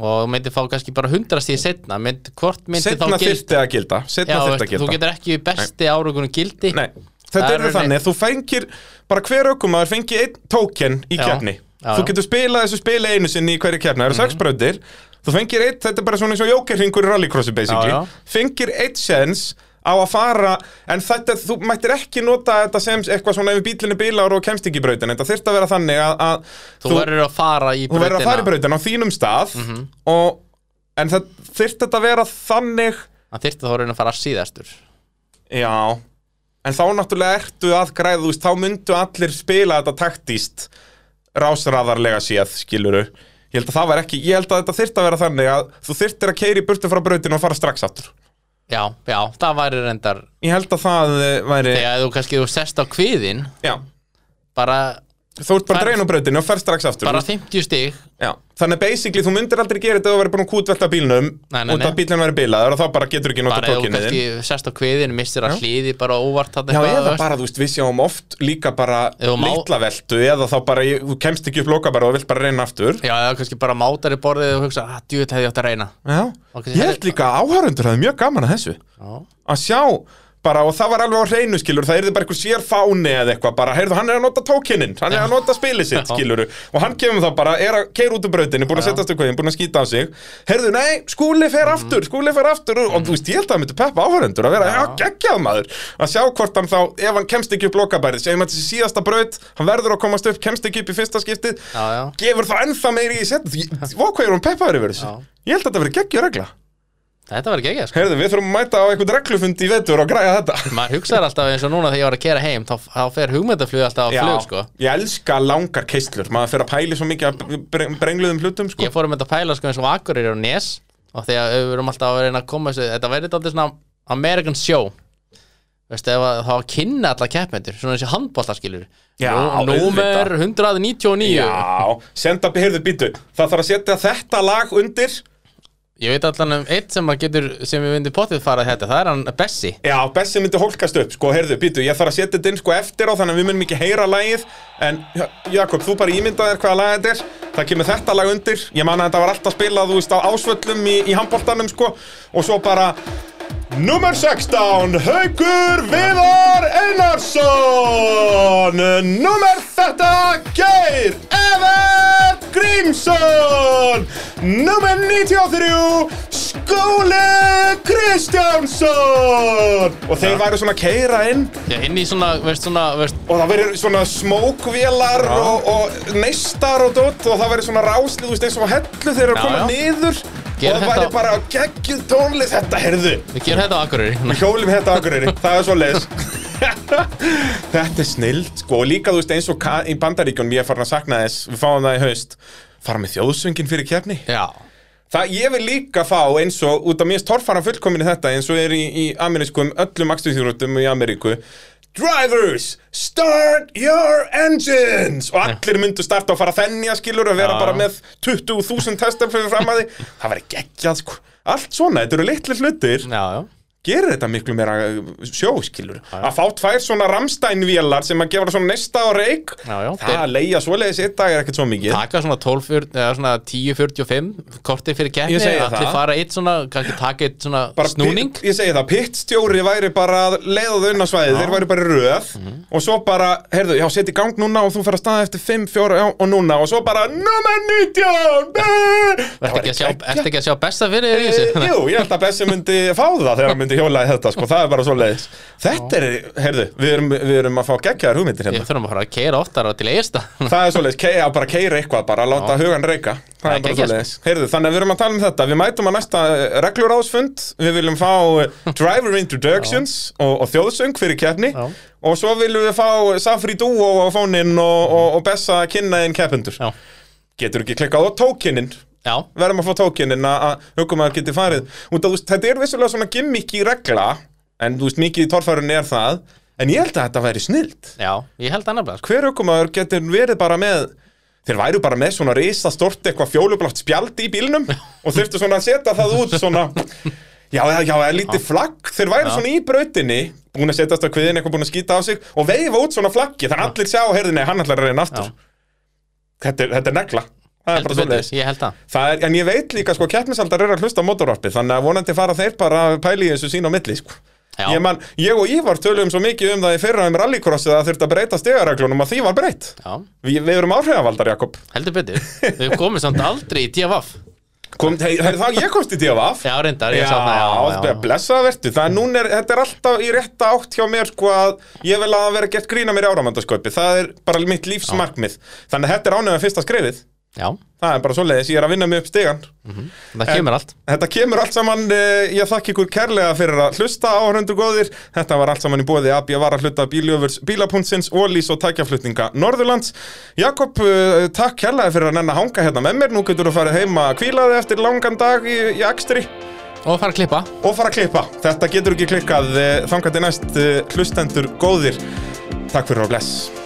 Speaker 2: og þú myndir fá kannski bara 100 stíði setna mynd, hvort myndir
Speaker 1: setna
Speaker 2: þá gild
Speaker 1: þyrfti að gilda
Speaker 2: Já,
Speaker 1: setna
Speaker 2: veist,
Speaker 1: þyrfti að
Speaker 2: þú
Speaker 1: gilda
Speaker 2: getur ekki besti árugunum gildi
Speaker 1: Nei, þetta
Speaker 2: Það
Speaker 1: er
Speaker 2: er-
Speaker 1: þannig, þú fengir bara hver aukumaður fengi einn tóken í
Speaker 2: Já.
Speaker 1: kefni
Speaker 2: Já, Mhm.
Speaker 1: þú
Speaker 2: já.
Speaker 1: getur spilað þessu spila einu sinni í hverju kefni það eru sex brautir, þú fengir eitt þetta er bara svona eins og jókerringur í rallycrossi basically
Speaker 2: Já, já.
Speaker 1: fengir eitt sens á að fara, en þetta, þú mættir ekki nota þetta sem eitthvað svona ef bílinni bílar og kemst ekki í brautin, þetta þyrfti að vera þannig að, að
Speaker 2: þú, verður að fara í
Speaker 1: þú verður að fara í
Speaker 2: brautina Mhm.
Speaker 1: brautin á þínum stað og, en það þyrfti þetta að vera þannig
Speaker 2: það þyrfti þá að reyna að fara síðastur
Speaker 1: já en þá náttúrulega ertu að græða þú veist, þá myndu allir spila þetta taktíst rásraðarlega séð skiluru Ég held að það var ekki, ég held að þetta þyrfti að vera þannig að þú þyrftir að keiri burtu frá brautinu og fara strax aftur.
Speaker 2: já, já, það væri reyndar
Speaker 1: Ég held að það eh, væri,
Speaker 2: þegar þú kannski þú sest á kviðin
Speaker 1: já,
Speaker 2: bara,
Speaker 1: þú ert bara
Speaker 2: Færð-
Speaker 1: drein á brautinu og fer strax aftur.
Speaker 2: bara 50 stig
Speaker 1: Já, þannig að basically þú myndir aldrei gera þetta ef þú verið búin að kútvelta bílnum
Speaker 2: Nei, nei,
Speaker 1: út af
Speaker 2: nei.
Speaker 1: bílinn verið bilaður og þá bara getur ekki nota
Speaker 2: bara ef þú
Speaker 1: tókinni þinn.
Speaker 2: kannski sest á kviðin missir að
Speaker 1: Já.
Speaker 2: hliði bara óvart þarna
Speaker 1: Já,
Speaker 2: eitthvað,
Speaker 1: eða
Speaker 2: veist.
Speaker 1: bara, þú veist, við sjáum oft líka bara
Speaker 2: Ef þú má-
Speaker 1: litla veltu eða þá bara, ég- þú kemst ekki upp loka bara og vilt bara reyna aftur.
Speaker 2: já, eða kannski bara mátar í borðið og hugsa, að djúið hefði ég átt að reyna
Speaker 1: Já,
Speaker 2: Og kannski-
Speaker 1: ég held líka að áhærundur hefði mjög gaman að þessu.
Speaker 2: já,
Speaker 1: að sjá bara, og það var alveg á hreinu skilur það yrði bara einhver sér fáni eða eitthvað bara, heyrðu, hann er að nota tókininn, hann er að nota spilið sitt
Speaker 2: Já.
Speaker 1: skilur, og hann kemur þá bara er að keira út um brautinni, búin að setjast eitthvað inn, búin að skýta á sig heyrðu, nei, skúli fer
Speaker 2: Mhm.
Speaker 1: aftur skúli fer aftur, og þú veist, ég held að það myndi peppa áhörendur að vera, já, geggjað maður að sjá hvort hann þá, ef hann kemst ekki upp lokabærið segjum að þetta sé síðasta braut, hann verður að komast upp kemst ekki upp í fyrsta skiptið
Speaker 2: já, já,
Speaker 1: gefur þá ennþá meiri í setjast hvað er hún peppaður yfir þessu,
Speaker 2: Já.
Speaker 1: ég held að þetta verið geggjað regla
Speaker 2: þetta var geggjað sko.
Speaker 1: Heyrðu, við þurfum að mæta á einhvern reglufund í vetur og græja þetta
Speaker 2: maður hugsaði alltaf eins og núna þegar ég var að kera heim þá, þá fer hugmyndaflug alltaf á flug sko.
Speaker 1: ég elska langar keistlur Maður fyrir að pæli svo mikið að breng- brengluðum hlutum sko.
Speaker 2: ég fór um þetta að pæla sko, eins og Akureyri og Nes og þegar við erum alltaf að reyna að koma þessu þetta væri alltaf svona American show Veistu, ef að, þá að kynna alla keppmendur svona þessi handbóltaskilur
Speaker 1: Já,
Speaker 2: Númer 199
Speaker 1: Já, senda, heyrðu, býtu Það þarf að setja þetta lag undir
Speaker 2: Ég veit allan um eitt sem að getur sem ég myndi pottið fara þetta, það er hann Bessi
Speaker 1: Já, Bessi myndi hólkast upp, sko, heyrðu, býtu Ég þarf að setja þetta inn sko eftir á þannig að við munum ekki heyra lagið En, Ja- Jakob, þú bara ímyndaðir hvaða lag þetta er Það kemur þetta lag undir Ég man að þetta var alltaf spilað, þú veist, á ásvöllum í, í handboltanum, sko Og svo bara Númer 16, Haugur Viðar Einarsson Númer þetta, Geir Evert Grímsson Númer 93, Skóli Kristjánsson Og þeir væru svona að keira inn
Speaker 2: Já, inn í svona, veist svona, veist
Speaker 1: og það verður svona smókvélar og, og neistar og dótt og það verður svona ráslið, þú veist, eins og á hellu þeir eru að
Speaker 2: Já,
Speaker 1: koma
Speaker 2: já.
Speaker 1: niður og
Speaker 2: Gerum
Speaker 1: það væri
Speaker 2: þetta á-
Speaker 1: bara geggjuð tónlið þetta, herðu
Speaker 2: Við gerum þetta á Akureyri
Speaker 1: Við hjólum þetta á Akureyri, það er svo leis Þetta er snillt sko og líka þú veist eins og ka- í bandaríkjunum ég er farin að sakna þess, við fáum það í haust fara með þjóðsöngin fyrir kefni
Speaker 2: Já,
Speaker 1: Það ég vil líka fá eins og út af mér torfara fullkominu þetta eins og er í, í amerískum öllum akstuðsjóðröndum í Ameríku Drivers, start your engines og allir myndu starta og fara að þennja skilur og vera
Speaker 2: Já.
Speaker 1: bara með 20.000 testar fyrir fram að því það væri geggjað sko allt svona, þetta eru litli hlutir
Speaker 2: já, já
Speaker 1: gerir þetta miklu meira sjóskilur að fá tvær svona Ramstein-vélar sem að gefa svona nesta og reik
Speaker 2: Já, já,
Speaker 1: það
Speaker 2: þeir-
Speaker 1: að leia svoleiðis eitt dag er ekkert svo mikið
Speaker 2: Taka svona 12, fyr- eða svona 10.45 kortir fyrir keppni
Speaker 1: Ég segi það.
Speaker 2: Allir fara eitt svona, kannski taka eitt svona
Speaker 1: Bara
Speaker 2: snúning
Speaker 1: pit- ég segi það, pittstjóri væri bara að leiða þau inn á svæðið, þeir væri bara í röð
Speaker 2: Mhm.
Speaker 1: og svo bara, heyrðu, já, setja í gang núna og þú fer að staða eftir 5, 4 já, og núna og svo bara, nummer 19 Það
Speaker 2: Ertu
Speaker 1: væri
Speaker 2: ekki, að sjá,
Speaker 1: geggjað.
Speaker 2: ertu ekki að sjá besta fyrir þér í
Speaker 1: Eh,
Speaker 2: þessu?
Speaker 1: Jú, ég held að Bessi myndi fá það þegar hann myndi hjóla í þetta, sko, það er bara svo leiðis Þetta er, heyrðu, við erum, við erum að fá geggjaðar hugmyndir hérna
Speaker 2: Ég þurfum að fara að keira oftar og til eigist það
Speaker 1: Það er svoleiðis, keiða bara keira eitthvað bara, láta hugan reyka Það
Speaker 2: Það
Speaker 1: er
Speaker 2: er
Speaker 1: bara
Speaker 2: geggjað,
Speaker 1: svoleiðis Heyrðu, þannig að við erum að tala um þetta Við mætum að næsta eh, reglurásfund Við viljum fá eh, driver introductions og, og þjóðsöng fyrir keppni
Speaker 2: Já.
Speaker 1: Og svo viljum við fá Safri Duo á fóninn og, og, og Bessa að kynna inn keppendur
Speaker 2: Já.
Speaker 1: Getur ekki klikkað á tókininn
Speaker 2: Já,
Speaker 1: Verðum að fá tókininn að- að hugumaður geti farið Út að þú veist, þetta er vissulega svona gimmick í regla En þú veist, mikið í torfærunni er það En ég held að þetta væri snilt
Speaker 2: já, ég held annað bara sko.
Speaker 1: hver aukumæður getur verið bara með þeir væru bara með svona risa stort eitthvað fjólublátt spjald í bílnum og þurftu svona að setja það út svona já, já, já, eða lítið flagg þeir væru
Speaker 2: Já.
Speaker 1: svona í brautinni búin að setjast á kviðin, eitthvað búin að skýta á sig og veifa út svona flaggi, þannig að allir sjá heyrði, nei, hann ætlar að reyna aftur
Speaker 2: Já.
Speaker 1: þetta er, þetta er negla, það er
Speaker 2: Heldur
Speaker 1: bara
Speaker 2: betur,
Speaker 1: svoleiðis
Speaker 2: Ég held það
Speaker 1: Það er, en ég veit líka sko, keppnisaldar eru að hlusta á motorvarpið þannig að vonandi fara þeir bara að pæli þessu sín á milli sko.
Speaker 2: Já.
Speaker 1: ég, man, ég og Ívar töluðum svo mikið um það í fyrra um rallycrossið að þurfti að breyta stegarreglunum að því var breytt
Speaker 2: Já,
Speaker 1: Vi, Við erum áhrifavaldar, Jakob
Speaker 2: heldur betur Við komum samt aldrei í DFF
Speaker 1: Kom, hei, hei, það, Ég komst í DFF
Speaker 2: Já, reyndar,
Speaker 1: Já,
Speaker 2: ég sagði það já, já.
Speaker 1: blessaða vertu Það er núna, er, þetta er alltaf í rétta átt hjá mér sko að ég vil að vera gert grína mér í áramandasköpi Það er bara mitt lífsmarkmið Þannig að þetta er ánægðan fyrsta skrifið
Speaker 2: já,
Speaker 1: Það er bara svoleiðis, ég er að vinna mig upp stegan
Speaker 2: það kemur allt
Speaker 1: Þetta kemur allt saman, eh, ég þakka ykkur kærlega fyrir að hlusta áhörundu góðir. Þetta var allt saman í bóði AB var að hluta bíljöfurs bílapunktsins, ólís og tækjaflutninga Norðurlands. Jakob, eh, takk kærlega fyrir að nenn að hanga hérna með mér. Nú getur þú farið heima að kvíla þig eftir langan dag í, í akstri
Speaker 2: og fara að klippa
Speaker 1: og fara að klippa. Þetta getur ekki klikkað eh, þangað til næst eh, hlustendur góðir. Takk fyrir og bless.